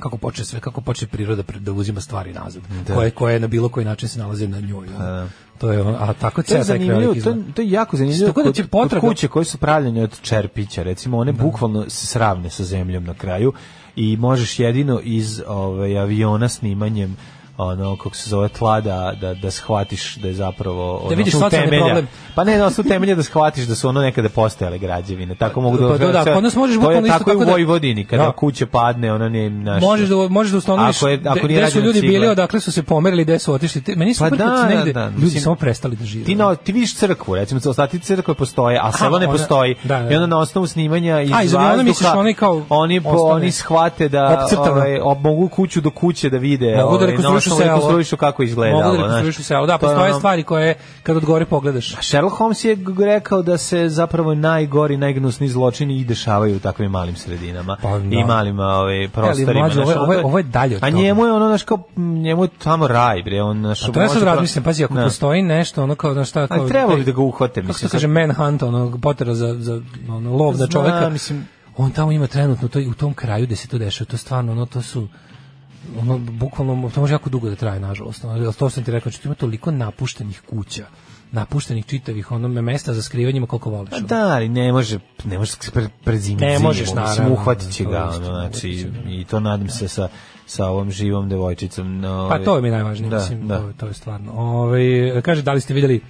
S5: kako počne sve, kako počne priroda pre- da uzima stvari nazad, koje, koje na bilo koji način se nalaze na njoj. ono. To je ono, a tako
S7: To je
S5: cijel taj
S7: zanimljivo,
S5: krajolik
S7: to,
S5: izgleda.
S7: to je jako zanimljivo.
S5: Tako da će
S7: kod- kod
S5: potraga-
S7: kuće koje su pravljene od čerpića, recimo, one bukvalno se sravne sa zemljom na kraju i možeš jedino iz ovaj, aviona snimanjem ono kako se zove tla da, da, da shvatiš da je zapravo ono,
S5: vidiš
S7: su
S5: socijalni
S7: temelja.
S5: problem.
S7: pa ne da su temelja da shvatiš da su ono nekada postojale građevine tako mogu da
S5: Pa da, da,
S7: sve-
S5: kod nas možeš
S7: to je
S5: bukvalno isto
S7: tako i u
S5: tako da-
S7: Vojvodini kada
S5: Da.
S7: kuća padne ona ne naš
S5: Možeš da možeš da ustanoviš
S7: Ako je- ako
S5: gde-
S7: nije
S5: gde su
S7: rađena
S5: ljudi
S7: cigla.
S5: bili, odakle su se pomerili, gde su otišli. Te- Meni je
S7: Pa
S5: super kad
S7: da,
S5: su
S7: da,
S5: negde
S7: da,
S5: ljudi
S7: mislim-
S5: samo prestali da žive.
S7: Ti, na, ti vidiš crkvu, recimo, ostati crkve postoje, a selo ne
S5: ona-
S7: postoji.
S5: da, da.
S7: I onda na osnovu snimanja iz,
S5: A, iz aviona
S7: vazduha,
S5: misliš oni kao
S7: oni, po-
S5: ostane.
S7: oni shvate da
S5: Opcrtano.
S7: ovaj, ob- mogu kuću do kuće da vide.
S5: Mogu da
S7: ovaj, na
S5: rekonstruišu
S7: osnovu
S5: selo.
S7: rekonstruišu kako izgleda. ono,
S5: Mogu da rekonstruišu selo. Da, postoje stvari koje kad od gore pogledaš.
S7: Sherlock Holmes je g- rekao da se zapravo najgori, najgnusniji zločini i dešavaju u takvim malim sredinama
S5: Pa, da.
S7: i malim ovaj, prostorima.
S5: mlađe,
S7: znaš,
S5: ovo je-
S7: ono,
S5: ovo je-
S7: to
S5: ovo je dalje od
S7: A
S5: toga.
S7: njemu je ono, znaš, kao, m, njemu je tamo raj, bre. On, znaš,
S5: A to ja
S7: može
S5: sad
S7: pro-
S5: razmišljam, pazi, ako
S7: Da.
S5: postoji nešto, ono kao, znaš šta,
S7: Ali
S5: kao...
S7: trebalo
S5: taj-
S7: bi da ga uhvate,
S5: Kako se to
S7: mislim,
S5: kaže,
S7: sad-
S5: manhunt, ono, potera za, za ono, lov na
S7: Znam,
S5: čoveka.
S7: mislim-
S5: On tamo ima trenutno, to, je u tom kraju gde se to dešava, to stvarno, ono, to su ono, bukvalno, to može jako dugo da traje, nažalost. Ono, jel to sam ti rekao, znači, tu ima toliko napuštenih kuća, napuštenih čitavih, ono, mesta za skrivanjima koliko voliš.
S7: Pa
S5: ono.
S7: da, ali ne može, ne možeš pre, prezimiti
S5: Ne
S7: zimu,
S5: možeš,
S7: mislim,
S5: naravno,
S7: uhvatit će
S5: to je
S7: ga,
S5: isto,
S7: ono, znači,
S5: uhvatit će ga.
S7: i to nadam se sa, sa ovom živom devojčicom. No, ovaj,
S5: Pa to je mi najvažnije,
S7: da,
S5: mislim,
S7: da.
S5: To, to je stvarno. Ovaj kaže da li ste vidjeli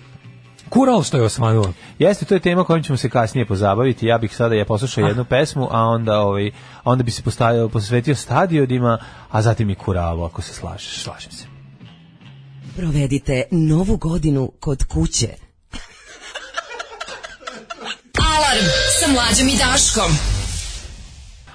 S5: Kural što je osvanuo.
S7: Jeste, to je tema kojom ćemo se kasnije pozabaviti. Ja bih sada ja poslušao
S5: Ah.
S7: jednu pesmu, a onda ovaj a onda bi se postavio posvetio stadionima, a zatim i kuralu ako se slažeš.
S5: Slažem se.
S9: Provedite novu godinu kod kuće.
S4: Alarm sa mlađom i Daškom.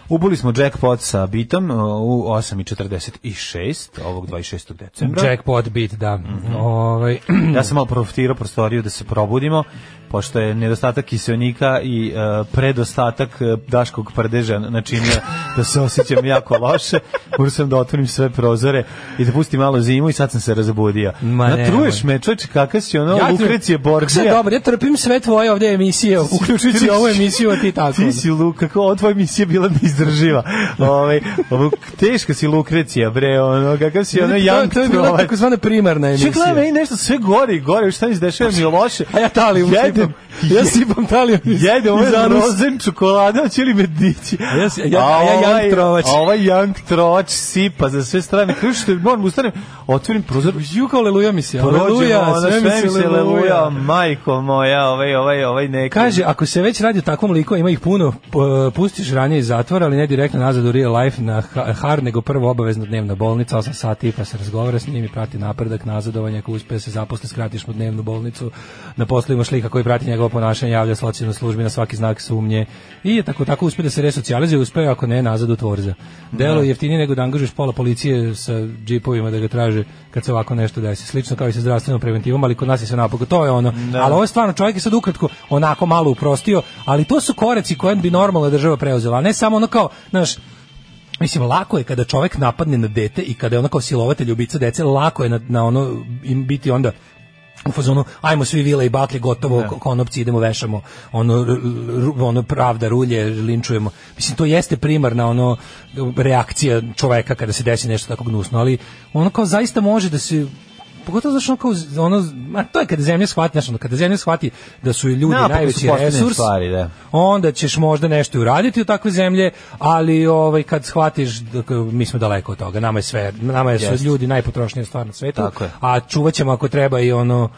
S7: Ubili smo jackpot sa bitom uh, u 8:46 ovog 26. decembra.
S5: Jackpot beat, da.
S7: Mhm.
S5: Ovaj,
S7: Ja sam malo profitirao prostoriju da se probudimo, pošto je nedostatak kiselnika i e, predostatak e, daškog prdeža načinio da se osjećam jako loše. Morao sam da otvorim sve prozore i da pustim malo zimu i sad sam se razbudio.
S5: Ma
S7: Ma,
S5: nemoj.
S7: Truješ me, čoveče, kakav si ono, ja
S5: trpim- Sve
S7: Lukrecije Borđija.
S5: dobro, ja trpim sve tvoje ovde emisije, uključujući ovu emisiju, a ti tako. ono.
S7: Ti si Luka, kako ova tvoja emisija bila neizdrživa. Ovaj, ovo, teška si Lukrecija, bre, ono, kakav si ono,
S5: To-
S7: jank
S5: to je bila
S7: trovač.
S5: takozvana primarna
S7: Čekaj,
S5: emisija.
S7: gledaj, meni nešto sve gori i gori, šta mi se dešava mi je loše.
S5: A ja talijum
S7: jedem,
S5: sipam. Ja sipam talijum. iz-
S7: jedem ovaj
S5: iz anusa.
S7: rozen čokolada, hoće li me dići?
S5: A ja si- a ja- a ja jank
S7: ovaj-
S5: trovač.
S7: A ovaj jank trovač sipa za sve strane. Kako što je, moram ustanem, otvorim prozor,
S5: Ju kao leluja mi se.
S7: prođem,
S5: Leluja,
S7: ono, sve mi se leluja, majko moja, ovaj, ovaj, ovaj neki.
S5: Kaže, ako se već radi o takvom liku, a ima ih puno, p- pustiš ranije iz zatvora, ali ne direktno nazad u real life na ha- har, nego prvo obavezno dnevna bolnica, 8 sati, pa se razgovara s njim i prati napredak, nazadovanje, ako uspe se zaposle, skratiš mu dnevnu bolnicu, na poslu imaš lika koji prati njegovo ponašanje, javlja socijalnoj službi na svaki znak sumnje i tako tako uspe da se resocijalizuje, uspe ako ne, nazad u tvorza. Delo je jeftinije nego da angažuješ pola policije sa džipovima da ga traže kad se ovako nešto desi. Slično kao i sa zdravstvenom preventivom, ali kod nas je sve napako. To je ono. Ali ovo je stvarno, čovjek je sad ukratko onako malo uprostio, ali to su koreci koje bi normalna država preuzela, a ne samo ono kao, znaš, Mislim, lako je kada čovjek napadne na dete i kada je ono kao silovatelj ubica dece, lako je na, na ono im biti onda u fazonu, ajmo svi vile i baklje, gotovo, ko- konopci, idemo vešamo, ono, r- r- ono pravda rulje, linčujemo. Mislim, to jeste primarna ono reakcija čoveka kada se desi nešto tako gnusno, ali ono kao zaista može da se Pogotovo zašto ono kao, z- ono, ma to je kada zemlja shvati, znaš, ono, kada zemlja shvati da su ljudi
S7: Napokon su
S5: najveći
S7: postavljene
S5: resurs,
S7: stvari, da.
S5: onda ćeš možda nešto i uraditi u takve zemlje, ali ovaj kad shvatiš da k- mi smo daleko od toga, nama je sve, nama je su
S7: Jeste.
S5: ljudi najpotrošnija stvar na svetu,
S7: Tako je.
S5: a čuvaćemo ako treba i ono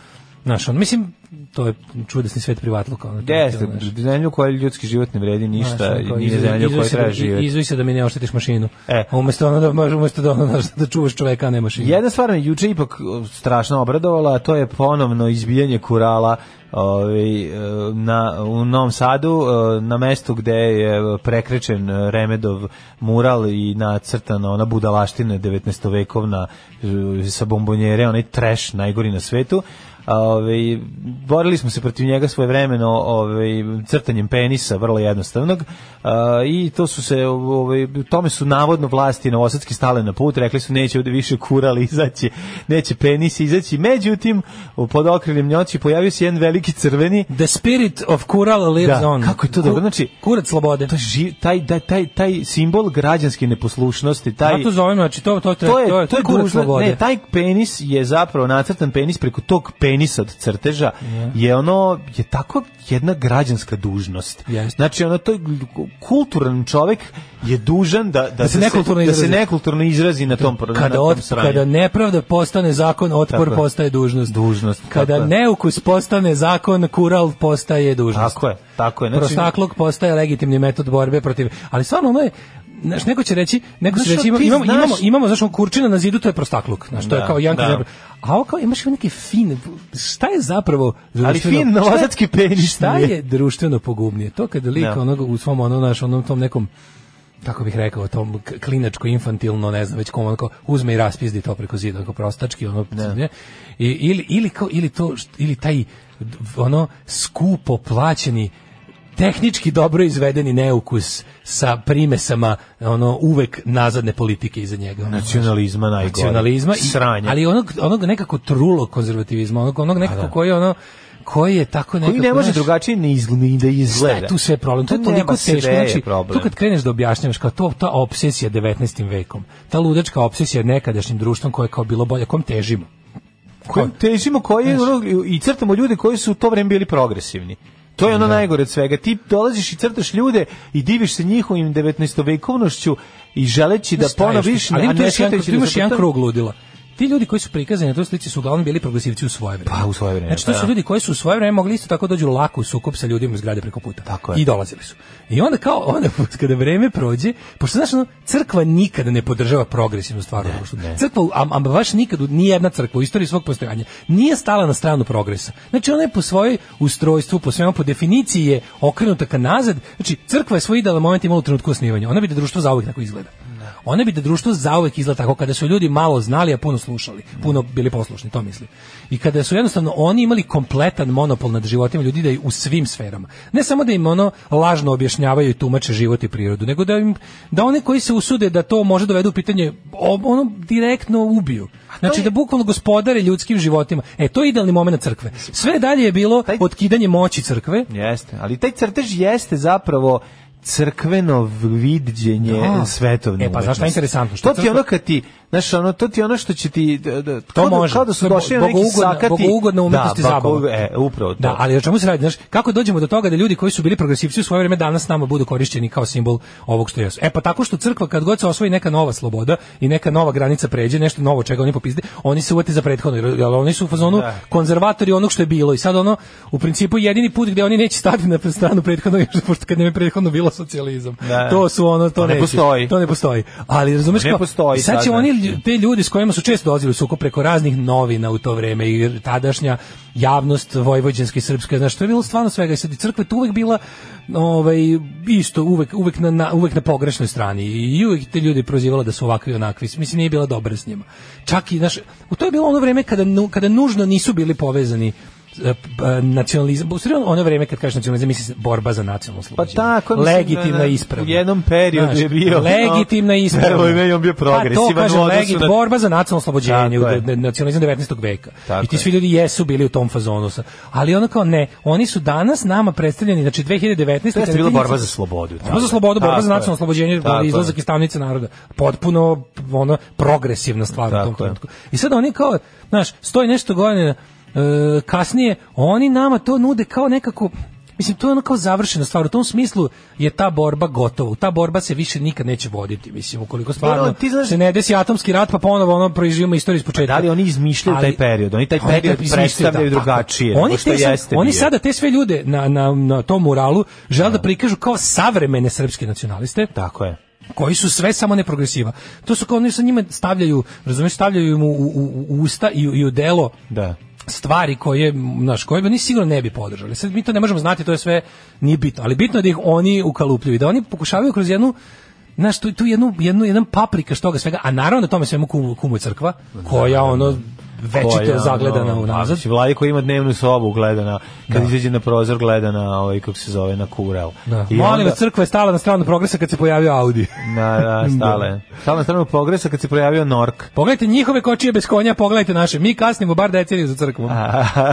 S5: Znaš, on, mislim, to je čudesni svet privatluka. Ono, to je
S7: Jeste,
S5: to, znaš.
S7: zemlju u kojoj ljudski život ne vredi ništa,
S5: Znaš, ono, kao,
S7: nije
S5: izuj-
S7: zemlja u
S5: izuj
S7: kojoj
S5: se
S7: treba
S5: da- i-
S7: živjeti.
S5: Izuj se da mi ne oštetiš mašinu.
S7: E.
S5: A umesto ono da, baš umesto da, ono, znaš, da čuvaš čoveka, a ne mašinu.
S7: Znači, Jedna stvar me juče ipak uh, strašno obradovala, a to je ponovno izbijanje kurala ovaj, uh, na, u Novom Sadu, uh, na mestu gde je prekrečen uh, Remedov mural i nacrtana ona budalaština 19-vekovna uh, sa bombonjere, onaj trash najgori na svetu. Ove, Ovaj, borili smo se protiv njega svoje vremeno ove, crtanjem penisa, vrlo jednostavnog a, i to su se ove, tome su navodno vlasti novosadski stale na put, rekli su neće ovde više kurali izaći, neće penis izaći međutim, pod okriljem njoći pojavio se jedan veliki crveni
S5: The spirit of Kural lives
S7: Da,
S5: on.
S7: kako je to dobro, znači-
S5: Kurac slobode.
S7: to je ži, taj, taj, taj, taj simbol građanske neposlušnosti taj,
S5: Zato zovem, znači, to, to, to,
S7: to je, to je,
S5: kurac
S7: dužna-
S5: slobode.
S7: ne, taj penis je zapravo nacrtan penis preko tog penisa od crteža je ono, je tako jedna građanska dužnost.
S5: Jeste.
S7: Znači, ono, to je kulturan čovek je dužan da, da,
S5: se nekulturno
S7: da se
S5: izrazi.
S7: nekulturno izrazi na tom, pro- na
S5: kada
S7: tom
S5: od,
S7: sranju.
S5: kada nepravda postane zakon, otpor
S7: Tako je.
S5: postaje dužnost.
S7: Dužnost,
S5: Kada
S7: tako je.
S5: neukus postane zakon, kural postaje dužnost.
S7: Tako je, tako je. Znači,
S5: Prostakluk postaje legitimni metod borbe protiv. Ali stvarno ono je Znaš, neko će reći, neko će
S7: Znaš,
S5: reći,
S7: a
S5: imamo,
S7: ti
S5: imamo,
S7: znaš-
S5: imamo, imamo, znaš, ono kurčina na zidu, to je prostakluk. Znaš, to je
S7: Da,
S5: kao Janko
S7: da.
S5: Zebra. A ovo kao, imaš neke fine, šta je zapravo društveno-
S7: fin
S5: šta je-
S7: novosadski penis
S5: Šta
S7: nije.
S5: je društveno pogubnije? To kada lik
S7: Da.
S5: onog u svom, ono, naš, onom tom nekom kako bih rekao, tom k- klinačko, infantilno, ne znam, već kom onako uzme i raspizdi to preko zida, onako prostački, ono, ne. I, ili, ili, kao, ili, to, št- ili taj d- ono skupo plaćeni tehnički dobro izvedeni neukus sa primesama ono uvek nazadne politike iza njega. ono,
S7: nacionalizma najgore.
S5: nacionalizma i
S7: sranja. Pa
S5: ali onog onog nekako trulo konzervativizma, onog onog nekako koji je ono koji je tako nekako
S7: koji ne može
S5: znaš,
S7: drugačije ni izgleda, ni da
S5: Šta
S7: izgleda.
S5: je tu sve problem? To je
S7: Pa nema,
S5: toliko
S7: sve
S5: teško.
S7: je
S5: Znači,
S7: problem.
S5: to kad kreneš da objašnjavaš kao to, ta obsesija 19. vekom, ta ludačka obsesija nekadašnjim društvom koje je kao bilo bolje, kom težimo.
S7: Kojim težimo koji ono, i crtamo ljude koji su u to vreme bili progresivni. To je ono najgore od svega. Ti dolaziš i crtaš ljude i diviš se njihovim 19-vekovnošću i želeći da
S5: Staješ ti.
S7: ponoviš,
S5: ali
S7: a
S5: ima tu
S7: ne
S5: još jedan,
S7: shvatajući
S5: tu imaš
S7: da
S5: jedan
S7: zapravo-
S5: krug ludila. ti ljudi koji su prikazani na toj slici su uglavnom bili progresivci u svoje vreme.
S7: Pa, u svoje vreme,
S5: Znači, to
S7: pa
S5: su
S7: da.
S5: ljudi koji su u svoje vreme mogli isto tako dođu lako u sukob sa ljudima iz grada preko puta.
S7: Tako je.
S5: I dolazili su. I onda kao, onda kada vreme prođe, pošto znaš, ono, crkva nikada ne podržava progresivnu stvar. u društvu. Crkva, a, a baš nikad, ni jedna crkva u istoriji svog postojanja, nije stala na stranu progresa. Znači, ona je po svojoj ustrojstvu, po svemu, po definiciji je okrenuta ka nazad. Znači, crkva je svoj idealan moment imala u trenutku osnivanja. Ona bi da društvo zauvijek tako izgleda. Ona bi da društvo zauvek izgleda tako kada su ljudi malo znali, a puno slušali, puno bili poslušni, to mislim. I kada su jednostavno oni imali kompletan monopol nad životima ljudi da i u svim sferama. Ne samo da im ono lažno objašnjavaju i tumače život i prirodu, nego da im da one koji se usude da to može dovedu u pitanje o- ono direktno ubiju. Znači da bukvalno gospodare ljudskim životima. E to je idealni momenat crkve. Sve dalje je bilo
S7: Taj-
S5: otkidanje moći crkve.
S7: Jeste, ali taj crtež jeste zapravo crkveno viđenje
S5: Da.
S7: svetovne
S5: E, pa, znaš šta je
S7: umetnosti.
S5: interesantno? Što
S7: To ti je
S5: crkva-
S7: ono kad ti, znaš, ono, to ti je ono što će ti, da, da, kao
S5: To
S7: da-
S5: može.
S7: Kao da su
S5: To je
S7: došli na neki
S5: bogougodna-
S7: sakati.
S5: bogougodna umetnost i
S7: da,
S5: zabava.
S7: bogougo- E, upravo to.
S5: Da, ali o čemu se radi? Znaš, kako dođemo do toga da ljudi koji su bili progresivci u svoje vreme danas nama budu korišćeni kao simbol ovog što jesu? E pa tako što crkva kad god se osvoji neka nova sloboda i neka nova granica pređe, nešto novo čega oni popizde, oni se uvete za prethodno, jer, jer oni su u fazonu konzervatori onog što je bilo i sad ono, u principu jedini put gde oni neće stati na stranu prethodno, jer pošto kad nam je prethodno bilo socijalizam.
S7: Da.
S5: To su ono, to,
S7: To ne
S5: neće.
S7: postoji.
S5: To ne postoji. Ali razumeš
S7: Ne
S5: kao,
S7: postoji
S5: sad će
S7: sad,
S5: oni
S7: znači.
S5: te ljudi s kojima su često dolazili u sukob preko raznih novina u to vreme i tadašnja javnost vojvođanska i srpska, znaš, to je bilo stvarno svega i sad i crkva je tu uvek bila ovaj, isto, uvek, uvek, na, na, uvek na pogrešnoj strani i uvek te ljudi prozivala da su ovakvi i onakvi, mislim nije bila dobra s njima. Čak i, znaš, u to je bilo ono vreme kada, nu- kada nužno nisu bili povezani e, p- e, nacionalizam, u stvari ono vreme kad kažeš nacionalizam, misli se borba za nacionalnu slobodu.
S7: Pa tako, mislim,
S5: Znači, legitimna
S7: da, da,
S5: ispravna.
S7: u jednom periodu je bio, ono,
S5: Legitimna ispravna.
S7: evo, i meni je on bio progresivan
S5: Pa to
S7: u
S5: kažem,
S7: odnosu
S5: legit,
S7: na-
S5: borba za nacionalno oslobođenje,
S7: Tako je.
S5: u- nacionalizam 19. veka.
S7: Tako
S5: I ti
S7: je.
S5: svi ljudi jesu bili u tom fazonu. sa- Ali ono kao ne, oni su danas nama predstavljeni, znači 2019.
S7: To jeste bila
S5: kada ti-
S7: borba za slobodu.
S5: Borba za slobodu, borba za nacionalno oslobođenje, borba
S7: Tako je.
S5: izlazak iz tamnice naroda. Potpuno ono progresivna stvar u
S7: Tako
S5: tom
S7: je.
S5: trenutku. I sad oni kao, znaš, stoji nešto godine e, kasnije, oni nama to nude kao nekako Mislim, to je ono kao završena stvar. U tom smislu je ta borba gotova. Ta borba se više nikad neće voditi, mislim, ukoliko stvarno
S7: Dobro, ti znaš-
S5: se ne desi atomski rat, pa ponovo ono proživimo istoriju iz početka.
S7: Da li oni izmišljaju taj
S5: Ali-
S7: period? Oni taj
S5: Oni
S7: period
S5: izmišljaju,
S7: predstavljaju
S5: da, tako.
S7: drugačije.
S5: Oni,
S7: nego što
S5: te sad-
S7: jeste
S5: oni
S7: bio.
S5: sada te sve ljude na, na, na tom muralu žele da prikažu kao savremene srpske nacionaliste
S7: Tako je.
S5: koji su sve samo neprogresiva. To su kao oni sa njima stavljaju, razumiješ, stavljaju im u, u, u- u usta i, u- i u delo
S7: Da.
S5: stvari koje, m, znaš, koje bi oni sigurno ne bi podržali. Sad mi to ne možemo znati, to je sve nije bitno, ali bitno je da ih oni ukalupljuju, i da oni pokušavaju kroz jednu Znaš, tu, tu jednu, jednu, jedan paprika što toga svega, a naravno da tome svemu kumu, kumu je crkva, koja ono večito
S7: Koja,
S5: zagledana
S7: ono,
S5: u nazad.
S7: znači, Vladi koji ima dnevnu sobu gleda na, kad
S5: Da.
S7: izađe na prozor gleda na, ovaj, kako se zove, na kurel.
S5: Da.
S7: I
S5: Molim
S7: onda-
S5: vas, crkva je stala na stranu progresa kad se pojavio Audi.
S7: Na, da, stale. Stala na stranu progresa kad se pojavio Nork.
S5: Pogledajte njihove kočije bez konja, pogledajte naše. Mi kasnimo bar deceniju za crkvom.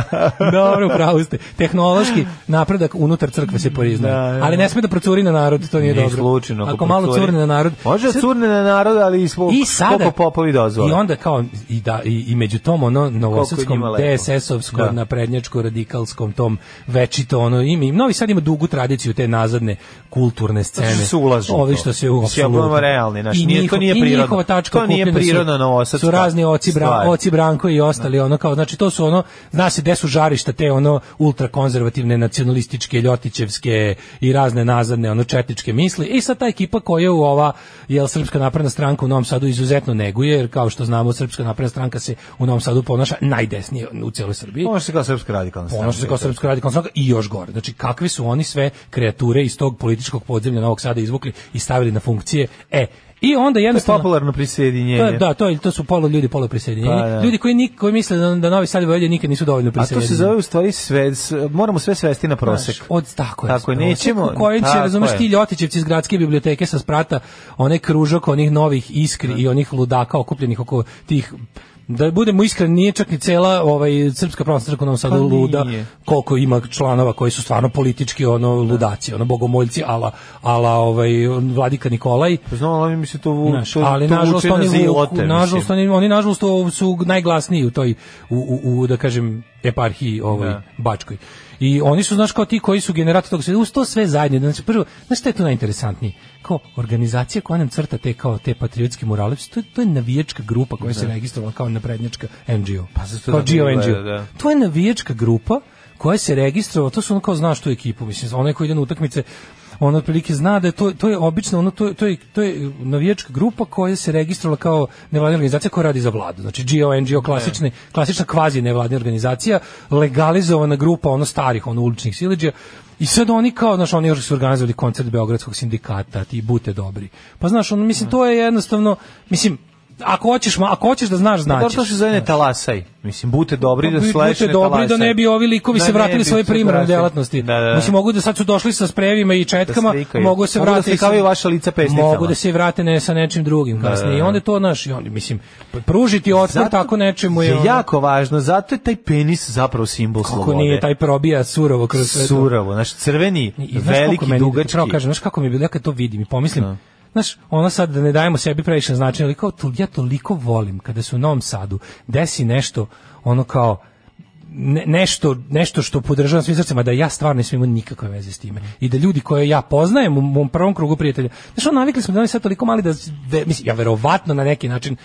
S5: Dobro, pravo ste. Tehnološki napredak unutar crkve se poriznaje.
S7: Da, da.
S5: Ali ne sme da procuri na narod, to nije
S7: Ni
S5: dobro.
S7: slučajno,
S5: Ako,
S7: ako
S5: malo
S7: procuri-
S5: curne na narod.
S7: Može da
S5: Sad-
S7: curne na narod, ali i svog,
S5: I sada
S7: koliko popovi dozvole.
S5: I onda kao i da i, i među tom ono novosadskom
S7: njima lepo.
S5: DSS-ovskom
S7: Da.
S5: naprednjačko radikalskom tom večito ono ima im Novi Sad ima dugu tradiciju te nazadne kulturne scene.
S7: Zato što se ulaže Znači, u
S5: Ovi
S7: to.
S5: što se
S7: Mislim, ja budem
S5: apsolutno-
S7: realni, znaš,
S5: I
S7: nije- to
S5: njiho-
S7: nije
S5: i
S7: prirodno.
S5: njihova tačka
S7: To nije
S5: okupljanja su-
S7: prirodna novosadska
S5: Su razni oci, Bra-
S7: stvar.
S5: oci Branko i ostali ono kao znači to su ono zna se gde su žarišta te ono ultrakonzervativne nacionalističke ljotićevske i razne nazadne ono četničke misli i sad ta ekipa koja u ova jel srpska napredna stranka u Novom Sadu izuzetno neguje jer kao što znamo srpska napredna stranka se u Novom Sadu ponaša najdesnije u celoj Srbiji
S7: Može se kao srpska radikalna stranka.
S5: ponaša se kao srpska radikalna stranka i još gore. Znači, kakve su oni sve kreature iz tog političkog podzemlja Novog Sada izvukli i stavili na funkcije? E, i onda
S7: To je
S5: jednostavno...
S7: popularno
S5: To je-
S7: prisjedinjenje.
S5: Pa da, to, je- to su polo ljudi, polo prisajedinjeni.
S7: Pa, da.
S5: Ljudi koji, nik, koji misle da, da Novi Sad i Vojvodina nikad nisu dovoljno
S7: A to
S5: prisajedinjeni.
S7: se zove u stvari sve, s- moramo sve svesti na prosek.
S5: Znaš, od tako je.
S7: Tako je,
S5: prosek
S7: nećemo-
S5: u Koji će,
S7: tako
S5: razumeš,
S7: je.
S5: ti Ljotićevci iz gradske biblioteke sa sprata onaj kružok onih novih iskri i onih ludaka okupljenih oko tih da budemo iskreni, nije čak ni cela ovaj, Srpska pravna crkva u Novom Sadu
S7: Pa
S5: luda,
S7: nije.
S5: koliko ima članova koji su stvarno politički ono ludaci, ono bogomoljci ala, ala ovaj, Vladika Nikolaj
S7: Znamo, oni Pa mi se to vu,
S5: Znaš,
S7: to,
S5: ali
S7: to
S5: nažalost
S7: vuče na
S5: oni vuku,
S7: zilote, mislim.
S5: nažalost oni oni nažalost u- su najglasniji u toj u, u, u da kažem eparhiji ovoj
S7: Da.
S5: Bačkoj. I oni su, znaš, kao ti koji su generatori tog sve, uz to sve zajedno. Znači, prvo, znaš šta je tu najinteresantnije? Kao organizacija koja nam crta te, kao te patriotske murale, to je, to je navijačka grupa koja se registrovala kao naprednjačka NGO. Pa
S7: zato
S5: kao
S7: da ne
S5: Geo
S7: gleda,
S5: NGO.
S7: da.
S5: To je navijačka grupa koja se registrovala, to su ono kao znaš tu ekipu, mislim, onaj koji ide na utakmice, on otprilike zna da je to, to je obično ono, to, je- to, je, to je navijačka grupa koja se registrovala kao nevladina organizacija koja radi za vladu. Znači GO, NGO, klasične, klasična kvazi nevladina organizacija, legalizovana grupa ono starih, ono uličnih sileđa I sad oni kao, znaš, oni još su organizovali koncert Beogradskog sindikata, ti bute dobri. Pa znaš, ono, mislim, to je jednostavno, mislim, ako hoćeš, ma- ako hoćeš da znaš,
S7: Pa Dobro,
S5: znaćeš.
S7: to se zove ne talasaj. Mislim, bute dobri da
S5: Pa, Budite
S7: sleše ne
S5: dobri da
S7: talasaj.
S5: ne bi ovi likovi
S7: Da
S5: se
S7: ne
S5: vratili
S7: bi
S5: svoje
S7: se
S5: primarne
S7: vratili.
S5: djelatnosti.
S7: Da, da, da.
S5: Mislim, mogu da sad su došli sa sprejevima i četkama,
S7: Da slikaju.
S5: mogu se
S7: Mogu da
S5: vratiti...
S7: slikavaju vaša lica pesnicama.
S5: Mogu da se vrate ne, sa nečim drugim kasnije. I onda je to, naš, i onda, mislim, pružiti otpor
S7: Zato
S5: tako nečemu je...
S7: je
S5: ono-
S7: jako važno, zato je taj penis zapravo simbol
S5: Kako
S7: slobode.
S5: nije taj probija surovo kroz sve to.
S7: suravo, znaš, crveni,
S5: I- i znaš koliko
S7: veliki,
S5: meni,
S7: dugački.
S5: Pravo kažem, znaš kako mi je bilo, ja kad to vidim i pomislim, Znaš, ono sad da ne dajemo sebi previše značenja, ali kao, to, ja toliko volim kada se u Novom Sadu desi nešto, ono kao, ne, nešto, nešto što podržavam svim srcem, a da ja stvarno ne smijem imati nikakve veze s time. I da ljudi koje ja poznajem u mom prvom krugu prijatelja, znaš, ono, navikli smo da oni sad toliko mali da, ve- mislim, ja verovatno na neki način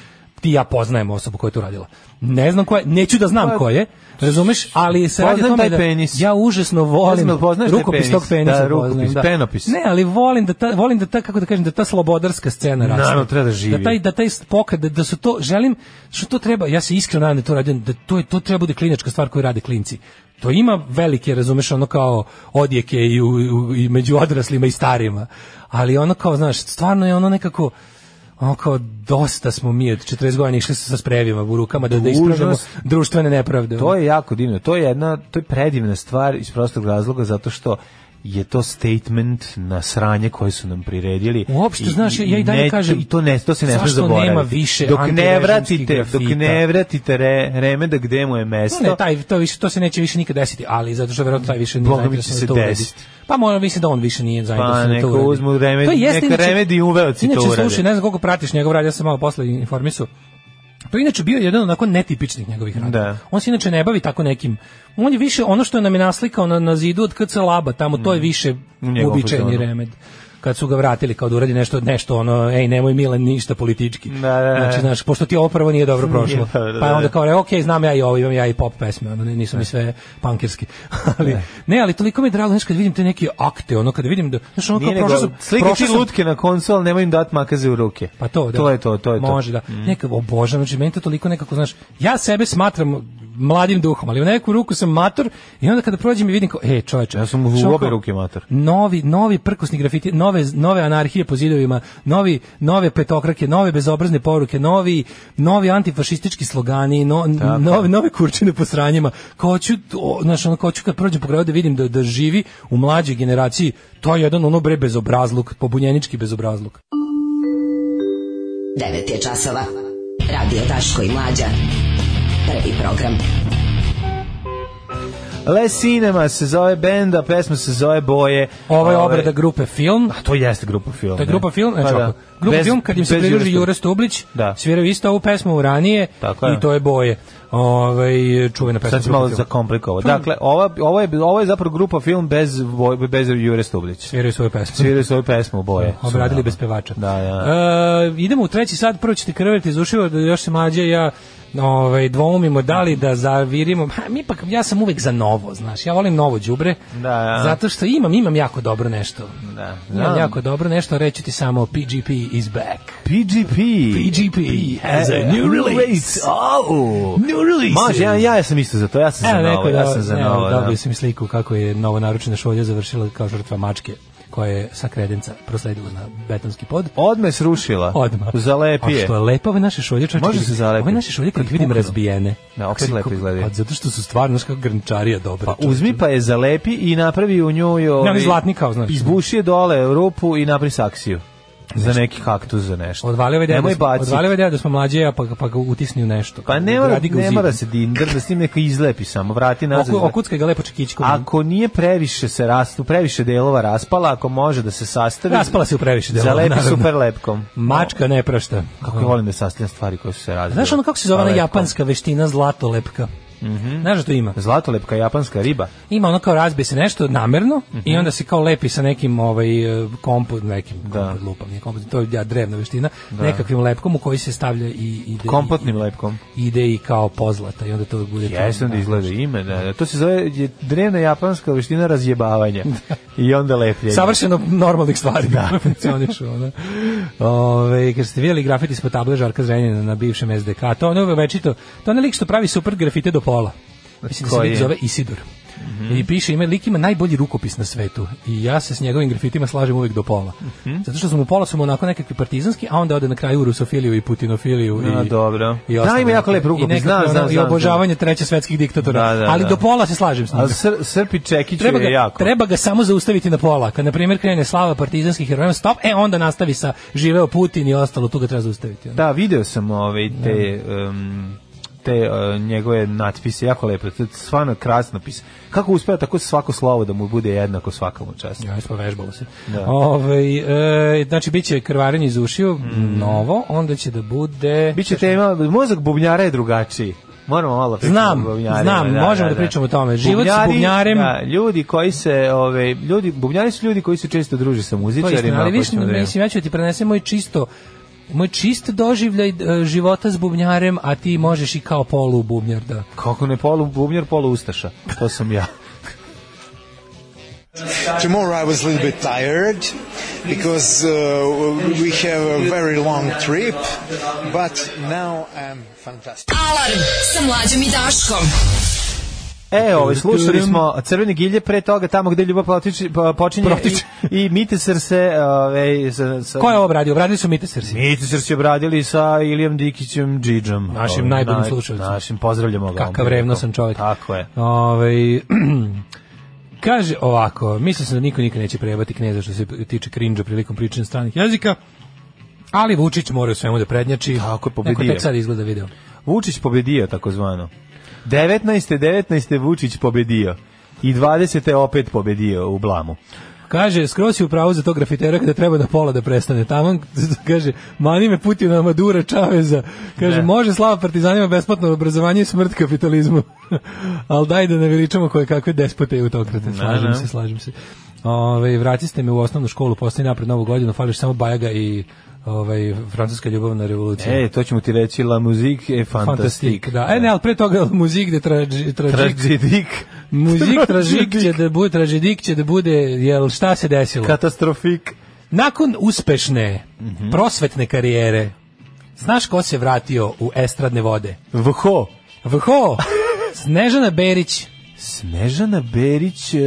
S5: ti i ja poznajem osobu koja je to radila. Ne znam koja, je, neću da znam
S7: Pa,
S5: koja je, razumeš, ali se radi o
S7: poznajem
S5: tome
S7: taj
S5: da
S7: penis.
S5: ja užasno volim
S7: Jel poznaš taj
S5: rukopis
S7: penis?
S5: tog penisa.
S7: Da, rukopis,
S5: poznajem,
S7: penopis.
S5: Ne, ali volim da ta volim da ta kako da kažem da ta slobodarska scena raste.
S7: Naravno, treba da živi.
S5: taj da taj pokret da, da su to želim što to treba. Ja se iskreno nadam da to radim da to je to treba bude klinačka stvar koju rade klinci. To ima velike, razumeš, ono kao odjeke i, u, u- i među odraslima i starima. Ali ono kao, znaš, stvarno je ono nekako ono kao dosta smo mi od 40 godina išli sa sprejevima u rukama da, da ispravljamo
S7: Dužnost.
S5: društvene nepravde.
S7: To je jako divno. To je jedna, to je predivna stvar iz prostog razloga zato što je to statement na sranje koje su nam priredili.
S5: Uopšte, znaš, ja i dalje
S7: ne-
S5: kažem,
S7: I to, ne, to se ne
S5: zašto
S7: smije zaboraviti.
S5: nema više
S7: dok ne
S5: antirežimskih
S7: vratite, dok
S5: grafita?
S7: ne vratite re, remeda gde mu je mesto.
S5: Ne, ne, taj, to, više, to se neće više nikad desiti, ali zato što verovatno taj više nije
S7: Boga mi će
S5: zainteresovan
S7: se
S5: da to uradi.
S7: desiti.
S5: Pa moram mislim da on više nije zainteresovan
S7: Pa
S5: da to
S7: neka
S5: uradi.
S7: uzmu remedi-
S5: To jeste
S7: neka
S5: inače-
S7: remedi i uveoci to
S5: Inače,
S7: urade.
S5: slušaj, ne znam koliko pratiš njegov rad, ja sam malo posle informisu. To je inače bio jedan onako netipičnih njegovih rada.
S7: Da.
S5: On se inače ne bavi tako nekim. On je više ono što nam je naslikao na, na zidu od KC Laba, tamo to je više
S7: Mm. njegovom
S5: uobičajeni
S7: fazonu.
S5: remed kad su ga vratili kao da uradi nešto nešto ono ej nemoj Milan ništa politički.
S7: Da, da, da.
S5: Znači znaš pošto ti ovo prvo nije dobro prošlo.
S7: Nije, Mm, da, da,
S5: Pa je onda
S7: da.
S5: kao rekao, ok, znam ja i ovo, imam ja i pop pesme, ono, ne- nisu mi sve pankerski. ali, ne. ali toliko mi je drago, znaš, kad vidim te neke akte, ono, kada vidim da, znaš, ono, kao,
S7: Nije
S5: prošao
S7: nego,
S5: sam,
S7: slike
S5: prošao
S7: ti
S5: sam-
S7: lutke na konsol, nemoj im dati makaze u ruke.
S5: pa to, da.
S7: To je to, to je to. Mm.
S5: Može, da. Neka, obožavam, znači, meni to toliko nekako, znaš, ja sebe smatram mladim duhom, ali u neku ruku sam mator i onda kada prođem i vidim kao, e, čoveče.
S7: Ja sam u
S5: znaš, ono
S7: obe
S5: kao,
S7: ruke mator.
S5: Novi, novi prkosni grafiti, nove, nove anarhije po zidovima, novi, nove petokrake, nove bezobrazne poruke, novi, novi antifašistički slogani, no, nove, nove kurčine po sranjima. Kao hoću, o, znaš, ono, kao hoću kad prođem po gradu da vidim da, da živi u mlađoj generaciji, to je jedan ono bre bezobrazluk, pobunjenički bezobrazluk.
S9: 9 je časova. Radio Daško i Mlađa. Prvi program.
S7: Le Cinema se zove benda, pesma se zove Boje.
S5: Ovo je Ovaj obrada grupe film.
S7: To jeste grupa film.
S5: To je grupa film, znači
S7: Ovaj- Pa
S5: ovako, grupa
S7: Bez-
S5: film kad im se
S7: bez
S5: pridruži
S7: Jure
S5: Jure Stublić,
S7: Da.
S5: sviraju isto ovu pesmu ranije
S7: Tako je.
S5: i to je boje. Ovaj čuvena pesma.
S7: Sad si
S5: grupe
S7: malo
S5: Film.
S7: zakomplikovao.
S5: Hmm.
S7: Dakle, ova, ovo, je, ovo je zapravo grupa film bez, voj- bez Jure Stublić.
S5: sviraju svoju pesmu.
S7: Sviraju svoju pesmu boje.
S5: Obradili bez pevača.
S7: Da, da.
S5: E, idemo u treći sad, prvo ćete krveti iz ušiva, da još se mlađe i ja ovaj, dvoumimo da li da zavirimo. Ha, mi ipak, ja sam uvek za novo, znaš, ja volim novo đubre
S7: Da, da.
S5: zato što imam, imam jako dobro nešto.
S7: Da,
S5: Imam
S7: znam.
S5: jako dobro nešto, reći ti samo PGP is back.
S7: PGP.
S5: PGP has a
S7: Eh,
S5: new release.
S7: Oh.
S5: New release.
S7: Može, ja, ja sam isto za to, ja sam za
S5: Evo
S7: novo,
S5: neko
S7: ja
S5: da,
S7: sam za
S5: evo,
S7: novo. da.
S5: Dobio sam i sliku kako je novo naručena šolja završila kao žrtva mačke koja je sa kredenca prosledila na betonski pod.
S7: Odmah je srušila.
S5: Odmah.
S7: Zalepi
S5: A
S7: je.
S5: što je lepo ove naše šolje, čoveče.
S7: Može
S5: kad
S7: se
S5: ih-
S7: zalepiti.
S5: Ove naše šolje kad ih
S7: Kad
S5: vidim
S7: puknu.
S5: razbijene.
S7: Da, opet
S5: Kako-
S7: lepo izgledaju.
S5: Pa zato što su stvarno, znaš kako grnčarija dobra.
S7: Pa
S5: čoveče.
S7: uzmi pa je zalepi i napravi u njoj... Ovaj,
S5: oni zlatni kao, znaš.
S7: Izbuši je dole rupu i napravi saksiju. Za neki kaktus, za nešto.
S5: Odvali ovaj deo,
S7: Nemoj
S5: da,
S7: baci.
S5: odvali ovaj deo da smo mlađe, a pa, ga- pa ga utisni u nešto.
S7: Pa ne mora,
S5: Ugradi ga u
S7: ne
S5: zid.
S7: mora se dindr, da s tim neka izlepi samo, vrati nazad.
S5: Oku- Okuckaj ga lepo čekićkom.
S7: Ako nije previše se rastu, previše delova raspala, ako može da se sastavi...
S5: Raspala se u previše delova,
S7: Zalepi
S5: naravno.
S7: super lepkom.
S5: Mačka ne prašta.
S7: Kako ja volim da sastavljam stvari koje su se razbile.
S5: Znaš ono kako se zove
S7: Pa
S5: ona
S7: lepkom.
S5: japanska veština zlatolepka? Znaš da to ima?
S7: Zlatolepka japanska riba.
S5: Ima ono kao razbije se nešto namerno i onda se kao lepi sa nekim ovaj e, kompot nekim
S7: Da.
S5: kompot lupom, nije kompot, to je ja drevna veština, nekakvim lepkom u koji se stavlja i ide
S7: Kompotnim lepkom.
S5: i, ide i kao pozlata i onda to bude to.
S7: Jesam da izgleda ime, da, da. To se zove je drevna japanska veština razjebavanja. I onda lepljenja.
S5: Savršeno normalnih stvari da. funkcionišu. Ono. Ove, kad ste vidjeli grafit ispod table Žarka Zrenjana na bivšem SDK, to ono večito, to onaj lik što pravi super grafite do pola. Mislim da se
S7: Koji
S5: lik
S7: je? Mhm.
S5: zove Isidor. I piše, ima, lik ima najbolji rukopis na svetu i ja se s njegovim grafitima slažem uvek do pola.
S7: Mhm.
S5: Zato što su mu pola su mu onako nekakvi partizanski, a onda ode na kraju u rusofiliju i putinofiliju.
S7: A,
S5: i,
S7: dobro.
S5: i
S7: Da,
S5: ostalo.
S7: ima jako lep
S5: I
S7: rukopis,
S5: nekakve
S7: znam,
S5: ono-
S7: znam,
S5: I
S7: znam,
S5: obožavanje treće svetskih diktatora.
S7: Da, da,
S5: Ali
S7: da.
S5: do pola se slažem s njim.
S7: A sr, Srpi Čekić
S5: Treba ga,
S7: je jako.
S5: treba ga samo zaustaviti na pola. Kad, na primjer, krene slava partizanskih heroja, stop, e, onda nastavi sa živeo Putin i ostalo, tu ga treba zaustaviti. ono.
S7: Da, video sam ove te... em, te e, njegove natpise, jako lepo, to je stvarno krasno pis. Kako uspeva tako svako slovo da mu bude jednako svakamu čast.
S5: Ja, ispovežbalo pa se.
S7: Da.
S5: Ovaj, e, znači, bit će krvarenje iz ušiju,
S7: Mm.
S5: novo, onda će da bude...
S7: Biće tema, mozak bubnjara je drugačiji. Moramo malo pričati
S5: Znam,
S7: o bubnjarima,
S5: znam, možemo da pričamo o tome. Život s bubnjarem-
S7: Da, ljudi koji se, ove, ljudi, bubnjari su ljudi koji se često druže sa
S5: To je
S7: muzičarima.
S5: istina, ali
S7: pa
S5: viš,
S7: ćemo da vidimo.
S5: mislim, ja ću ti prenesem moj čisto moj čist doživljaj e, života s bubnjarem, a ti možeš i kao polu bubnjar da...
S7: Kako ne polu bubnjar, polu ustaša. To sam ja.
S10: Tomorrow I was a little bit tired because uh, we have a very long trip, but now I'm fantastic.
S4: Alarm sa mlađom i Daškom.
S7: E, ovaj, slušali smo Crvene gilje pre toga, tamo gde ljubav protiči, pa- počinje
S5: Protiče.
S7: i, i Mitesar se... Ove, sa, sa,
S5: Ko je ovo obradio? Obradili su Mite Srsi.
S7: Mitesar se obradili sa Ilijom Dikićem Džidžom.
S5: Našim
S7: Ovaj,
S5: najboljim slušaocem.
S7: Našim, pozdravljamo ga.
S5: Kakav
S7: on bi
S5: revno
S7: rekao.
S5: sam čovjek.
S7: Tako je.
S5: Ovaj, kaže ovako, mislio sam da niko nikad neće prejebati kneza što se tiče krinđa prilikom pričanja stranih jezika, ali Vučić mora u svemu da prednjači.
S7: Tako je,
S5: Neko
S7: pobedio.
S5: tek sad izgleda video.
S7: Vučić pobedio, takozvano. 19. 19. Vučić pobedio. I 20. opet pobedio u blamu.
S5: Kaže, skroz si u pravu za to grafitera kada treba na pola da prestane. Taman, kaže, mani me Putina, Madura, Čaveza. Kaže,
S7: Ne.
S5: može slava partizanima besplatno obrazovanje i smrt kapitalizmu. Ali daj da ne veličamo koje kakve despote i autokrate. Slažem
S7: ne.
S5: se, slažem se. Ove, vrati ste me u osnovnu školu, postoji napred novu godinu, fališ samo Bajaga i ovaj, francuska ljubavna revolucija.
S7: E, to ćemo ti reći, la musique est fantastique.
S5: Da. E, ne, ali pre toga muzik de trađi, trađik.
S7: Tragedik.
S5: Muzik tražik će da bude, tražidik će da bude, jel šta se desilo?
S7: Katastrofik.
S5: Nakon uspešne prosvetne karijere, znaš ko se vratio u estradne vode?
S7: Vho.
S5: Vho! Snežana Berić,
S7: Snežana Berić, e,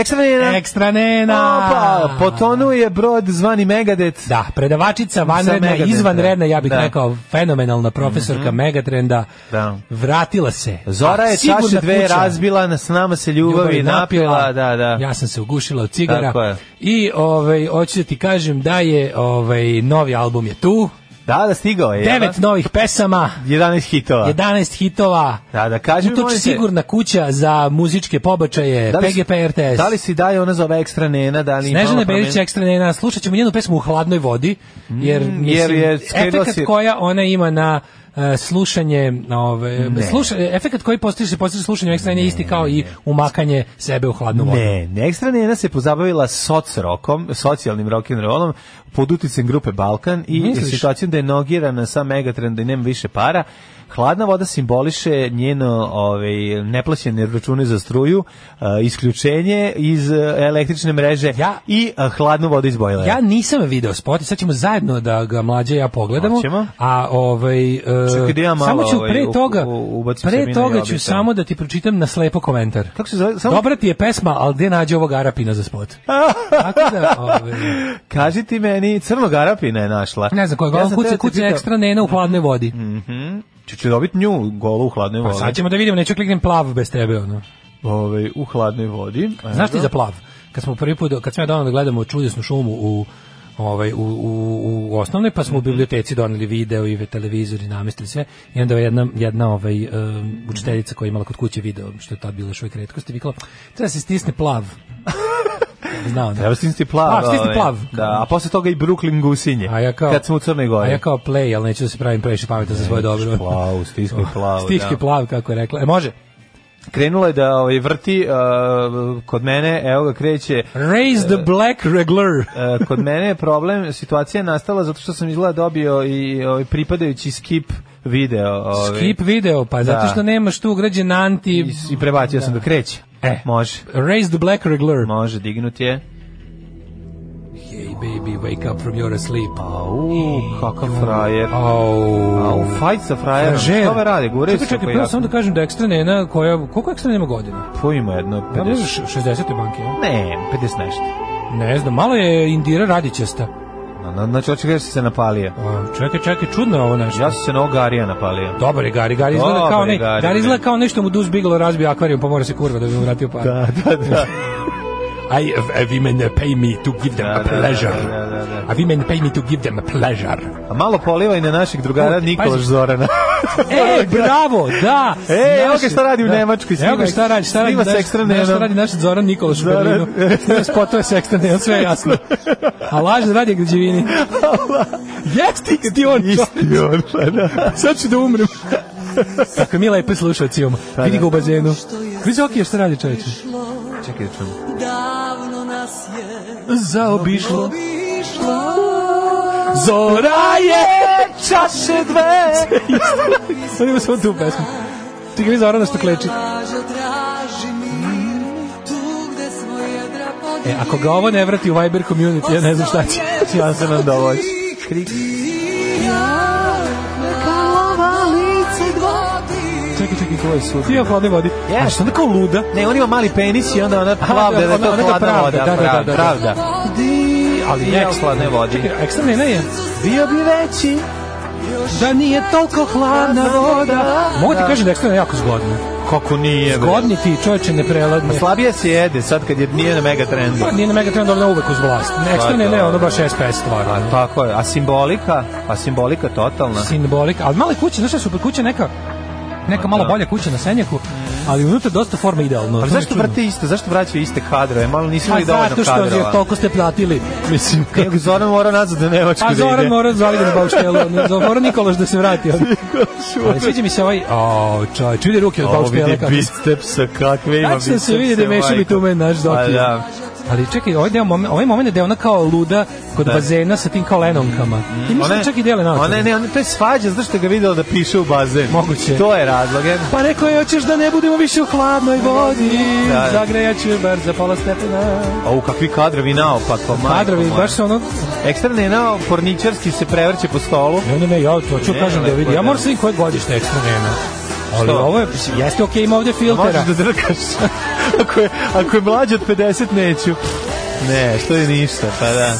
S7: ekstra njena.
S5: ekstra nena!
S7: Opa, potonuo je brod zvani Megadet.
S5: Da, predavačica vanredna,
S7: Megatrenda.
S5: izvanredna, ja bih
S7: Da. Mhm.
S5: rekao fenomenalna profesorka Megatrenda,
S7: Da.
S5: vratila se.
S7: Zora je
S5: Sigurna
S7: čaše dve
S5: kuća.
S7: razbila, na s nama se ljubavi, napila, da, da.
S5: Ja sam se ugušila od cigara.
S7: Tako je.
S5: I ovaj hoću da ti kažem da je ovaj novi album je tu.
S7: Da, da, stigao je. jel?
S5: Devet novih pesama.
S7: 11 hitova.
S5: 11 hitova.
S7: Pa. Da, da, kaži mi,
S5: Utoč
S7: molim te.
S5: sigurna kuća za muzičke pobačaje,
S7: Da li si-
S5: PGP RTS.
S7: Da li si daje ona zove ekstra nena, da li
S5: Snežana
S7: imala
S5: Berić
S7: promjena?
S5: ekstra nena, slušat ćemo njenu pesmu u hladnoj vodi, jer,
S7: Mm, jer
S5: mislim,
S7: je skrenuo
S5: efekat
S7: si-
S5: koja ona ima na e, slušanje na ove sluša, efekat koji postiže postiže slušanje ekstra nene je isti kao i umakanje sebe u hladnu vodu.
S7: Ne, ne, ekstra nena se pozabavila soc rokom, socijalnim rock and rollom pod uticem grupe Balkan i
S5: Misliš?
S7: situacijom da je nogirana sa Megatrend da nema više para. Hladna voda simboliše njeno ovaj neplaćene račune za struju, a, isključenje iz e, električne mreže
S5: Ja-
S7: i a, hladnu vodu iz bojlera.
S5: Ja nisam video spot, sad ćemo zajedno da ga mlađe i ja pogledamo.
S7: Hoćemo.
S5: A ovaj e,
S7: Čekaj da ja malo,
S5: samo ću
S7: ovaj,
S5: pre
S7: u-
S5: toga
S7: u- ubacim sebi
S5: pre
S7: na
S5: toga ću
S7: jobicu.
S5: samo da ti pročitam na slepo komentar.
S7: Kako se zove? Samo
S5: Dobra ti je pesma, ali gde nađe ovog Arapina za spot? Tako da, ovaj,
S7: kaži ti meni, crnog Arapina je našla.
S5: ne znam koja,
S7: Ja
S5: ja
S7: sam
S5: kuca,
S7: teo
S5: kuca
S7: te Mm, pitam-
S5: ekstra nena u hladnoj vodi.
S7: Ču ću dobiti nju golu u hladnoj
S5: Pa
S7: vodi.
S5: sad ćemo da vidimo, neću kliknem plav bez tebe. Ono.
S7: Ovaj, u hladnoj vodi.
S5: Znaš ti za plav? Kad smo prvi put, kad smo ja donao da gledamo čudesnu šumu u ovaj u, u, u osnovnoj pa smo u biblioteci doneli video i ve- televizor i namestili sve i onda je jedna jedna ovaj em, učiteljica koja je imala kod kuće video što je tad bilo još uvijek retkost i vikala treba se stisne plav znao da
S7: Treba stisnuti plav.
S5: A, stisni
S7: ovaj.
S5: plav.
S7: Da, a posle toga i Brooklyn gusinje.
S5: a ja kao
S7: kad smo u Crnoj Gori.
S5: a ja kao play ali neću da se pravim previše pametan za svoje dobro
S7: Plav, stisni plav.
S5: Stiški
S7: da.
S5: plav, kako je rekla. E, može?
S7: krenula je da ovaj, vrti uh, kod mene, evo ga kreće
S5: Raise
S7: E,
S5: the black regular.
S7: uh, kod mene je problem, situacija je nastala zato što sam izgleda dobio i ovaj, pripadajući skip video. Ovaj,
S5: Skip video, pa zato što
S7: Da.
S5: nemaš tu ugrađen anti...
S7: I, i prebacio sam ga, kreće.
S5: E.
S7: Može,
S5: Raise the black regular.
S7: može, dignuti je.
S5: Hey baby, wake up from your sleep.
S7: Au, kakav frajer.
S5: Au.
S7: Pa, uh, Au, fajt sa frajerom.
S5: Frajer.
S7: Šta ove rade, guraju se
S5: Čekaj, čekaj,
S7: koji
S5: prvo
S7: jako-
S5: samo da kažem da ekstra nena koja... Koliko ekstra nema godina?
S7: Po ima jedno
S5: Ja
S7: 50.
S5: možda 60. banke, ja?
S7: Ne, 50 nešto.
S5: Ne znam, malo je Indira Radićesta.
S7: Na- na- Znači, očekaj da si se napalio.
S5: A, Čekaj, čekaj, čudno je ovo nešto.
S7: Ja sam se na ovog Arija napalio.
S5: Dobar je Gari, Gari izgleda
S7: Dobar
S5: kao
S7: je
S5: ne,
S7: Gari,
S5: Gari izgleda
S7: ne.
S5: kao nešto mu Duz Bigalo razbio akvarijum, pa mora se kurva da bi mu vratio par. Da, da, da. I, I women pay me to give them
S7: Da,
S5: a
S7: da, da,
S5: pleasure.
S7: da, da, da.
S5: A women pay me to give them a pleasure.
S7: A malo polivaj na našeg drugara
S5: Pazi.
S7: Nikolaš Zorana.
S5: E, bravo, da.
S7: E, evo
S5: Naš-
S7: ga šta radi u Nemačkoj.
S5: Evo ga šta radi, šta radi,
S7: Snima
S5: naš-
S7: se ekstra
S5: znaš šta
S7: nenom.
S5: radi naš Zoran Nikolaš u
S7: Zoran.
S5: Berlinu. Snima spotove s ekstra nenom, sve je jasno. A laž da radi građevini. Jeste, isti on.
S7: Isti on, pa da.
S5: Sad ću da umrem. Pa Kako mi lepo slušao cijom. Vidi ga u bazenu. Vidi Zokija šta radi čoveče.
S7: Čekaj da čujem.
S5: Zaobišlo. Zora je čaše dve. Sad ima samo tu pesmu. Čekaj, vi Zorana što kleči. E, ako ga ovo ne vrati u Viber community, ja ne znam šta će.
S7: Ja se nam dovoći. Krik.
S5: Čekaj, čekaj, ko je su? Ti je hladne vodi. A što onda kao luda?
S7: Ne, on ima mali penis i onda ona pravda da je
S5: ona-
S7: to
S5: ona ga
S7: hladna
S5: pravda,
S7: voda.
S5: da, da, da,
S7: pravda,
S5: da.
S7: Pravda. Ali ne hladne vodi.
S5: Čekaj, ekstra nena je.
S7: Bio bi veći.
S5: Da nije toliko hladna voda. Mogu ti kažem da je ekstra nena jako zgodna.
S7: Kako nije. bre?
S5: Zgodni ti, čovječe, ne preladne.
S7: Slabije se jede sad kad je nije na mega trendu.
S5: Pa nije na Megatrend ona uvek uz vlast. Ekstra ne, ne, ono baš SPS
S7: A
S5: stvar.
S7: tako je. A simbolika? A simbolika totalna.
S5: Simbolika, ali male kuće, znaš šta su kuće neka
S7: Pa,
S5: neka malo bolja kuća na Senjaku, ali unutra dosta forme idealno.
S7: Mm. Ali
S5: to mi je
S7: zašto
S5: čudno.
S7: vrte isto? Zašto vraćaju iste kadrove? Malo nisu
S5: Pa
S7: li dovoljno
S5: zato što je
S7: kadrova.
S5: toliko ste platili. Mislim,
S7: Nego Zoran mora nazad da Nemačku
S5: Pa
S7: da
S5: Zoran
S7: ide.
S5: mora zvali da bauštelu, mora Nikolaš da se vrati. ono. Ali sviđa mi se ovaj, o, čaj, vidi ruke od
S7: Ovo
S5: bauštela.
S7: vidi
S5: kako se-
S7: bicepsa, kakve ima bicepsa.
S5: Tačno se vidi Znači da mešali
S7: majko.
S5: tu me naš
S7: Pa
S5: Zoki.
S7: da.
S5: Ali čekaj, ovaj, deo, momen- ovaj moment gde je ona kao luda kod
S7: Da.
S5: bazena sa tim kao lenonkama. I mislim da čak i dele na
S7: Ona, ne, ona, to je svađa, znaš što ga videla da piše u bazen.
S5: Moguće.
S7: To je razlog. ja.
S5: Pa rekao je, hoćeš da ne budemo više u hladnoj vodi,
S7: Da.
S5: zagrejaću je bar za pola stepena.
S7: Au, kakvi kadrovi naopako, majko
S5: Kadrovi,
S7: moja.
S5: baš se ono...
S7: Ekstra nena, porničarski se prevrće po stolu.
S5: Ne, ne, ne, ja to ću
S7: Ne,
S5: kažem da
S7: lepo
S5: vidi.
S7: je,
S5: Ja
S7: da.
S5: moram sve koje godište ekstra nema. Ali
S7: Što?
S5: ovo je, jeste okej, ima ovde filtera.
S7: Možeš da drkaš. ako, je, ako je mlađe od 50, neću. Ne, što je ništa, pa da.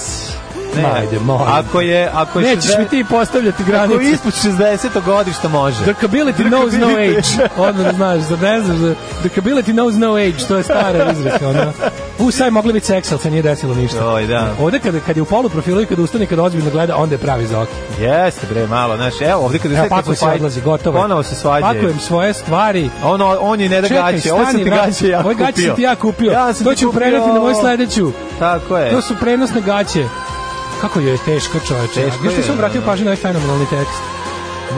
S7: Ne,
S5: Ajde, molim.
S7: Ako je, ako je
S5: Nećeš
S7: 60
S5: mi ti postavljati
S7: Ako je
S5: granice.
S7: ispod 60. godišta može.
S5: Drkability knows no
S7: Drkability.
S5: age. Odmah znaš, da ne znaš. Da, drkability knows no age, to je stara izreka. Ono. U, sad je mogli biti seks, ali se nije desilo ništa.
S7: Oj, da.
S5: Ovde kada, kad je u polu profilu i kada ustane, kada ozbiljno gleda, onda je pravi zoki.
S7: Jeste bre, malo, znaš. Evo, ovdje kada
S5: Evo,
S7: sad kad
S5: pakuj
S7: su
S5: se,
S7: svađe-
S5: odlazi, gotovo. je.
S7: Ponovo se svađaju.
S5: Pakujem svoje stvari.
S7: Ono, on je ne da
S5: Čekaj,
S7: gaće, ovo sam
S5: stani,
S7: ti
S5: vrati.
S7: gaće ja kupio.
S5: Ove gaće sam ti ja kupio.
S7: Ja sam
S5: to
S7: ti
S5: ću
S7: kupio. E.
S5: preneti na moju sledeću.
S7: Tako je.
S5: To su prenosne gaće. Kako je teško čoveče.
S7: Teško
S5: Teško
S7: je,
S5: sam obratio
S7: da.
S5: pažnju na ovaj fenomenalni tekst.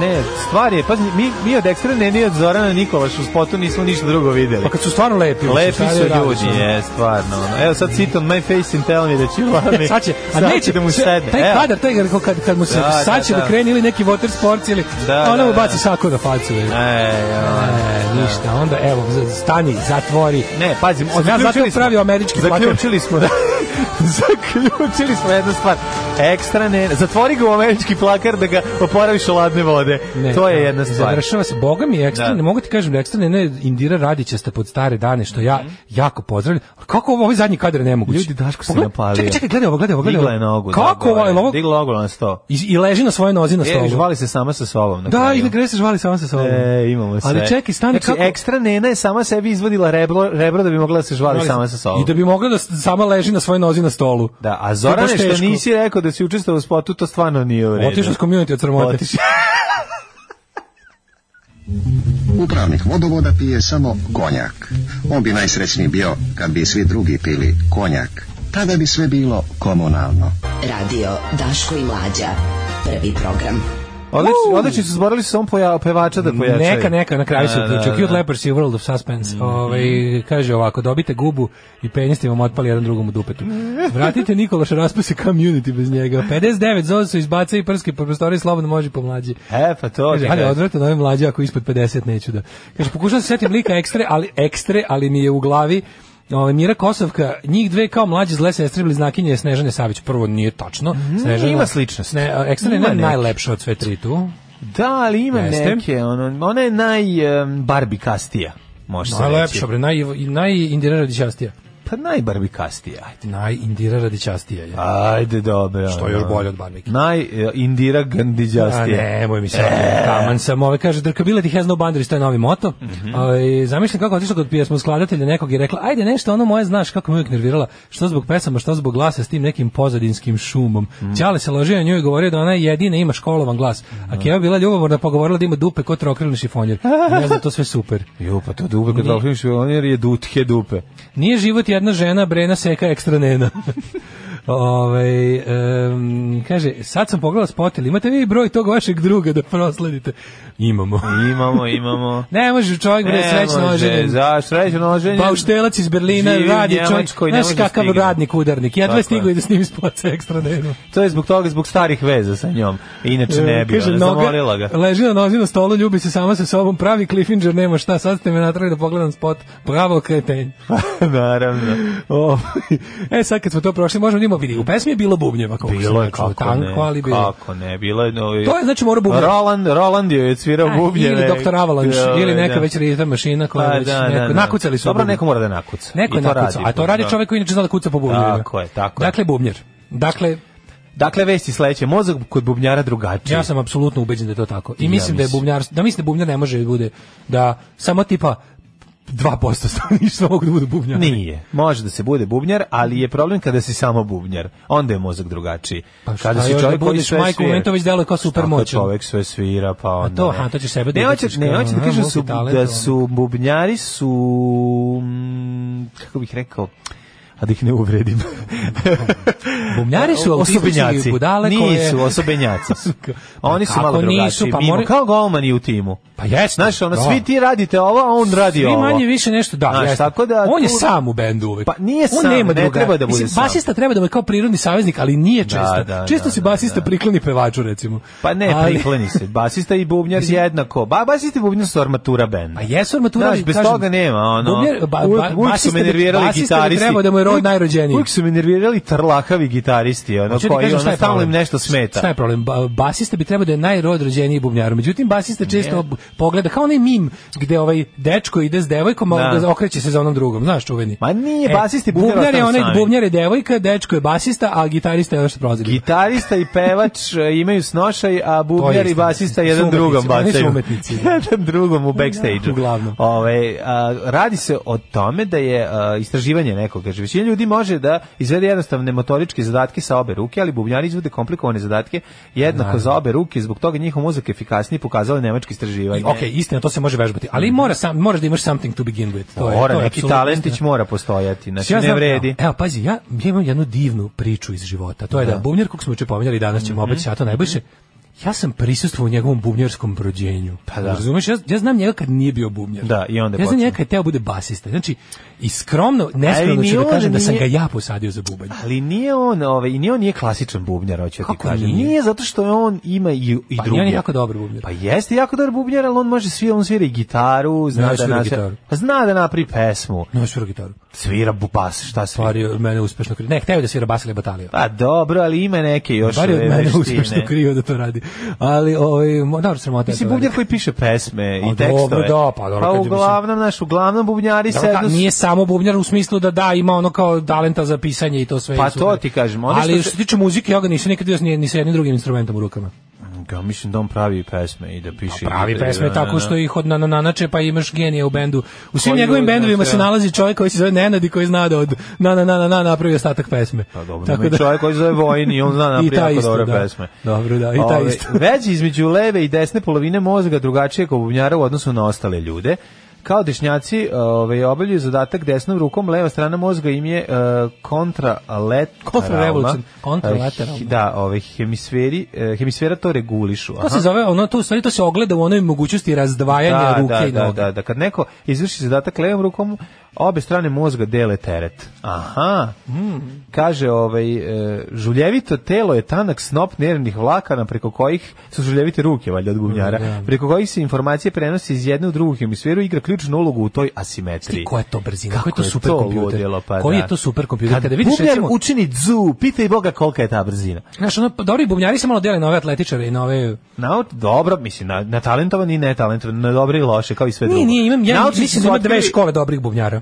S7: Ne, stvar je, pazi, mi, mi od ekstra ne ni od Zorana Nikolaš u spotu nismo ništa drugo videli.
S5: Pa kad su stvarno lepi. mislim,
S7: Lepi
S5: šta
S7: su
S5: da radiš,
S7: ljudi,
S5: ono?
S7: je, stvarno. ono. Evo sad sit on my face and tell me da će lami.
S5: Sad će, a
S7: Sad
S5: neće,
S7: da mu
S5: sve-
S7: sedne.
S5: taj
S7: Evo.
S5: kadar, taj kad, kad, kad mu se,
S7: Da,
S5: sad
S7: da,
S5: će da,
S7: da.
S5: krene ili neki water sports ili,
S7: Da,
S5: a ona
S7: da,
S5: mu
S7: da.
S5: baci sako na facu. je.
S7: E,
S5: E,
S7: ja.
S5: ništa, onda evo, z- stani, zatvori.
S7: Ne, pazi,
S5: Sam ja zato
S7: zaključili smo-
S5: pravio američki plakat.
S7: Zaključili smo da zaključili smo jednu stvar. Ekstra ne, zatvori ga u američki plakar da ga oporaviš u ladne vode.
S5: Ne,
S7: to je
S5: da,
S7: jedna stvar.
S5: Završava se, boga mi je ekstra,
S7: Da.
S5: ne mogu ti kažem da ekstra, ne, ne, Indira Radića ste pod stare dane, što ja jako pozdravljam. Ali Kako ovo, ovaj zadnji kadar je nemoguće?
S7: Mhm. Ljudi, Daško se
S5: Pogledaj,
S7: napalio.
S5: Čekaj, čekaj, gledaj ovo, gledaj ovo, gledaj ovo.
S7: Digla je nogu.
S5: Kako
S7: da, gore.
S5: ovo, jel ovo,
S7: Digla oglo na sto.
S5: i, i leži na svoje nozi na stolu.
S7: E, žvali se sama sa sobom. na
S5: da,
S7: kraju.
S5: i na gre se žvali sama sa sobom.
S7: E, imamo sve.
S5: Ali čekaj, stani,
S7: Znači,
S5: kako-
S7: Ekstra nena je sama sebi izvadila rebro, rebro da bi mogla da se žvali sama sa sobom.
S5: I da bi mogla da s- sama leži na svojoj nozi na stolu.
S7: Da, a
S5: To je
S7: Zorane
S5: baš
S7: što
S5: teško.
S7: nisi rekao da si učestvovao u spotu, to stvarno nije u redu.
S5: Otišao s community od sramote.
S7: Otišao.
S11: Upravnik vodovoda pije samo konjak. On bi najsrećniji bio kad bi svi drugi pili konjak. Tada bi sve bilo komunalno.
S9: Radio Daško i Mlađa. Prvi program.
S7: Odlični, odlični su zborali su samo poja, pevača da pojačaju.
S5: Neka, neka, na kraju se uključio. Cute Leopards i World of Suspense.
S7: Mm.
S5: Ovaj, kaže ovako, dobite gubu i penjeste vam otpali jedan drugom u dupetu. Vratite Nikološa, raspase community bez njega. 59 zozu su izbaca i prski po prostoriji, slobodno može pomlađi.
S7: E, pa to
S5: Kaže,
S7: ti
S5: ali
S7: kažem.
S5: odvratno ove mlađe ako ispod 50 neću da. Kaže, pokušam se setim lika ekstre, ali ekstre, ali mi je u glavi Ovaj Mira Kosovka, njih dve kao mlađe zle sestre bili znakinje Snežane Savić. Prvo nije tačno. Snežana,
S7: ima sličnost.
S5: Ne, a ekstra
S7: Ima
S5: je
S7: neki.
S5: najlepša od sve tri tu.
S7: Da, ali ima
S5: Jeste.
S7: neke, ono, ona je naj um, barbikastija, može se reći.
S5: Najlepša, bre, naj, naj Indira Radićastija.
S7: Pa naj barbikastija, ajde.
S5: Naj Indira Radićastija je.
S7: Ajde, dobro.
S5: Što je još
S7: ono.
S5: bolje od Barbike.
S7: Naj e, Indira Gandiđastija.
S5: A nemoj mi sad. Taman sam ove, kaže, drkability has no boundaries, to je novi moto. Mm zamišljam kako je otišla kod pjesmu skladatelja nekog i rekla, ajde nešto, ono moje znaš kako me uvijek nervirala, što zbog pesama, što zbog glasa s tim nekim pozadinskim šumom. Ćale se ložio na nju i govorio da ona jedina ima školovan glas. A Keva bila ljubomorna, pa govorila da ima dupe ko trokrilni šifonjer. Ne znam, to sve super.
S7: Jo, pa to dupe kad dolfiniš, on je dutke dupe.
S5: Nije život jedna žena, brena seka ekstra nena. Ove, em, kaže, sad sam pogledala spotel, imate vi broj tog vašeg druga da prosledite? Imamo.
S7: Imamo, imamo.
S5: Ne može čovjek bre
S7: Ne
S5: srećno
S7: može,
S5: oženjen. Pa
S7: Za srećno oženjen.
S5: Bauštelac iz Berlina
S7: Živi u
S5: radi
S7: Njemačkoj,
S5: čovjek.
S7: ne
S5: Znaš
S7: može
S5: kakav
S7: stigne.
S5: radnik udarnik.
S7: Tako
S5: Jedva
S7: je.
S5: je stigao i da snimi spot sa ekstra denu.
S7: To je zbog toga, zbog starih veza sa njom. Inače Znači, ne bi,
S5: E, Kaže,
S7: ona
S5: noga-
S7: zamorila ga.
S5: Leži na nozi na stolu, ljubi se sama sa sobom, pravi cliffinger, nema šta, sad ste me natrali da pogledam spot. Bravo, kretenj.
S7: Naravno.
S5: O, e, sad kad smo to prošli, možemo njima vidi. U pesmi je bilo bubnjeva. koliko sam
S7: Bilo je
S5: ja čuo,
S7: kako
S5: tanko,
S7: ne.
S5: ali bilo.
S7: Kako ne, bilo je... No,
S5: To je, znači, mora bubnjev.
S7: Roland, Roland je svirao
S5: A,
S7: bubnjeve.
S5: Ili Dr. Avalanche,
S7: Da,
S5: ili neka
S7: da.
S5: već ritam mašina koja
S7: Pa,
S5: već
S7: da,
S5: neko-
S7: da, da.
S5: nakucali su.
S7: Dobro,
S5: bubnje.
S7: neko mora da nakuca.
S5: Neko je
S7: I to
S5: nakucao, a to radi
S7: Da.
S5: čovjek koji inače zna da kuca po bubnjerima.
S7: Tako je, tako je.
S5: Dakle, bubnjer. Dakle,
S7: Dakle, vesti sledeće. Mozak kod bubnjara drugačiji.
S5: ja sam apsolutno ubeđen da je to tako. I
S7: Ja
S5: mislim da je
S7: mislim.
S5: bubnjar, da mislim da bubnjar ne može da bude, da samo tipa 2% stanovništva mogu da budu bubnjari.
S7: Nije. Može da se bude bubnjar, ali je problem kada si samo bubnjar. Onda je mozak drugačiji.
S5: Pa šta još da
S7: koji
S5: budeš
S7: sve
S5: Majko
S7: svira.
S5: Momentović deluje kao supermoćan.
S7: Šta ako Čovjek sve svira, pa onda...
S5: to, aha, to ćeš sebe da
S7: Ne hoće,
S5: ubaciš
S7: ne
S5: kao, ono,
S7: hoće da
S5: aha,
S7: kažem su, da
S5: multitalentovan.
S7: su bubnjari su... mm, Kako bih rekao a da ih ne uvredim.
S5: Bubnjari su autistični
S7: osobenjaci.
S5: budale koje-
S7: Nisu, osobenjaci su. Oni su
S5: Kako
S7: malo
S5: nisu,
S7: drugačiji.
S5: pa
S7: mimo,
S5: more-
S7: Kao golmani u timu.
S5: Pa jeste.
S7: Znaš, ono,
S5: da.
S7: svi ti radite ovo, a on radi
S5: Svi
S7: ovo.
S5: manje više nešto, da.
S7: Znaš,
S5: jeste.
S7: tako da
S5: on je
S7: tu-
S5: sam u bendu uvek.
S7: Pa nije
S5: on
S7: sam,
S5: nema
S7: ne
S5: druga.
S7: treba da bude
S5: Mislim,
S7: sam.
S5: Basista treba da bude kao prirodni saveznik, ali nije često.
S7: da,
S5: često
S7: da,
S5: si
S7: da,
S5: basista
S7: da.
S5: prikloni pevaču, recimo.
S7: Pa ne,
S5: Ali-
S7: prikloni se. Basista i bubnjar
S5: Mislim-
S7: jednako. Ba, basista i bubnjar su armatura benda.
S5: Pa jesu armatura,
S7: Znaš,
S5: ali
S7: bez
S5: kažem,
S7: toga nema, ono.
S5: bubnjar- ba-
S7: Uvijek-
S5: ba-
S7: uvijek su
S5: basista
S7: me
S5: bi-
S7: nervirali
S5: basista bi
S7: gitaristi.
S5: trebao da mu je rod
S7: Uvijek-
S5: najrođeniji.
S7: Uvijek su me nervirali trlakavi gitaristi, ono,
S5: Hoću ti
S7: koji
S5: kažem šta
S7: ono,
S5: je
S7: stalno im
S5: problem.
S7: nešto smeta.
S5: Šta je problem? Ba- basista bi trebao da je najrodrođeniji bubnjar. Međutim, basista često ob- pogleda kao onaj mim gde ovaj dečko ide s devojkom, a
S7: Da.
S5: onda okreće se za onom drugom. Znaš, čuveni.
S7: Ma nije,
S5: E,
S7: basisti bubnjar
S5: bubnjar je
S7: ostanu
S5: onaj,
S7: sami.
S5: bubnjar je devojka, dečko je basista, a gitarista je ono što prolazi.
S7: Gitarista i pevač e, imaju snošaj, a bubnjar i
S5: istina.
S7: basista
S5: Su
S7: jedan
S5: umetnici,
S7: drugom
S5: oni su
S7: bacaju.
S5: umetnici.
S7: jedan drugom u backstage-u.
S5: uglavnom.
S7: Ove, a, radi se o tome da je a, istraživanje nekog, kaže, većina ljudi može da izvede jednostavne motoričke zadatke sa obe ruke, ali bubnjari izvode komplikovane zadatke jednako za obe ruke, zbog toga njihov muzak je efikasniji, pokazalo je nemačko istraživanje.
S5: Ok, istina, to se može vežbati, ali mora sam, moraš da imaš something to begin with. To je,
S7: Mora,
S5: to je
S7: neki
S5: apsolutno
S7: talentić
S5: istina.
S7: mora postojati, znači
S5: Ja
S7: ne
S5: znam-
S7: vredi.
S5: Evo, evo, pazi, ja, ja imam jednu divnu priču iz života. To je da, bubnjar, kog smo juče pominjali, danas ćemo
S7: Mhm.
S5: opet šato najbliže. Ja sam prisustvovao u njegovom bubnjarskom prođenju.
S7: Pa da.
S5: Razumeš, ja, ja znam njega kad nije bio bubnjar.
S7: Da, i onda je
S5: Ja znam
S7: počeo.
S5: njega kad je teo bude basista. Znači, i skromno, neskromno
S7: ni
S5: ću da
S7: on
S5: kažem da sam
S7: nije-
S5: ga ja posadio za bubanj.
S7: Ali nije on, ovaj, i nije on nije klasičan bubnjar, hoću ti
S5: Kako
S7: kažem.
S5: nije?
S7: Nije? zato što je on ima i, i
S5: Pa
S7: druge.
S5: nije on je jako dobar bubnjar.
S7: Pa jeste jako dobar bubnjar, ali on može svira, on svira i gitaru, zna
S5: Ne,
S7: da
S5: svira
S7: nas-
S5: gitaru.
S7: Pa zna da napri pesmu.
S5: No, svira gitaru.
S7: Svira bupas, šta svira?
S5: Stvari od mene uspešno kri. Ne, hteo je da svira bas ili batalio.
S7: Pa dobro, ali ima neke još
S5: Bar je od
S7: ove
S5: mene
S7: veštine.
S5: uspešno krio da to radi. Ali, ovaj, mo- dobro, sramota. je
S7: Mislim,
S5: to
S7: bubnjar
S5: radi.
S7: koji piše pesme i
S5: A
S7: tekstove.
S5: dobro, da, pa dobro, kad je, mislim-
S7: uglavnom, naš, uglavnom bubnjari
S5: Dobro, ta-
S7: sednu s-
S5: nije samo bubnjar u smislu da da ima ono kao talenta za pisanje i to sve.
S7: Pa
S5: i super.
S7: to ti kažem, ono što
S5: Ali
S7: se-
S5: što se tiče muzike, ja ga nisam nikad vidio ni, ni sa jednim drugim instrumentom u rukama.
S7: Pa Ja mislim da on pravi pesme i da piše.
S5: Pa Pravi
S7: i da-
S5: pesme
S7: da,
S5: tako
S7: da.
S5: što ih od nananače pa imaš genije u bendu. U svim
S7: Koji
S5: njegovim
S7: uzme,
S5: bendovima se
S7: treba.
S5: nalazi čovjek koji se zove Nenad i koji zna da od na na na na na napravi ostatak pesme.
S7: Pa dobro, ima i čovjek koji se zove Vojin i on zna
S5: I
S7: napravi
S5: taj
S7: jako
S5: isto,
S7: dobre
S5: da.
S7: pesme. Ovaj,
S5: Dobro, da, i taj
S7: Ove,
S5: isto.
S7: Već između leve i desne polovine mozga drugačije kod bubnjara u odnosu na ostale ljude. Kao dešnjaci ovaj, obavljaju zadatak desnom rukom, leva strana mozga im je uh, kontralateralna.
S5: Kontrarevolucion- kontralateralna.
S7: Eh, Da, ovaj, hemisferi, eh, hemisfera to regulišu.
S5: To se
S7: aha.
S5: zove, ono, to, u stvari, to se ogleda u onoj mogućnosti razdvajanja
S7: da,
S5: ruke
S7: da,
S5: i
S7: da,
S5: noge.
S7: Da, da, kad neko izvrši zadatak levom rukom, obe strane mozga dele teret. Aha.
S5: Hmm.
S7: Kaže, ovaj, e, žuljevito telo je tanak snop nervnih vlakana preko kojih su žuljevite ruke, valjda od gumnjara, preko kojih se informacije prenose iz jedne u drugu hemisferu i igra ključnu ulogu u toj asimetriji.
S5: Koja je to brzina?
S7: Kako
S5: Koji je to
S7: je to
S5: superkompjuter?
S7: ludilo, pa
S5: Koji
S7: da.
S5: je to superkompjuter?
S7: Kad
S5: Kada vidiš,
S7: bubnjar
S5: recimo,
S7: učini dzu, pitaj Boga kolika je ta brzina.
S5: Znaš, ono, pa dobri bubnjari se malo dele na ove atletičare i na ove...
S7: Naut, dobro, mislim, na, na talentovan i netalentovan, na dobre i loše, kao i sve drugo.
S5: Nije, nije, imam, ja
S7: Naučnici
S5: mislim
S7: su
S5: da ima
S7: otkrili-
S5: dve škole dobrih bubnjara.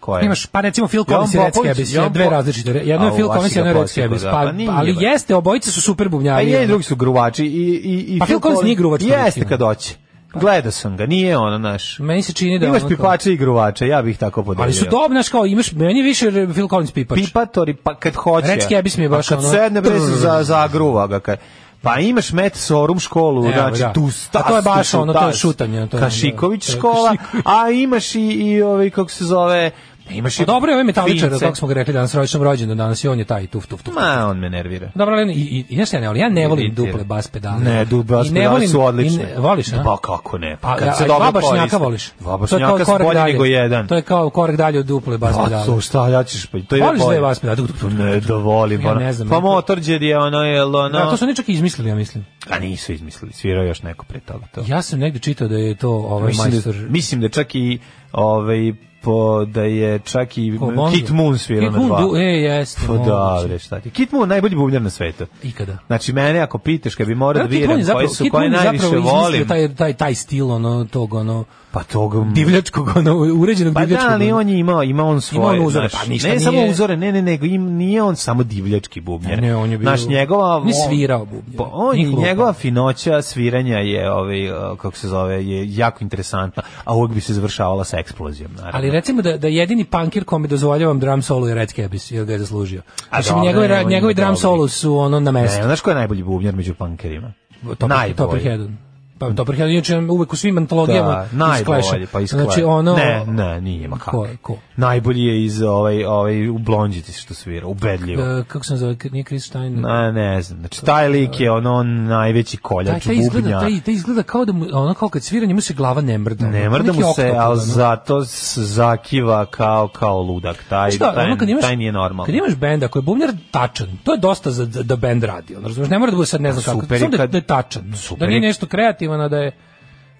S7: Koje?
S5: Imaš, pa recimo Phil
S7: Jovan
S5: Collins i Red
S7: Popović,
S5: Scabies,
S7: Jovan
S5: dve
S7: Po-
S5: različite. Jedno je
S7: Au,
S5: Phil Collins,
S7: vaši
S5: jedno je
S7: ga
S5: Red
S7: posjeko,
S5: Scabies.
S7: da,
S5: Pa,
S7: pa nije,
S5: ali
S7: bre.
S5: jeste, obojice su super
S7: Pa
S5: bubnjari.
S7: i jedni i drugi su gruvači i i i
S5: ono. Pa Phil Collins nije gruvač,
S7: Jeste
S5: recimo.
S7: kad hoće. Gledao sam ga, nije ono naš.
S5: Meni se čini da...
S7: Imaš pa
S5: ono to-
S7: pipače i gruvače, ja bih tako podelio.
S5: Ali su dobri, znaš, kao imaš, meni je više Phil Collins pipač.
S7: Pipatori, pa kad hoće.
S5: Red Scabies mi je baš
S7: pa kad
S5: ono-
S7: sedne bre se za, za gruva ga. Kad, pa imaš Met Sorum školu,
S5: Evo,
S7: znači
S5: da.
S7: tu stas,
S5: A to je baš
S7: tu
S5: ono, to je
S7: tas.
S5: šutanje, to je-
S7: Kašiković
S5: to je
S7: škola, a imaš i, i ovaj, kako se zove, imaš i...
S5: Pa dobro je ovaj metaličar,
S7: Fince.
S5: kako smo ga rekli danas, rođenom rođendan danas i on je taj tuf, tuf, tuf.
S7: Ma, on me nervira.
S5: Dobro, ali i, i, i znaš šta ja ne volim, ja ne volim
S7: Iritira.
S5: duple bas pedale.
S7: Ne, dubas
S5: I ne
S7: pedale
S5: volim-
S7: su
S5: i
S7: odlične.
S5: ne- voliš, a?
S7: Pa kako ne? Pa
S5: A,
S7: kad
S5: a,
S7: se
S5: a
S7: dobro
S5: dva bašnjaka
S7: koriste.
S5: voliš.
S7: Dva
S5: To je kao
S7: bašnjaka su
S5: korak
S7: bolji
S5: dalje.
S7: nego jedan. Pa,
S5: To je kao korak dalje od duple bas pedale.
S7: A to šta, ja ćeš pa... To ide
S5: Voliš
S7: bolje.
S5: dve vas pedale? Tuk, tuk, tuk, tuk.
S7: Ne, da volim.
S5: Ja
S7: ono.
S5: ne znam,
S7: pa
S5: meni to-
S7: Motorhead je ono, jel ono...
S5: Da, to su oni čak i izmislili, ja mislim.
S7: A nisu izmislili, svirao je još neko pre toga to.
S5: Ja sam negdje čitao da je to ovaj
S7: mislim,
S5: majstor...
S7: da, mislim da čak i ovaj po da je čak i
S5: Ko, Bondo?
S7: Kit Moon svirao
S5: Kid
S7: na
S5: Moon,
S7: dva.
S5: du- e, jeste,
S7: Pa da,
S5: moguće.
S7: bre, šta ti. Kit Moon najbolji bubnjar na svetu.
S5: Ikada.
S7: Znači mene ako pitaš kad bi morao da
S5: Kid Moon
S7: biram
S5: je zapravo-
S7: koji su
S5: Kid
S7: koje
S5: Moon je
S7: najviše
S5: zapravo izmislio
S7: volim.
S5: Taj, taj, taj stil, ono, tog, ono,
S7: Pa toga
S5: divljačkog, ono, uređenog
S7: Pa da,
S5: divljačkog.
S7: ali
S5: ono.
S7: on je imao, ima on svoje.
S5: on uzore,
S7: znaš,
S5: pa ništa
S7: ne samo
S5: nije-
S7: uzore, ne, ne, nego im, nije on samo divljački bubnjar.
S5: Ne, on je bio-
S7: Naš njegova...
S5: On je
S7: on-
S5: svirao bubnjar.
S7: Pa on
S5: Nije
S7: i
S5: lupao.
S7: njegova finoća sviranja je, ovaj, uh, kako se zove, je jako interesantna, a uvek bi se završavala sa eksplozijom, naravno.
S5: Ali recimo da, da jedini punkir kome dozvoljavam drum solo je Red Cabis, jer ga je zaslužio.
S7: A
S5: Znači,
S7: dobro,
S5: njegovi, ra-
S7: on ima
S5: njegovi drum
S7: dobrih.
S5: solo su ono na
S7: Ne,
S5: mestu.
S7: E, znaš ko je najbolji bubnjar među punkerima?
S5: Topper, Topper Hedon. Pa Topper Hedon, inače uvek u svim antologijama
S7: Da,
S5: iz Clash-a.
S7: najbolji, pa iz
S5: Znači,
S7: Clash-a.
S5: ono...
S7: Ne, ne, nije, ma kako.
S5: Ko, ko?
S7: Najbolji je iz ovaj, ovaj, u Blondjici što svira, ubedljivo.
S5: E, kako se zove, nije Chris Stein?
S7: Na, ne znam, znači taj lik je ono najveći koljač
S5: taj, taj izgleda,
S7: Znači, bubnja.
S5: taj, taj izgleda kao da mu, ono kao kad svira, njemu se glava ne mrda. ono,
S7: Ne
S5: kao
S7: mrda
S5: neki
S7: mu se,
S5: oktopod,
S7: ali
S5: ono.
S7: zato s- zakiva kao kao ludak. Taj,
S5: Šta,
S7: taj,
S5: ono kad imaš,
S7: taj nije normalno.
S5: Kad imaš benda koji je bubnjar tačan, to je dosta za, da, da bend radi. Ono, razumeš, ne mora da bude sad ne znam kako.
S7: Super je
S5: Samo da,
S7: kad-
S5: da je tačan. ono,
S7: super
S5: Da
S7: je-
S5: nije nešto kreativan, a da je...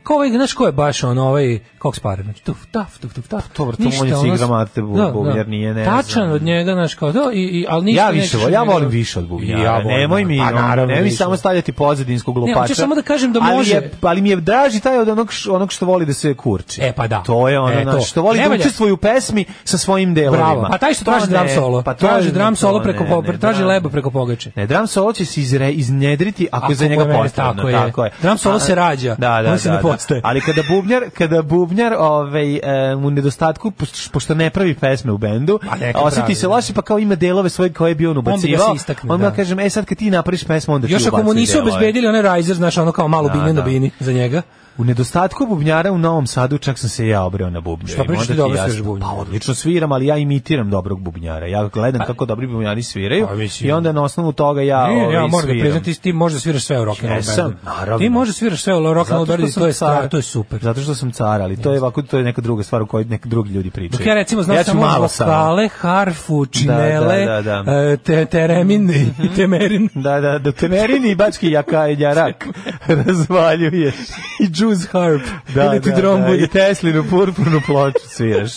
S5: Kao ovaj, znaš ko je baš ono, ovaj, kako spare, znači, tuf, taf, tuf, tuf, taf,
S7: Pa
S5: ono,
S7: to, brate, on je si igra mate bu- bubnjar, nije, ne
S5: Tačan
S7: znam.
S5: od njega, znaš, kao, da, i, i, ali ništa
S7: ja više
S5: nekako
S7: volim, ja
S5: što
S7: volim
S5: njega-
S7: više od bubnjara.
S5: Ja volim,
S7: Nemoj mi,
S5: pa
S7: ono,
S5: naravno
S7: nemoj mi
S5: više.
S7: samo stavljati pozadinskog
S5: hoću
S7: glupača.
S5: samo da kažem da
S7: ali
S5: može.
S7: Je, ali mi je draži taj od onog, š- onog što voli da se kurči.
S5: E, pa da.
S7: To je ono
S5: E, to.
S7: znaš, što voli
S5: Ne
S7: da
S5: valja.
S7: učestvuje u pesmi sa svojim delovima.
S5: Bravo. Pa taj što
S7: To
S5: traži
S7: ne,
S5: drum solo.
S7: Pa to
S5: traži
S7: je-
S5: drum
S7: to
S5: solo
S7: ne,
S5: preko
S7: ne,
S5: po- traži
S7: drum-
S5: leba preko pogače.
S7: Ne, dram solo će se izre, iznedriti ako,
S5: Ako
S7: je za
S5: mu je
S7: njega
S5: mene,
S7: potrebno.
S5: tako je.
S7: Tako je.
S5: Dram solo
S7: A-
S5: se rađa,
S7: Da, da,
S5: on se
S7: da,
S5: ne
S7: da.
S5: postaje.
S7: Ali kada bubnjar, kada bubnjar ovaj, e, u nedostatku, poš- pošto ne pravi pesme u bendu,
S5: Pa neka
S7: osjeti
S5: pravi,
S7: se
S5: da.
S7: loše, pa kao ima delove svoje koje bi on
S5: bi ga
S7: ubacivao.
S5: se istakne,
S7: onda
S5: da.
S7: kažem, e sad kad ti napraviš pesmu, onda ti
S5: Još ako mu
S7: ubacuj
S5: nisu
S7: delove.
S5: obezbedili onaj riser, znaš, ono kao malo
S7: ovaj. Da,
S5: bine na
S7: da.
S5: bini za njega.
S7: U nedostatku bubnjara u Novom Sadu čak sam se ja obreo na bubnjare.
S5: Šta pričaš ti dobro sviraš bubnjare?
S7: Pa odlično sviram, ali ja imitiram dobrog bubnjara. Ja gledam kako dobri bubnjari sviraju
S5: Pa, mislim.
S7: i onda na osnovu toga ja
S5: Ne,
S7: ovaj,
S5: ja moram da
S7: sviram.
S5: priznam, ti, ti možeš da sviraš sve u rock and roll
S7: Jesam,
S5: bandu.
S7: naravno.
S5: Ti možeš da sviraš sve u rock and roll bandu, i to je stvar, to je super.
S7: Zato što sam car, ali to je ovako to je neka druga stvar o kojoj neki drugi ljudi pričaju.
S5: Dok ja recimo znam
S7: Znači, ja ću
S5: samo ono
S7: malo samo.
S5: vokale, harfu, činele, Mhm.
S7: da, da, da.
S5: e, te, teremin i temerin.
S7: Da, da, do temerini i bački jaka jarak razvaljuješ.
S5: I Jews harp.
S7: Da,
S5: Ili ti
S7: da,
S5: drom
S7: da,
S5: bude.
S7: i Teslinu purpurnu ploču sviraš.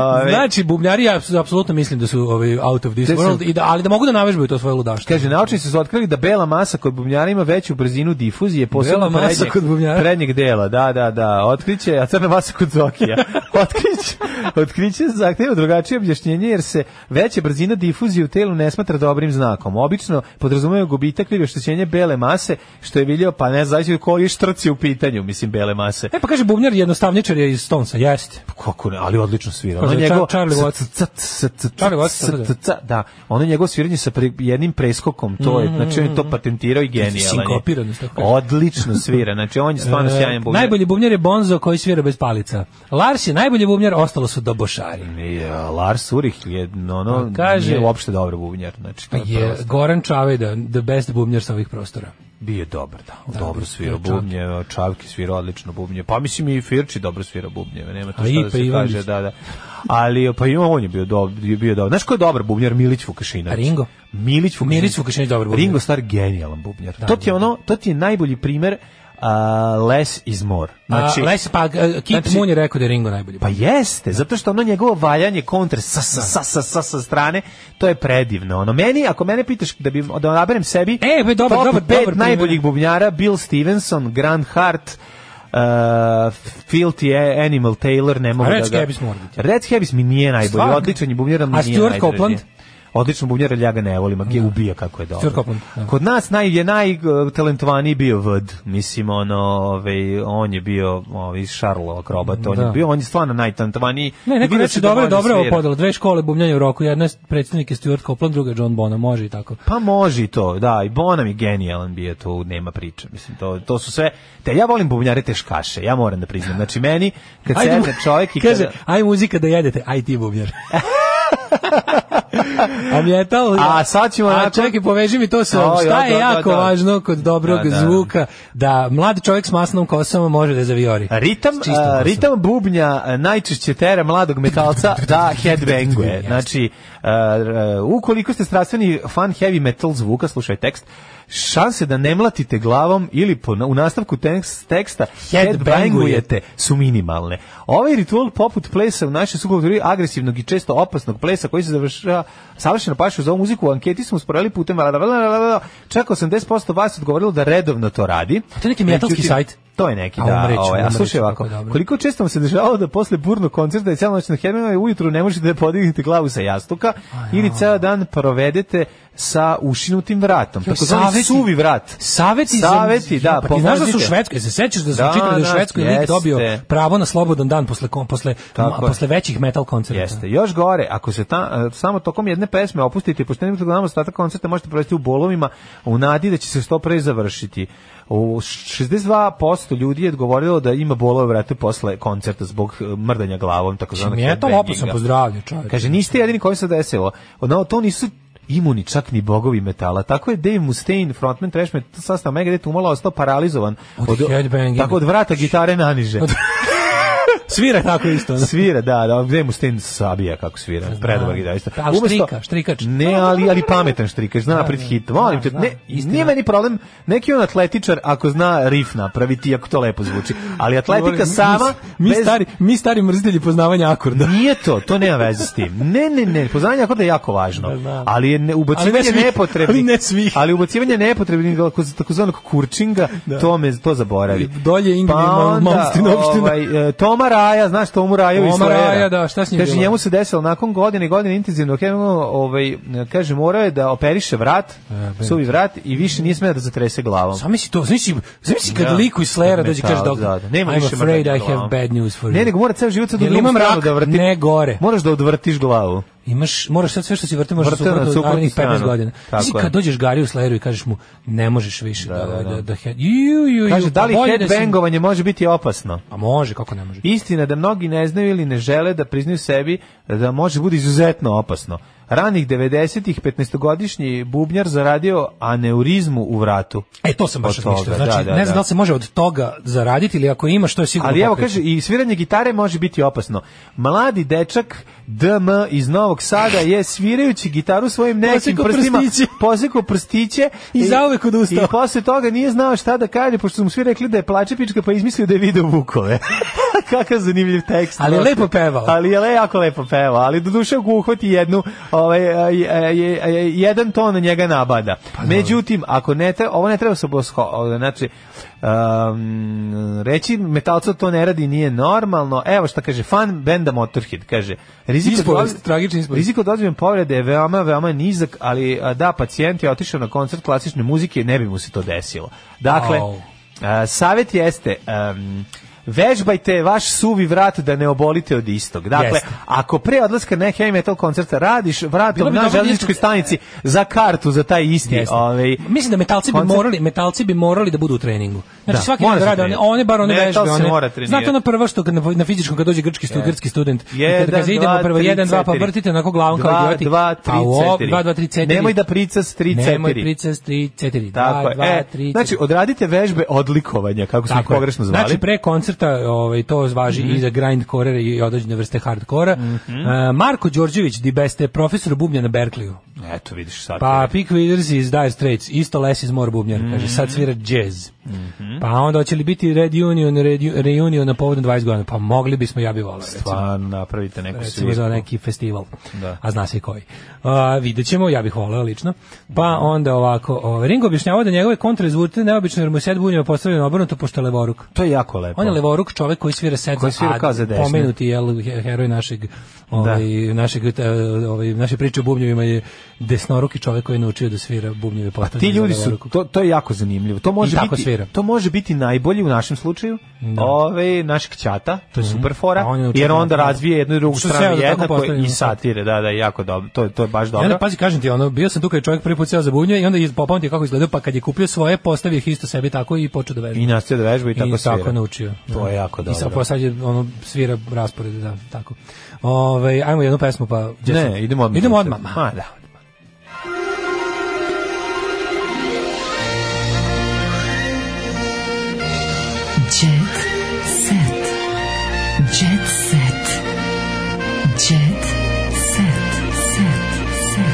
S7: Ove,
S5: Znači, bubnjari, ja apsu- apsolutno mislim da su ovaj, out of this
S7: Gde sam-
S5: world, i da, ali da mogu da navežbaju to svoje ludaštvo.
S7: Kaže, naučnici su otkrili da bela masa kod bubnjara ima veću brzinu difuzije, posebno
S5: Bela masa kod bubnjara?
S7: prednjeg, prednjeg dela. Da, da, da. Otkriće, a crna masa kod Zokija. otkriće, otkriće zahteva drugačije objašnjenje, jer se veća brzina difuzije u telu ne smatra dobrim znakom. Obično podrazumevaju gubitak ili oštećenje bele mase, što je vidio, pa ne znači koji štrci u pitanju, mislim, bele mase.
S5: E pa kaže, bubnjar jednostavničar je iz Stonesa, jeste.
S7: Kako ne, ali odlično svira. Ono
S5: Kaže,
S7: njegovo
S5: Char- Charlie Watts.
S7: c- c- c- c-
S5: Charlie Watts, tako da.
S7: c- c- da, ono njegovo sviranje sa pre- jednim
S5: Mm-hmm.
S7: preskokom, to je, znači on je to patentirao i genijalan je.
S5: Sinkopiranost, tako kaže.
S7: Odlično svira, znači on je stvarno
S5: E,
S7: sjajan sjajan bubnjar.
S5: Najbolji bubnjar je Bonzo koji svira bez palica. Lars je najbolji bubnjar, ostalo su dobošari.
S7: Ja, Lars Ulrich je ono,
S5: Pa kaže-
S7: nije uopšte dobar bubnjar. Znači, to
S5: Pa
S7: je
S5: je
S7: prosto.
S5: Goran Čavajda, the best bubnjar sa ovih prostora.
S7: Bio je dobar, da.
S5: Da,
S7: dobro svira
S5: Čavki.
S7: bubnje, Čavki svira odlično bubnje. Pa mislim i Firči dobro svira bubnje, nema tu
S5: A
S7: šta
S5: i
S7: da
S5: pa
S7: se
S5: Ivanić.
S7: kaže, da, da. Ali pa ima on je bio dobar, bio dobar. Znaš ko je dobar bubnjar Milić Vukašinović?
S5: A Ringo?
S7: Milić Vukašinović.
S5: Milić Vukašinović dobar bubnjar.
S7: Ringo Star genijalan bubnjar.
S5: Da,
S7: to ti je ono, to ti je najbolji primer a, less is more.
S5: Znači, a, Les, pa, a, Kit
S7: znači-
S5: Moon je rekao da je Ringo najbolji.
S7: Pa jeste, zato što ono njegovo valjanje kontra sa sa sa sa sa, sa strane, to je predivno. Ono meni, ako mene pitaš da bi da odaberem sebi,
S5: E, be, dobar,
S7: top
S5: dobar,
S7: pet
S5: dobar
S7: najboljih bubnjara Bill Stevenson, Grant Hart, Uh, Filthy Animal Taylor ne
S5: A
S7: mogu da
S5: Red
S7: ga-
S5: Scabies mora biti.
S7: Red Scabies mi nije najbolji
S5: Stvarno?
S7: odličan je bubnjar ali mi
S5: A
S7: nije
S5: Stuart
S7: najdraži.
S5: Copeland?
S7: odličan bubnjar ali ja ga ne volim a gdje ubija kako je dobro
S5: Stuart Copeland, da.
S7: kod nas naj je najtalentovaniji bio Vd mislim ono ovaj on je bio ovaj Charlo akrobat on
S5: Da.
S7: je bio on je stvarno najtalentovaniji
S5: Ne, neko
S7: Pa Vidio
S5: reče
S7: se da
S5: dobro,
S7: može
S5: dobro je ovo
S7: svira.
S5: podelo. Dve škole bubnjanja u roku, jedna je predstavnik je Stuart Copeland, druga je John Bonham, može i tako.
S7: Pa može i to, da, i Bonam je genijalan bio, tu nema priče, mislim, to, to su sve, te ja volim bubnjare teškaše, ja moram da priznam, znači meni, kad
S5: Ajde,
S7: sedne čovjek i
S5: Kaže,
S7: kada,
S5: aj muzika da jedete, aj ti bubnjar. a metal,
S7: A sad ćemo
S5: a
S7: nakon-
S5: čekaj, poveži mi to sa
S7: Oj,
S5: šta
S7: oj,
S5: je
S7: da,
S5: jako
S7: da.
S5: važno kod dobrog
S7: Da, da.
S5: zvuka, da mlad čovjek s masnom kosom može da zaviori.
S7: Ritam,
S5: S čistom
S7: a,
S5: kosom.
S7: ritam bubnja e, najčešće tera mladog metalca da headbanguje. Znači, e, e, ukoliko ste strastveni fan heavy metal zvuka, slušaj tekst, šanse da ne mlatite glavom ili po, u nastavku tekst, teksta headbangujete su minimalne. Ovaj ritual poput plesa u našoj sukulturi agresivnog i često opasnog plesa koji se završava savršeno pašu za ovu muziku u anketi smo sporeli putem čak 80% vas odgovorilo da redovno to radi. E,
S5: To je neki metalski
S7: Međutim,
S5: sajt.
S7: To je neki,
S5: A,
S7: da.
S5: umreću,
S7: ovaj, a
S5: umreću,
S7: slušaj
S5: kako
S7: ovako,
S5: je dobro.
S7: koliko često vam se dešavalo da posle burnog koncerta i cijela noć na Hedmanu i ujutru ne možete da podignete glavu sa jastuka ili
S5: ono.
S7: ceo dan provedete sa ušinutim vratom.
S5: Jo,
S7: Tako zvani
S5: saveti-
S7: suvi vrat.
S5: Saveti, za-
S7: Saveti, da,
S5: Pa ti znaš da su u
S7: pomozite.
S5: Švedskoj, se sećaš da su
S7: Da,
S5: čitali da je u
S7: da,
S5: Švedskoj lik
S7: jeste.
S5: dobio pravo na slobodan dan posle, kon- posle, ma,
S7: Tako je.
S5: posle većih metal koncerta.
S7: Jeste. Još gore, ako se ta, e, samo tokom jedne pesme opustite i pošto ne budete gledamo ostatak koncerta, možete provesti u bolovima u nadi da će se što pre završiti. U 62% ljudi je odgovorilo da ima bolove u vratu posle koncerta zbog e, mrdanja glavom, tako
S5: Znači,
S7: zvanog
S5: metal
S7: headbanginga.
S5: opasan po zdravlje, čovječe.
S7: Kaže, niste jedini koji se desilo. Ono, to nisu imuni čak ni bogovi metala. Tako je Dave Mustaine, frontman Trash Metal sastava Megadeth umalo ostao paralizovan
S5: Od headbanginga.
S7: tako od vrata gitare naniže.
S5: Svira tako isto. ono.
S7: svira, da, da, Dave Mustaine sabija kako svira, predobar gitarista.
S5: Pa, ali štrika, štrikač.
S7: Ne, ali, ali pametan štrikač, zna napred hit. Molim
S5: da,
S7: te,
S5: da,
S7: ne,
S5: istina.
S7: nije meni problem, neki on atletičar ako zna rif napraviti, i ako to lepo zvuči. Ali
S5: Mi- mi-
S7: atletika sama,
S5: mi,
S7: bez-
S5: stari, mi stari mrzitelji poznavanja akorda.
S7: Nije to, to nema veze s tim. Ne, ne, ne, poznavanje akorda je jako važno.
S5: znam.
S7: Ali je ne,
S5: Ali ne
S7: ubacivanje
S5: svih, ali
S7: nepotrebnih.
S5: ne svih.
S7: Ali ubacivanje nepotrebnih tako- takozvanog kurčinga, to me to zaboravi.
S5: Dolje Ingrid
S7: Pa
S5: Mal-
S7: onda,
S5: Malmstin opština.
S7: Ovaj, e, Toma Raja, znaš Tomu Raju iz
S5: Toma
S7: Slayera.
S5: Raja, da, šta s njim
S7: Kaže,
S5: bilo?
S7: njemu se desilo nakon godine i godine intenzivno hemimo, ovaj, kaže, morao je da operiše vrat,
S5: E,
S7: suvi vrat i više nije smeo da zatrese glavom.
S5: Zamisli to, zamisli, zamisli kad
S7: Da.
S5: liku iz Slayera dođe i kaže
S7: Metal,
S5: doktor,
S7: da, da. Nema
S5: I'm
S7: više
S5: afraid
S7: mrdanja
S5: I have
S7: glavom."
S5: bad news for you.
S7: Ne, nego mora ceo život sad u
S5: Jel
S7: drugu
S5: imam
S7: stranu
S5: rak?
S7: da vrti.
S5: Ne, gore.
S7: Moraš da odvrtiš glavu.
S5: Imaš, moraš sad sve što si vrtio, moraš
S7: Vrte
S5: suprotno
S7: na
S5: od
S7: suprotnu
S5: narednih 15
S7: stranu.
S5: godina.
S7: Tako
S5: Znači
S7: je.
S5: kad dođeš Gari u Slayeru i kažeš mu ne možeš više da, da, da, da head, ju, ju, ju,
S7: Kaže, da li
S5: pa bolje si-
S7: headbangovanje može biti opasno?
S5: A može, kako ne može?
S7: Istina da mnogi ne znaju ili ne žele da priznaju sebi da može bude izuzetno opasno. Ranih 90-ih 15-godišnji bubnjar zaradio aneurizmu u vratu.
S5: E, to sam baš
S7: Od toga,
S5: razmišljao. Znači,
S7: da, da,
S5: ne znam da
S7: da.
S5: li se može od toga zaraditi ili ako imaš, to je sigurno
S7: Ali evo
S5: pokret.
S7: kaže i sviranje gitare može biti opasno. Mladi dečak DM iz Novog Sada je svirajući gitaru svojim nekim
S5: Posekao
S7: prstima
S5: prstiće.
S7: posekao prstiće
S5: I zauvek odustao.
S7: I posle toga nije znao šta da kaže pošto su mu svi rekli da je plačepička pa je izmislio da je video vukove. Kakav zanimljiv tekst.
S5: Ali je lepo pevao.
S7: Ali je le- jako lepo pevao, ali do duše ako uhvati jednu, ovaj, a, je- a, je- a, je- jedan ton njega nabada.
S5: Pa
S7: Međutim, ako ne treba, ovo ne treba se obosho- znači, um, reći metalcu to ne radi nije normalno, evo šta kaže, fan benda Motorhead, kaže, rizik od
S5: Ispovest,
S7: ozb-
S5: tragična ispovest.
S7: rizik od ozbiljne povrede je veoma, veoma nizak, ali a, da, pacijent je otišao na koncert klasične muzike, ne bi mu se to desilo. Dakle,
S5: Au.
S7: a, savjet jeste... um, vežbajte vaš suvi vrat da ne obolite od istog. Dakle,
S5: Jeste.
S7: ako pre odlaska na heavy metal koncerta radiš
S5: Bilo
S7: vratom
S5: bi
S7: na
S5: dobro
S7: železničkoj
S5: isto-
S7: stanici za kartu za taj isti,
S5: Jeste.
S7: ovaj
S5: Mislim da metalci bi
S7: koncert-
S5: morali, metalci bi morali da budu u treningu. Znači
S7: Da,
S5: svaki
S7: mora
S5: dan
S7: se
S5: rade one,
S7: trenirati.
S5: one bar one
S7: Metal
S5: vežbe,
S7: se
S5: one.
S7: mora trenirati.
S5: Znate ono prvo što kad na, na fizičkom kad dođe grčki student, grčki student, i kad
S7: Jedan,
S5: kaže idemo
S7: dva,
S5: prvo
S7: tri,
S5: 1 2 pa
S7: četiri.
S5: vrtite onako glavom
S7: Dva,
S5: kao idioti.
S7: dva, tri,
S5: A u ovo-
S7: četiri.
S5: dva, dva, tri, četiri.
S7: Nemoj da pricas, tri,
S5: Nemoj
S7: četiri.
S5: pricas 3 4.
S7: Tako
S5: 2
S7: je. E,
S5: 2 3.
S7: znači, odradite vežbe odlikovanja, kako smo ih
S5: je.
S7: pogrešno zvali. Mhm.
S5: Znači, pre koncerta ovaj, to zvaži i za grindcore i određene vrste hardkora. E, Marko Đorđević, di beste, profesor bubnja na Berkliju.
S7: Eto, vidiš sad.
S5: Pa Pick Withers iz Dire Straits, isto Les iz Mora bubnjar, kaže,
S7: Mhm.
S5: sad svira jazz. Pa onda hoće li biti Red Union, Red U- Reunion na povodom 20 godina? Pa mogli bismo, ja bi volao. recimo.
S7: Stvarno, pa napravite neku
S5: recimo za
S7: svirku.
S5: neki festival.
S7: Da.
S5: A zna se i koji. A, vidjet ćemo, ja bih voleo lično. Pa onda ovako, ovaj, Ringo objašnjava da njegove kontra zvuče neobično jer mu je set bubnjeva postavljeno obrnuto pošto je levoruk.
S7: To je jako lepo.
S5: Pa On je levoruk čovjek koji svira set
S7: Koji svira
S5: a
S7: kao za desne.
S5: Pomenuti je heroj našeg ovaj našeg eh, ovaj naše priče o bubnjevima je desnoruki čovjek koji je naučio da svira bubnjeve
S7: Pa Ti
S5: postavljene za
S7: ljudi su
S5: levoruku.
S7: to to je jako zanimljivo. To može
S5: I tako
S7: biti
S5: svira.
S7: to može biti najbolji u našem slučaju. Ove naš kćata, to je super fora.
S5: Mhm. A on je naučio
S7: jer
S5: da-
S7: onda razvije jednu i drugu
S5: Što se
S7: stranu
S5: evo da tako
S7: jednako
S5: postavljamo.
S7: i satire. Da, da, jako dobro. To je to je baš
S5: Ja
S7: dobro.
S5: ne, pazi, kažem ti, ono, bio sam tu kad je čovjek prvi put seo za bubnjeve i onda je popamtio kako izgledao, pa kad je kupio svoje, postavio ih isto sebi tako i počeo da vežba.
S7: I nastavio da vežba i
S5: I
S7: tako svira.
S5: tako naučio.
S7: To je jako
S5: I sad,
S7: dobro.
S5: pa sad je, ono, svira raspored, da, tako. Ove, ajmo jednu pesmu, pa... gdje
S7: Ne,
S5: sam?
S7: idemo odmah.
S5: Idemo odmah, ma.
S7: Ma, da.
S4: Jet set. Jet set. Jet set. Set.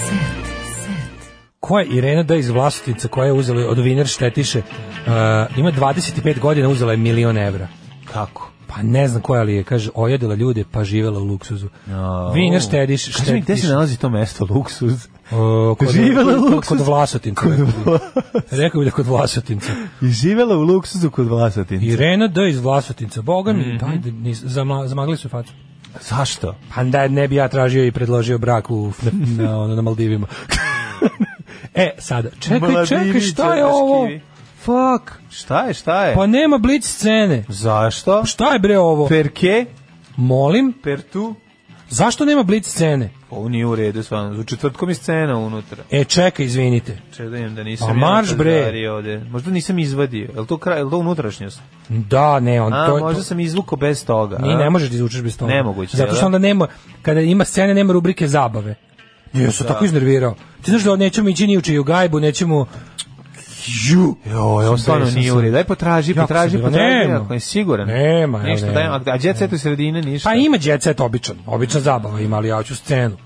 S4: Set. Set.
S5: Ko je Irena da iz Vlasotinca koja je uzela od Vinar Štetiše uh, ima 25 godina uzela je milion evra
S7: Kako?
S5: pa ne znam koja li je kaže ojedila ljude pa živela u luksuzu Vinar Štetiš
S7: Kaži mi gde se
S5: Štetiš.
S7: nalazi to mesto luksuz?
S5: Uh, kod,
S7: Živela u
S5: kod-
S7: luksuz.
S5: Kod Vlasotinca. Rekao bi da kod Vlasotinca.
S7: I živela u luksuzu kod Vlasotinca.
S5: Irena D iz Vlasotinca. Boga mi, daj da nis- zama- zamagli su facu.
S7: Zašto?
S5: Mhm. Pa da ne bi ja tražio i predložio brak u, na, na, ono, na Maldivima. e, sada, čekaj, čekaj,
S7: Maldivi,
S5: šta je
S7: crtaški.
S5: ovo? Fuck.
S7: Šta je, šta je?
S5: Pa nema blic scene.
S7: Zašto?
S5: Šta je bre ovo?
S7: Perke,
S5: Molim,
S7: pertu.
S5: zašto nema blic scene?
S7: Pa Ovo nije u redu, stvarno. U četvrtkom je scena unutra.
S5: E, čekaj, izvinite.
S7: Čedajem da nisam
S5: Pa
S7: ja
S5: marš, bre.
S7: napazario ovde. Možda nisam izvadio. Je li to, kraj, je li to unutrašnjost?
S5: Da, ne, on
S7: A,
S5: to...
S7: možda sam izvukao bez toga.
S5: Ni
S7: a?
S5: ne možeš da izvučeš bez toga.
S7: Nemoguće,
S5: Zato
S7: jel da?
S5: što onda nema kada ima scene nema rubrike zabave. Ja sam tako iznervirao. Ti znaš da nećemo ići ni u čiju gajbu, nećemo ju.
S7: Joj, ovo stvarno nije u redu. Daj potraži,
S5: Jako
S7: potraži,
S5: sam bio-
S7: potraži.
S5: Nema.
S7: Ako je siguran.
S5: Nema, evo,
S7: Ništa,
S5: nema.
S7: daj, a- a djece set u sredini, ništa.
S5: Pa ima jet set običan, obična zabava ima, ali ja ću scenu.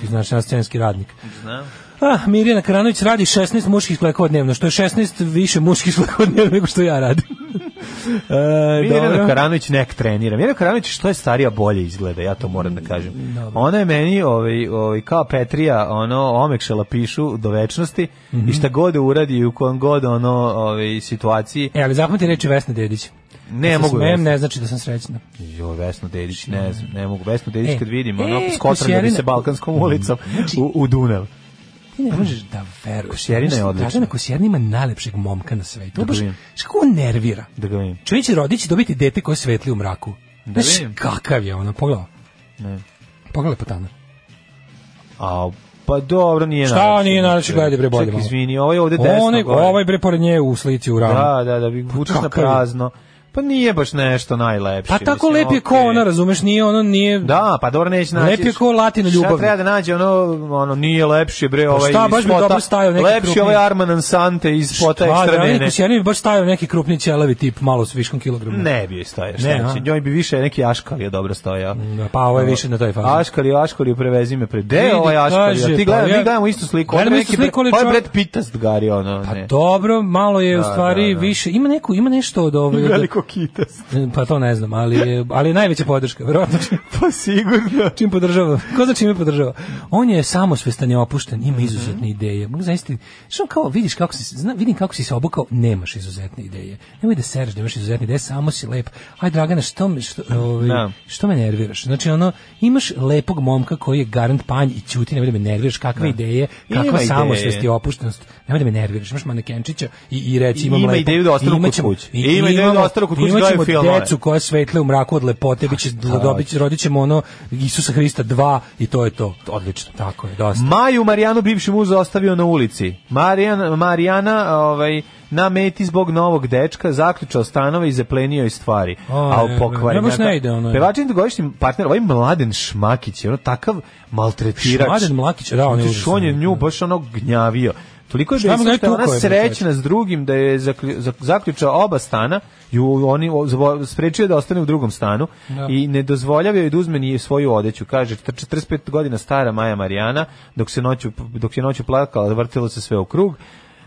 S5: Ti znaš, ja sam scenski radnik.
S7: Znam.
S5: Ah, Mirjana Karanović radi 16 muških splekova dnevno, što je 16 više muških splekova dnevno nego što ja radim. e,
S7: Mirjana
S5: dobro.
S7: Karanović nek trenira. Mirjana Karanović što je starija bolje izgleda, ja to moram da
S5: Mm,
S7: kažem. Ona je meni ovaj, ovaj, kao Petrija ono, omekšala pišu do večnosti
S5: Mhm.
S7: i šta god uradi i u kojem god ono, ovaj, situaciji
S5: E, ali zapamti reči Vesne Dedić.
S7: Ne
S5: Da se
S7: E, mogu,
S5: Smejem,
S7: Vesna.
S5: ne znači da sam srećna.
S7: Jo, Vesnu Dedić, ne znam, ne mogu. Vesnu Dedić
S5: Znači, E,
S7: kad vidim,
S5: e, Mm, znači-
S7: ono, skotranje bi
S5: Košjerina-
S7: se Balkanskom ulicom u, u Dunav.
S5: Ti ne možeš da veruješ.
S7: Kosjerina je
S5: Znaš,
S7: odlična.
S5: Dražana Kosjerina ima najlepšeg momka na svetu.
S7: Da
S5: Da baš,
S7: vidim.
S5: znaš kako on nervira.
S7: Da ga vidim.
S5: Čovjek će rodić dobiti dete koje svetli u mraku.
S7: Da
S5: Da
S7: vidim.
S5: znaš kakav je ono, pogledaj.
S7: Ne.
S5: Pogledaj potana.
S7: A, pa dobro, nije
S5: Šta nije najlepše, gledaj, bre, bolje
S7: Ček,
S5: malo.
S7: izvini, ovaj ovde desno.
S5: Onaj,
S7: gore.
S5: ovaj bre pored nje u slici u ranu.
S7: Da, da, da, bi vučeš na
S5: kakav je?
S7: prazno. Pa nije baš nešto najlepše.
S5: pa tako
S7: mislim,
S5: lep je ko
S7: okej.
S5: ona, razumeš, nije ono, nije...
S7: Da, pa dobro neće naći.
S5: Lep je ko Latina
S7: Šta
S5: ljubav. Pa
S7: treba da nađe ono, ono nije lepši bre ovaj.
S5: šta, baš bi
S7: ispota-
S5: dobro stajao neki
S7: Lepši
S5: krupni.
S7: ovaj Arman Ansante iz
S5: Šta,
S7: spota ekstra
S5: Dražana
S7: dene.
S5: Pa, Kosjerina bi baš stavio neki krupni ćelavi tip, malo s viškom kilograma.
S7: Ne bi joj stajao,
S5: Ne,
S7: šta
S5: a?
S7: će, njoj bi više neki Aškal je dobro stojao.
S5: Da, pa ovo je više na toj fazi.
S7: Aškal je Aškal je prevezi me pre. Gde je
S5: Vidi,
S7: ovaj Aškal?
S5: kaže, pa
S7: Ti gledam,
S5: ja-
S7: mi gledamo istu sliku.
S5: Gledamo
S7: Ovo je
S5: istu
S7: neki Brad-
S5: sliku, ali
S7: Ovo je
S5: čovjek- Pa
S7: Brad Pittast gari ono. ne.
S5: Dobro, malo je u
S7: Da,
S5: stvari
S7: da, da.
S5: više, ima neku, ima nešto od ove...
S7: Veliko kitast.
S5: Pa to ne znam, ali je, ali je najveća podrška, verovatno čim-
S7: Pa sigurno.
S5: čim podržava. Ko zna čime podržava? On je samosvestan i opušten, ima
S7: Mhm.
S5: izuzetne ideje. Mogu zamisliti, što on kao vidiš kako si, zna, vidim kako si se obukao, nemaš izuzetne ideje. Nemoj da sereš da imaš izuzetne ideje, samo si lep. Aj Dragana, što me, što, ovaj,
S7: Da.
S5: što me nerviraš? Znači ono, imaš lepog momka koji je garant panj i ćuti, nemoj da me nerviraš, kakve ideje,
S7: Ima
S5: kakva
S7: ideje.
S5: samosvest i opuštenost. Nemoj da me nerviraš, imaš manekenčića i, i reći imam
S7: Ima
S5: lepo.
S7: ideju da ostanu
S5: Ima
S7: kod
S5: ćemo-
S7: kuće.
S5: i-
S7: Ima ideju da
S5: imamo-
S7: ostanu kod kod kuće
S5: Imaćemo
S7: gledaju film. one.
S5: decu koja svetle u mraku od lepote, biće dobit će- rodit ćemo ono Isusa Hrista 2 i to je to. Odlično. Tako je, dosta.
S7: Maju Marijanu bivši muž ostavio na ulici. Marijan, Marijana ovaj, na meti zbog novog dečka zaključao stanova i zaplenio je stvari.
S5: O,
S7: a
S5: jebe.
S7: u
S5: Ne,
S7: pokvari. Dakle,
S5: baš ne ide ono, je.
S7: Pevačin dugogodišnji partner, ovaj Mladen Šmakić, je ono takav maltretirač.
S5: Mladen Mlakić, da, on je
S7: Znaš, on je
S5: užasan.
S7: nju baš ono gnjavio. Toliko je
S5: Šta
S7: da
S5: mu ga je
S7: je ona
S5: tukao, je,
S7: srećna s drugim da je zaklju- zak- zaključao oba stana i u- oni o- zvo- sprečio je da ostane u drugom stanu
S5: Da.
S7: i ne dozvoljavio je da uzme ni svoju odeću. Kaže, "Čet- 45 godina stara Maja Marijana, dok, se noću, dok je noću plakala, vrtilo se sve u krug.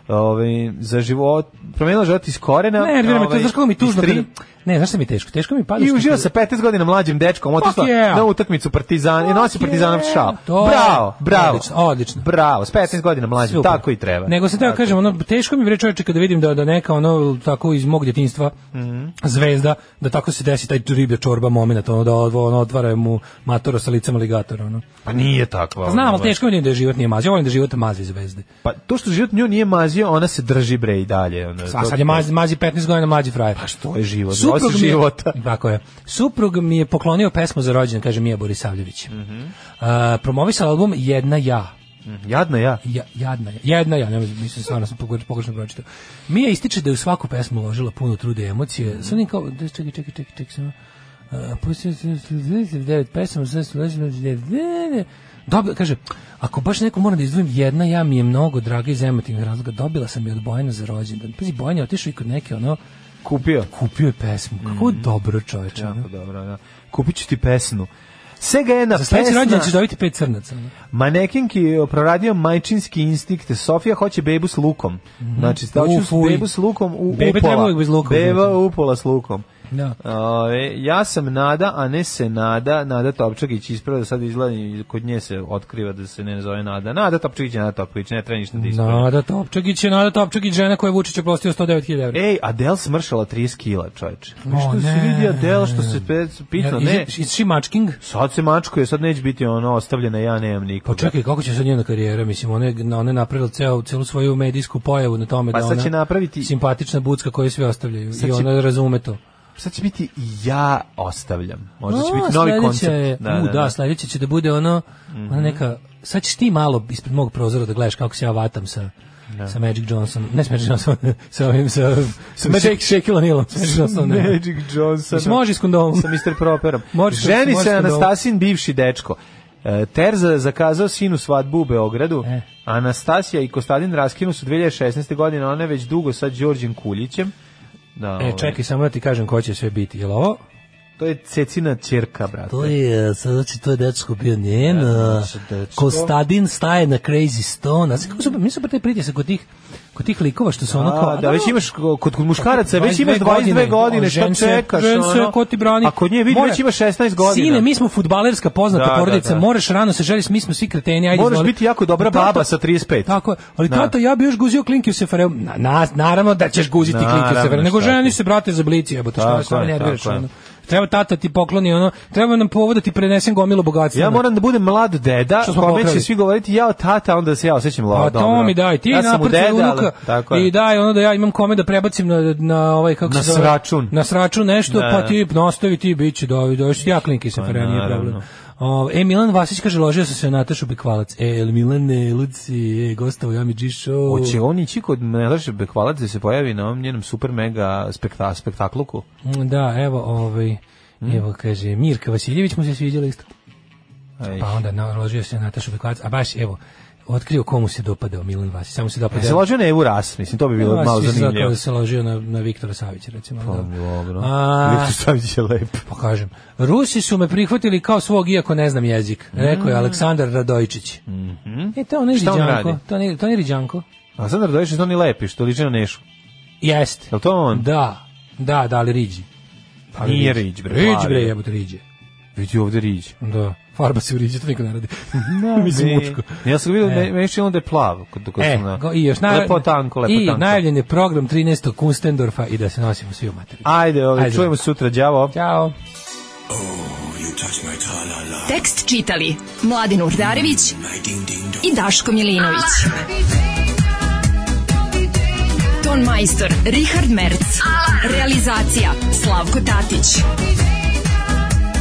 S7: Ove, za život, promenila život iz korena.
S5: Ne, nervira me to,
S7: ovaj,
S5: znaš kako mi je tužno.
S7: iz tri-
S5: kada- Ne, znaš šta mi je teško? Teško mi pada
S7: I
S5: što-
S7: uživa sa 15 godina mlađim dečkom, otišla
S5: Fuck yeah.
S7: na utakmicu Partizan i nosi Partizanov šal.
S5: To-
S7: Bravo, bravo.
S5: Odlično, odlično.
S7: Bravo, s 15 godina mlađim,
S5: Super.
S7: tako i treba.
S5: Nego se teo kažem, ono, teško mi bre čovječe kada vidim da, da neka ono, tako iz mog djetinstva,
S7: Mhm.
S5: zvezda, da tako se desi taj riblja čorba moment, ono, da odvo- ono, otvara mu matora sa licem aligatora, ono.
S7: Pa nije takva. ono,
S5: Znam, ali
S7: baš.
S5: teško mi je da je život nije mazio, volim da život mazi zvezde.
S7: Pa to što život nju nije mazio, ona se drži bre i dalje. ono, Ona,
S5: A sad je mazi, mazi 15 godina mlađi frajer. Pa
S7: što je život, nosi života.
S5: Tako je. Suprug mi je poklonio pesmu za rođendan, kaže Mija Borisavljević.
S7: Mhm.
S5: A, promovisala album Jedna ja.
S7: Jadna ja.
S5: Ja, jadna je. Jedna ja, ne mislim stvarno sam pogre- pogrešno pročitao. Mija ističe da je u svaku pesmu uložila puno truda i emocije. Mm. Sad kao, da, čekaj, čekaj, čekaj, čekaj, samo. Uh, pustio sam 49 pesama, sad sam uložila 49. Dobila, kaže, ako baš neko moram da izdvojim jedna, ja mi je mnogo draga iz emotivnih razloga. Dobila sam je od Bojana za rođendan. Pazi, Bojan je otišao i kod neke, ono,
S7: Kupio.
S5: kupio je pesmu. Kako dobro čoveče. ono.
S7: Jako dobro, da. Kupit ću ti pesnu. Sega jedna
S5: Za sledeći rođendan ćeš
S7: pesna.
S5: dobiti pet crnaca. ono.
S7: Manekinki je proradio majčinski instinkt. Sofija hoće bebu s lukom.
S5: Mhm.
S7: Znači,
S5: U,
S7: stavio ću
S5: fuj.
S7: bebu s lukom u
S5: Bebe
S7: upola.
S5: treba uvijek bez luka znači. u životu.
S7: Beba upola s lukom.
S5: Da.
S7: Ove, ja sam Nada, a ne se Nada. Nada Topčagić ispravio da sad izgleda i kod nje se otkriva da se ne zove Nada. Nada Topčagić je Nada Topčagić, ne treba ništa da ispravlja.
S5: Nada Topčagić je Nada Topčagić žena koja je Vučić oprostio 109.000 evra.
S7: Ej, Adele smršala 30 kila, čoveče.
S5: O,
S7: Što se
S5: ne.
S7: vidi Adele, što se pe- pitno, ne.
S5: Is, is she mačking?
S7: Sad se mačkuje, sad neće biti ono ostavljena, ja nemam
S5: Pa
S7: nikoga.
S5: čekaj, kako će sad njena karijera? Mislim, ona je, ona je napravila ceo, celu svoju medijsku pojavu na tome
S7: Pa
S5: da
S7: sad
S5: ona
S7: će napraviti-
S5: simpatična bucka koju svi ostavljaju
S7: Sad
S5: i
S7: će-
S5: ona razume to.
S7: Sad će biti i ja ostavljam. Možda Pa će
S5: A,
S7: biti novi
S5: sledeća
S7: koncept.
S5: Je, da, u, da, sledeće će da bude ono,
S7: Mhm.
S5: ona neka, sad ćeš ti malo ispred mog prozora da gledaš kako se ja vatam sa, sa Magic Johnson, ne sa Magic Johnson, sa ovim, sa, sa
S7: Magic-
S5: Shake, Shake O'Neillom, sa Magic Johnson, ne.
S7: Magic Johnson.
S5: Mislim, može i s kondomom.
S7: Sa Mr. Properom.
S5: Može sa-
S7: Ženi
S5: može
S7: se
S5: sa kondomom.
S7: Anastasin bivši dečko. E, Terza je zakazao sinu svadbu u Beogradu.
S5: E.
S7: Anastasija i Kostadin raskinu su 2016. godine, ona je već dugo sa Đorđem Kuljićem. Da, ovaj,
S5: E, čekaj, samo da ti kažem ko će sve biti, jel ovo?
S7: To je Cecina ćerka, brate.
S5: To je, sad znači, to je dečko bio njen, a,
S7: znači, dečko.
S5: Kostadin staje na Crazy Stone, a znaš kako su, mi su pa taj pritisak kod tih, kod tih likova što su ono kao...
S7: A, da, već imaš ko- kod, kod muškaraca, već imaš
S5: 22
S7: 22 godine,
S5: a
S7: šta
S5: žen se-
S7: čekaš?
S5: žen se
S7: ono?
S5: ko ti brani.
S7: A kod nje vidi,
S5: Mora-
S7: već imaš 16 godina.
S5: Sine, mi smo fudbalerska poznata
S7: Da, da,
S5: porodica,
S7: da.
S5: moraš rano se želiš, mi smo svi kreteni, ajde.
S7: Moraš
S5: izvoli.
S7: biti jako dobra
S5: Ali tata-
S7: baba sa 35.
S5: Tako je. Ali
S7: Da.
S5: tata, ja bi još guzio klinke u sefareu. Na, na- naravno da ćeš guziti klinke u
S7: Naravno,
S5: sefareu, nego
S7: šta
S5: ženi
S7: ti.
S5: se brate za blici, jebote,
S7: Tako
S5: šta šta
S7: je,
S5: ne nerviraš,
S7: tako je.
S5: ono. Treba tata ti pokloni ono, treba nam povod da ti prenesem gomilu bogatstva.
S7: Ja
S5: ono.
S7: moram da budem mlad deda,
S5: Što smo
S7: kome će
S5: pokrali.
S7: svi govoriti ja tata, onda se ja osjećam lo-
S5: Pa
S7: dobro.
S5: to mi daj, ti
S7: ja sam mu
S5: naprci
S7: deda, ali-
S5: unuka
S7: tako
S5: i
S7: je.
S5: daj ono da ja imam kome da prebacim na, na ovaj, kako
S7: Na
S5: se zove?
S7: sračun.
S5: Na sračun nešto,
S7: Da. Pa,
S5: pa ti nastavi ti, bit će dovi, doviš ti ja klinki se pre, nije
S7: naravno.
S5: problem. O, e, Milan Vasić kaže, ložio sam se na Natašu Bekvalac. E, el Milane, Luci, e, gostovo, ja mi džišo.
S7: Hoće on ići kod Nataše Bekvalac da se pojavi na ovom njenom super mega spekta, spektakluku?
S5: Mm, Da, evo, ovaj,
S7: Mm.
S5: evo, kaže, Mirka Vasiljević mu se sviđala isto.
S7: Ej.
S5: Pa onda naložio se na Natašu Bekvalac, a baš, evo, otkrio komu se dopadao Milan Vasić, samo se
S7: Ja se
S5: dopadao.
S7: ložio na Evu Ras, mislim, to bi bilo
S5: Ja,
S7: malo
S5: svi se zakleo
S7: zanimljivo.
S5: da se ložio na, na Viktora Savića, recimo.
S7: Pa,
S5: da.
S7: Dobro.
S5: A-
S7: Viktor Savić je lep.
S5: Pa kažem, Rusi su me prihvatili kao svog iako ne znam jezik, rekao je Aleksandar Radojičić. E, to on je
S7: Mm. Mhm. Šta on
S5: Riđanko.
S7: radi?
S5: To nije, to nije Riđanko.
S7: A sad Radojišić je oni lepi, što liči na Nešu.
S5: Jeste.
S7: Je li to on?
S5: Da, da, da, ali Riđi. Ali
S7: Nije Riđ, bre.
S5: Riđi,
S7: Flavio.
S5: bre, jebote Riđe.
S7: Vidi ovde riđe.
S5: Da, farba se u Riđe, to niko ne radi. Mislim, mučko.
S7: Ja sam vidio,
S5: E.
S7: me- meni činilo da je plav. Kod, kod
S5: E,
S7: sam na-
S5: go- i još na,
S7: Lepo tanko, lepo
S5: i
S7: tanko.
S5: najavljen je program 13. Kunstendorfa i da se nosimo svi u materiju.
S7: Ajde, ovaj,
S5: Ajde.
S7: čujemo se sutra, đavo.
S5: Ćao.
S4: Tekst čitali Mladin Urdarević i Daško Milinović. ton majstor Richard Merc. Realizacija Slavko Tatić.